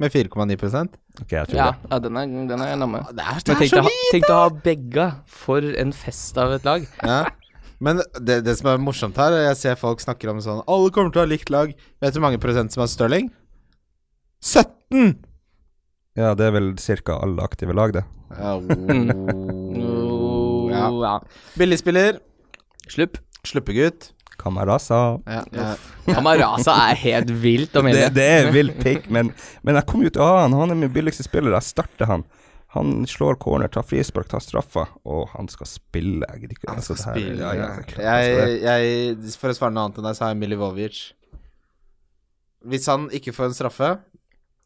Speaker 3: med 4,9 Det
Speaker 4: Ok, jeg tror
Speaker 2: Ja,
Speaker 4: det.
Speaker 2: ja den er, den er namme.
Speaker 3: er,
Speaker 2: Men tenk deg å ha- tenk deg å ha begge for en fest av et lag.
Speaker 3: Ja. Men det, det som er morsomt her, jeg ser folk snakker om sånn Alle kommer til å ha likt lag. Vet du hvor mange prosent som har Stirling? 17!
Speaker 4: Ja, det er vel ca. alle aktive lag, det.
Speaker 3: Oh, ja.
Speaker 2: Ja.
Speaker 3: Billigspiller.
Speaker 2: Slupp.
Speaker 3: Sluppegutt.
Speaker 4: Kamarasa.
Speaker 3: Ja, ja.
Speaker 2: Kamarasa er helt vilt om
Speaker 4: Det,
Speaker 2: hele.
Speaker 4: det er vill pick, men, men jeg kommer jo til å ha han. Han er min billigste spiller. Jeg starter han. Han slår corner, tar frispark, tar straffa, og han skal spille. Jeg gidder ikke
Speaker 3: Han skal
Speaker 4: altså, det her-
Speaker 3: spille.
Speaker 4: Ja, ja, det er klart han skal
Speaker 3: jeg,
Speaker 4: det.
Speaker 3: jeg, for å svare noe annet enn deg, så har jeg Milivojevic. Hvis han ikke får en straffe,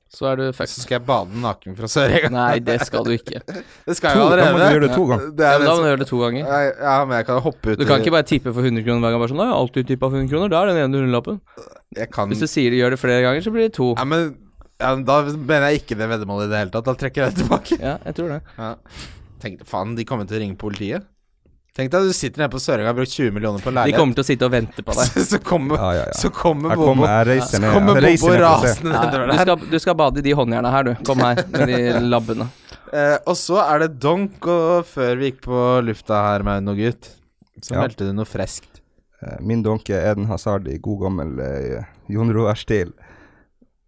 Speaker 2: så er du
Speaker 3: Så
Speaker 2: fucked.
Speaker 3: skal jeg bade naken fra Sørøya.
Speaker 2: Nei, det skal du ikke.
Speaker 3: Det skal
Speaker 4: To,
Speaker 3: jeg jo
Speaker 4: da
Speaker 3: allerede.
Speaker 4: må du gjøre det to ganger.
Speaker 3: Det
Speaker 2: Ja,
Speaker 3: er
Speaker 2: men
Speaker 3: det
Speaker 2: da må
Speaker 3: som-
Speaker 2: du gjøre det to ganger.
Speaker 3: Nei, Ja, men jeg kan hoppe ut
Speaker 2: Du kan ikke bare tippe for 100 kroner hver gang. Bare sånn, «Nei, jeg har alltid tippa for 100 kroner, da er den ene hundrelappen.
Speaker 3: Jeg kan
Speaker 2: Hvis du sier du gjør det flere ganger, så blir det to.
Speaker 3: Ja, men ja, men da mener jeg ikke det veddemålet i det hele tatt. Da trekker jeg det tilbake.
Speaker 2: Ja, jeg tror det.
Speaker 3: Ja. Tenk, faen, de kommer til å ringe politiet. Tenk deg, du sitter nede på Sørøya og har brukt 20 millioner på en
Speaker 2: De
Speaker 3: leilighet.
Speaker 2: kommer til å sitte og vente på deg.
Speaker 3: så, så kommer,
Speaker 4: Ja, ja, ja.
Speaker 3: Så kommer
Speaker 4: Jeg
Speaker 3: Bobo
Speaker 4: kommer, jeg reiser ned.
Speaker 3: Så kommer
Speaker 4: jeg reiser
Speaker 3: Bobo
Speaker 4: ned for å se.
Speaker 3: rasende
Speaker 2: Nei,
Speaker 3: nedover
Speaker 2: du,
Speaker 3: der.
Speaker 2: skal, du skal bade i de håndjerna her, du. Kom her med de labbene.
Speaker 3: Eh, og så er det donk, og før vi gikk på lufta her, Maud og gutt, så
Speaker 4: Ja.
Speaker 3: meldte du noe freskt.
Speaker 4: Eh, Min donke er Eden Hazard i god gammel eh, Jon Roar-stil.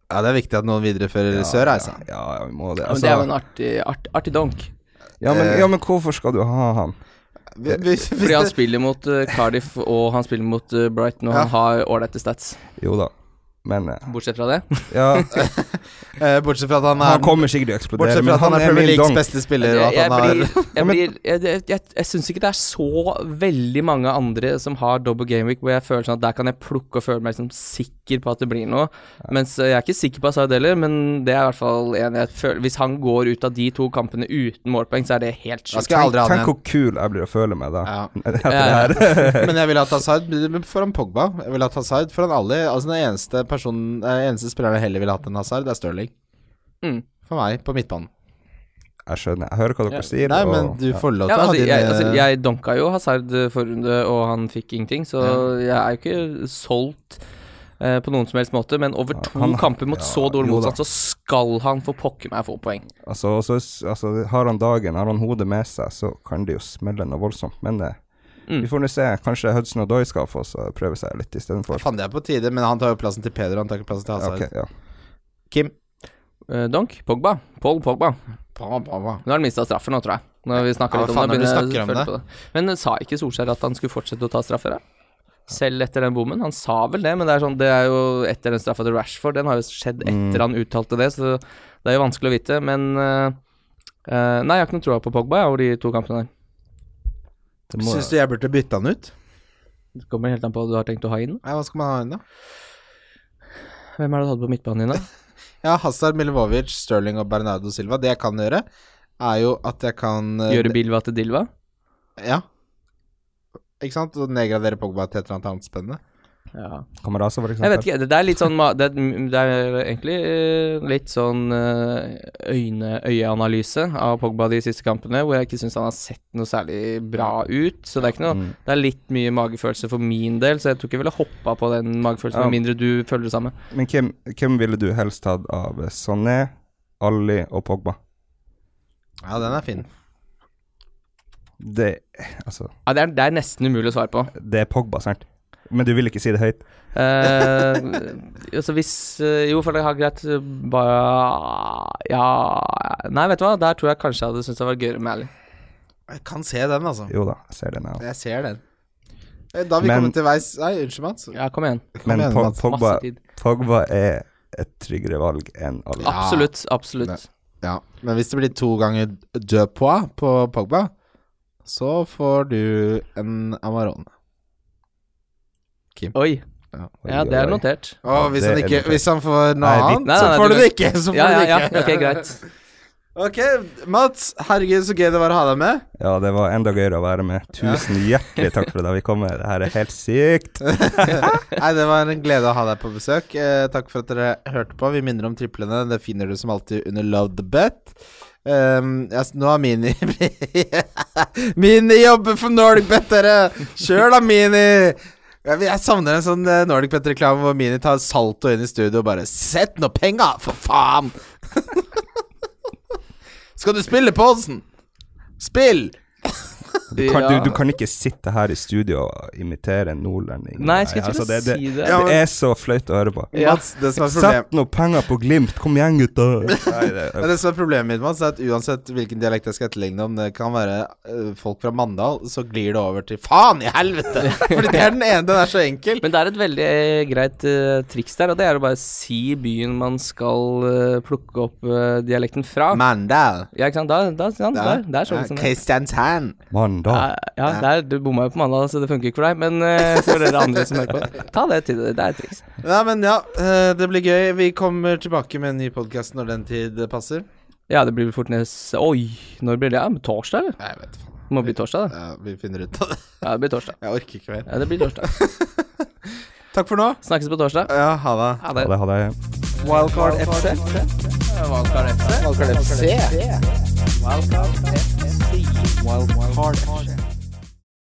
Speaker 3: Ja, det er viktig at noen viderefører altså. Sørreisa.
Speaker 4: Ja, ja, ja, vi må det.
Speaker 2: Ja, men det
Speaker 4: Altså,
Speaker 2: er jo en artig, art, artig donk.
Speaker 4: ja, men,
Speaker 3: Eh.
Speaker 4: ja, men hvorfor skal du ha han?
Speaker 3: Vi- vi- hvis
Speaker 2: Fordi han
Speaker 3: det-
Speaker 2: spiller mot eh, Cardiff og han spiller mot eh, Brighton, og
Speaker 3: Ja.
Speaker 2: han har ålreite stats.
Speaker 4: Jo da, men eh,
Speaker 2: Bortsett fra det.
Speaker 4: Ja,
Speaker 3: eh, bortsett fra at han er,
Speaker 4: han kommer sikkert til å eksplodere,
Speaker 3: bortsett fra at han er Premier
Speaker 4: min
Speaker 3: Leagues
Speaker 4: donk.
Speaker 3: beste spiller, og
Speaker 2: Jeg,
Speaker 3: at
Speaker 2: jeg,
Speaker 3: han
Speaker 2: blir,
Speaker 3: har
Speaker 2: jeg, blir, jeg, jeg, jeg, jeg syns ikke det er så veldig mange andre som har double gameweek hvor jeg føler sånn at der kan jeg plukke og føle meg liksom sikker på at det blir noe. Mens eh, jeg er ikke sikker på Hazard heller, men det er i hvert fall en jeg føler Hvis han går ut av de to kampene uten målpoeng, så er det helt
Speaker 3: Da
Speaker 2: sjukt.
Speaker 3: skal jeg aldri ha den
Speaker 4: Tenk
Speaker 3: igjen.
Speaker 4: hvor kul jeg blir å føle meg da.
Speaker 3: Ja.
Speaker 4: Etter
Speaker 2: Ja,
Speaker 4: det her.
Speaker 3: Men jeg vil at Hazard blir foran Pogba. Jeg vil at Hazard foran alle. Altså Den eneste, personen, eh, eneste spilleren jeg heller ville hatt enn Hazard, det er Stirling.
Speaker 2: Mm.
Speaker 3: For meg, på midtbanen.
Speaker 4: Jeg skjønner. Jeg hører hva dere sier.
Speaker 3: Nei,
Speaker 4: og-
Speaker 3: men du får lov
Speaker 2: Ja,
Speaker 3: til å ha
Speaker 2: altså,
Speaker 3: dine
Speaker 2: jeg, altså, jeg donka jo Hazard eh, forrunde, og han fikk ingenting, så jeg er jo ikke solgt eh, på noen som helst måte. Men over to
Speaker 4: han-
Speaker 2: kamper mot
Speaker 4: ja,
Speaker 2: så dårlig
Speaker 4: jo da.
Speaker 2: motstand, så skal han få pokker meg få poeng.
Speaker 4: Altså, og så- altså, har han dagen, har han hodet med seg, så kan det jo smelle noe voldsomt. Men eh,
Speaker 2: Mm.
Speaker 4: vi får nå se. Kanskje Hudson og Doy skal få oss å prøve seg litt istedenfor.
Speaker 3: Faen, altså. det er på tide, men han tar jo plassen til Peder, han tar ikke plassen til
Speaker 4: Ja,
Speaker 3: Hazard.
Speaker 4: ok, ja.
Speaker 3: Kim.
Speaker 2: Eh, donk? Pogba? Paul Pogba.
Speaker 3: Pam, pam, pam.
Speaker 2: Nå har han mista straffen nå, tror jeg. Når vi snakker
Speaker 3: Ja,
Speaker 2: litt om
Speaker 3: faen,
Speaker 2: det,
Speaker 3: når du
Speaker 2: begynner jeg å
Speaker 3: snakker om
Speaker 2: føle på det. Men eh, sa ikke Solskjær at han skulle fortsette å ta straffer? da? Selv etter den bommen? Han sa vel det, men det er, sånn, det er jo etter den straffa til Rashford. Den har jo skjedd
Speaker 3: Mm.
Speaker 2: etter han uttalte det, så det er jo vanskelig å vite. Men eh, eh, Nei, jeg har ikke noe troa på Pogba jeg, over de to kampene der.
Speaker 3: Syns du jeg burde bytte han ut?
Speaker 2: Det kommer helt an på hva du har tenkt å ha inn.
Speaker 3: Nei, hva skal man ha inn, da?
Speaker 2: Hvem er det du hadde på midtbanen din, da?
Speaker 3: Ja, Hazard, Milivovic, Sterling og Bernardo Silva. Det jeg kan gjøre, er jo at jeg kan eh,
Speaker 2: Gjøre Bilva til Dilva?
Speaker 3: Ja. Ikke sant? Og nedgradere Pogba til et eller annet annet spennende.
Speaker 2: Ja.
Speaker 4: Kamaraza, for
Speaker 2: Jeg vet
Speaker 4: eksempel.
Speaker 2: ikke, det det er litt sånn ma- Det er, det er egentlig eh, litt sånn eh, øyne, øyeanalyse av Pogba de siste kampene, hvor jeg ikke syns han har sett noe særlig bra ut. Så det er ikke noe
Speaker 4: Mm.
Speaker 2: Det er litt mye magefølelse for min del, så jeg tror ikke jeg ville hoppa på den magefølelsen,
Speaker 4: Ja.
Speaker 2: med mindre du føler det samme.
Speaker 4: Men hvem, hvem ville du helst hatt av eh, Sané, Ali og Pogba?
Speaker 3: Ja, den er fin.
Speaker 4: Det Altså,
Speaker 2: Ja, det, er, det er nesten umulig å svare på.
Speaker 4: det er Pogba, sant? Men du vil ikke si det høyt?
Speaker 2: Eh, altså hvis eh, Jo, for det har greit eh, bare Ja Nei, vet du hva, der tror jeg kanskje jeg hadde syntes det var gøyere med Ally.
Speaker 3: Jeg kan se den, altså.
Speaker 4: Jo da, jeg ser den, jeg òg.
Speaker 3: Jeg ser den. Eh, Da har vi
Speaker 4: Men-
Speaker 3: kommet til veis Nei, unnskyld, Mats.
Speaker 2: Ja, kom igjen.
Speaker 3: Kom
Speaker 4: Men
Speaker 3: igjen,
Speaker 4: Po-
Speaker 3: Mats.
Speaker 4: Pogba,
Speaker 2: Masse tid.
Speaker 4: Pogba er et tryggere valg enn Ali.
Speaker 3: Ja.
Speaker 2: Absolutt. Absolutt.
Speaker 3: Nei. Ja. Men hvis det blir to ganger deux pois på Pogba, så får du en Amarone.
Speaker 2: Oi.
Speaker 3: Ja.
Speaker 2: Ah, Ja, det er notert.
Speaker 3: Og hvis
Speaker 4: det
Speaker 3: han,
Speaker 4: er
Speaker 3: ikke,
Speaker 4: notert.
Speaker 3: hvis han får noe
Speaker 4: Nei, vi-
Speaker 3: annet,
Speaker 2: Nei, nei,
Speaker 3: så
Speaker 2: nei,
Speaker 3: får
Speaker 2: du-
Speaker 3: du det ikke. Så får
Speaker 2: Ja, ja,
Speaker 3: du det
Speaker 2: ja.
Speaker 3: ikke.
Speaker 2: Ok, greit.
Speaker 3: Ok, Mats. Herregud, så gøy det var å ha deg med.
Speaker 4: Ja, det var enda gøyere å være med. Tusen hjertelig takk for at vi kom. Det her er helt sykt.
Speaker 3: Nei, Det var en glede å ha deg på besøk. Eh, takk for at dere hørte på. Vi minner om triplene. Det finner du som alltid under Love the Bet. Ehm, ja, s- nå har Mini Mini jobber for Nordic Bet, dere! Kjør da, Mini! Jeg, jeg savner en sånn eh, Nordic Bet-reklame hvor Mini tar salto inn i studio og bare Sett nå penga, for faen! Skal du spille på oddsen? Spill!
Speaker 4: Du kan,
Speaker 2: Ja.
Speaker 4: du, du kan ikke sitte her i studio og imitere en nordlending.
Speaker 2: Nei, jeg skulle til å
Speaker 4: det, det,
Speaker 2: si det.
Speaker 4: det. Det er så flaut å høre på.
Speaker 2: Ja.
Speaker 3: Mats, det som er problemet
Speaker 4: Sett noe penger på Glimt. Kom igjen, gutter. Nei, det,
Speaker 3: Men det som er problemet mitt, Mats, er at uansett hvilken dialekt jeg skal etterligne, om det kan være øh, folk fra Mandal, så glir det over til faen i helvete! Fordi det er den ene, den er så enkel.
Speaker 2: Men det er et veldig eh, greit eh, triks der, og det er å bare si byen man skal eh, plukke opp eh, dialekten fra.
Speaker 3: Mandal.
Speaker 2: Ja, ikke sant. Da, da, sant?
Speaker 3: Ja.
Speaker 2: Der, der så
Speaker 3: Ja,
Speaker 2: vi sånn.
Speaker 3: Kristiansand.
Speaker 4: Mann, mandag.
Speaker 2: Ja, der, du bomma jo på mandag, så det funker ikke for deg. Men eh, for dere andre som hører på, ta det til dere. Det er et triks.
Speaker 3: Nei, men ja, eh, det blir gøy. Vi kommer tilbake med en ny podkast når den tid passer.
Speaker 2: Ja, det blir vel fort nes... Oi, når blir det? Ja, torsdag, eller?
Speaker 3: Nei, jeg vet faen.
Speaker 2: Det må bli torsdag, det.
Speaker 3: Ja, vi finner ut av det.
Speaker 2: Ja, det blir torsdag.
Speaker 3: Jeg orker ikke mer.
Speaker 2: Ja, det blir torsdag.
Speaker 3: Takk for nå.
Speaker 2: Snakkes på torsdag.
Speaker 3: Ja, ha det.
Speaker 2: Ha
Speaker 4: Ha
Speaker 2: det.
Speaker 4: det, ha det.
Speaker 1: Wildcard FC.
Speaker 3: Valgkart FC.
Speaker 1: Wildcard FC.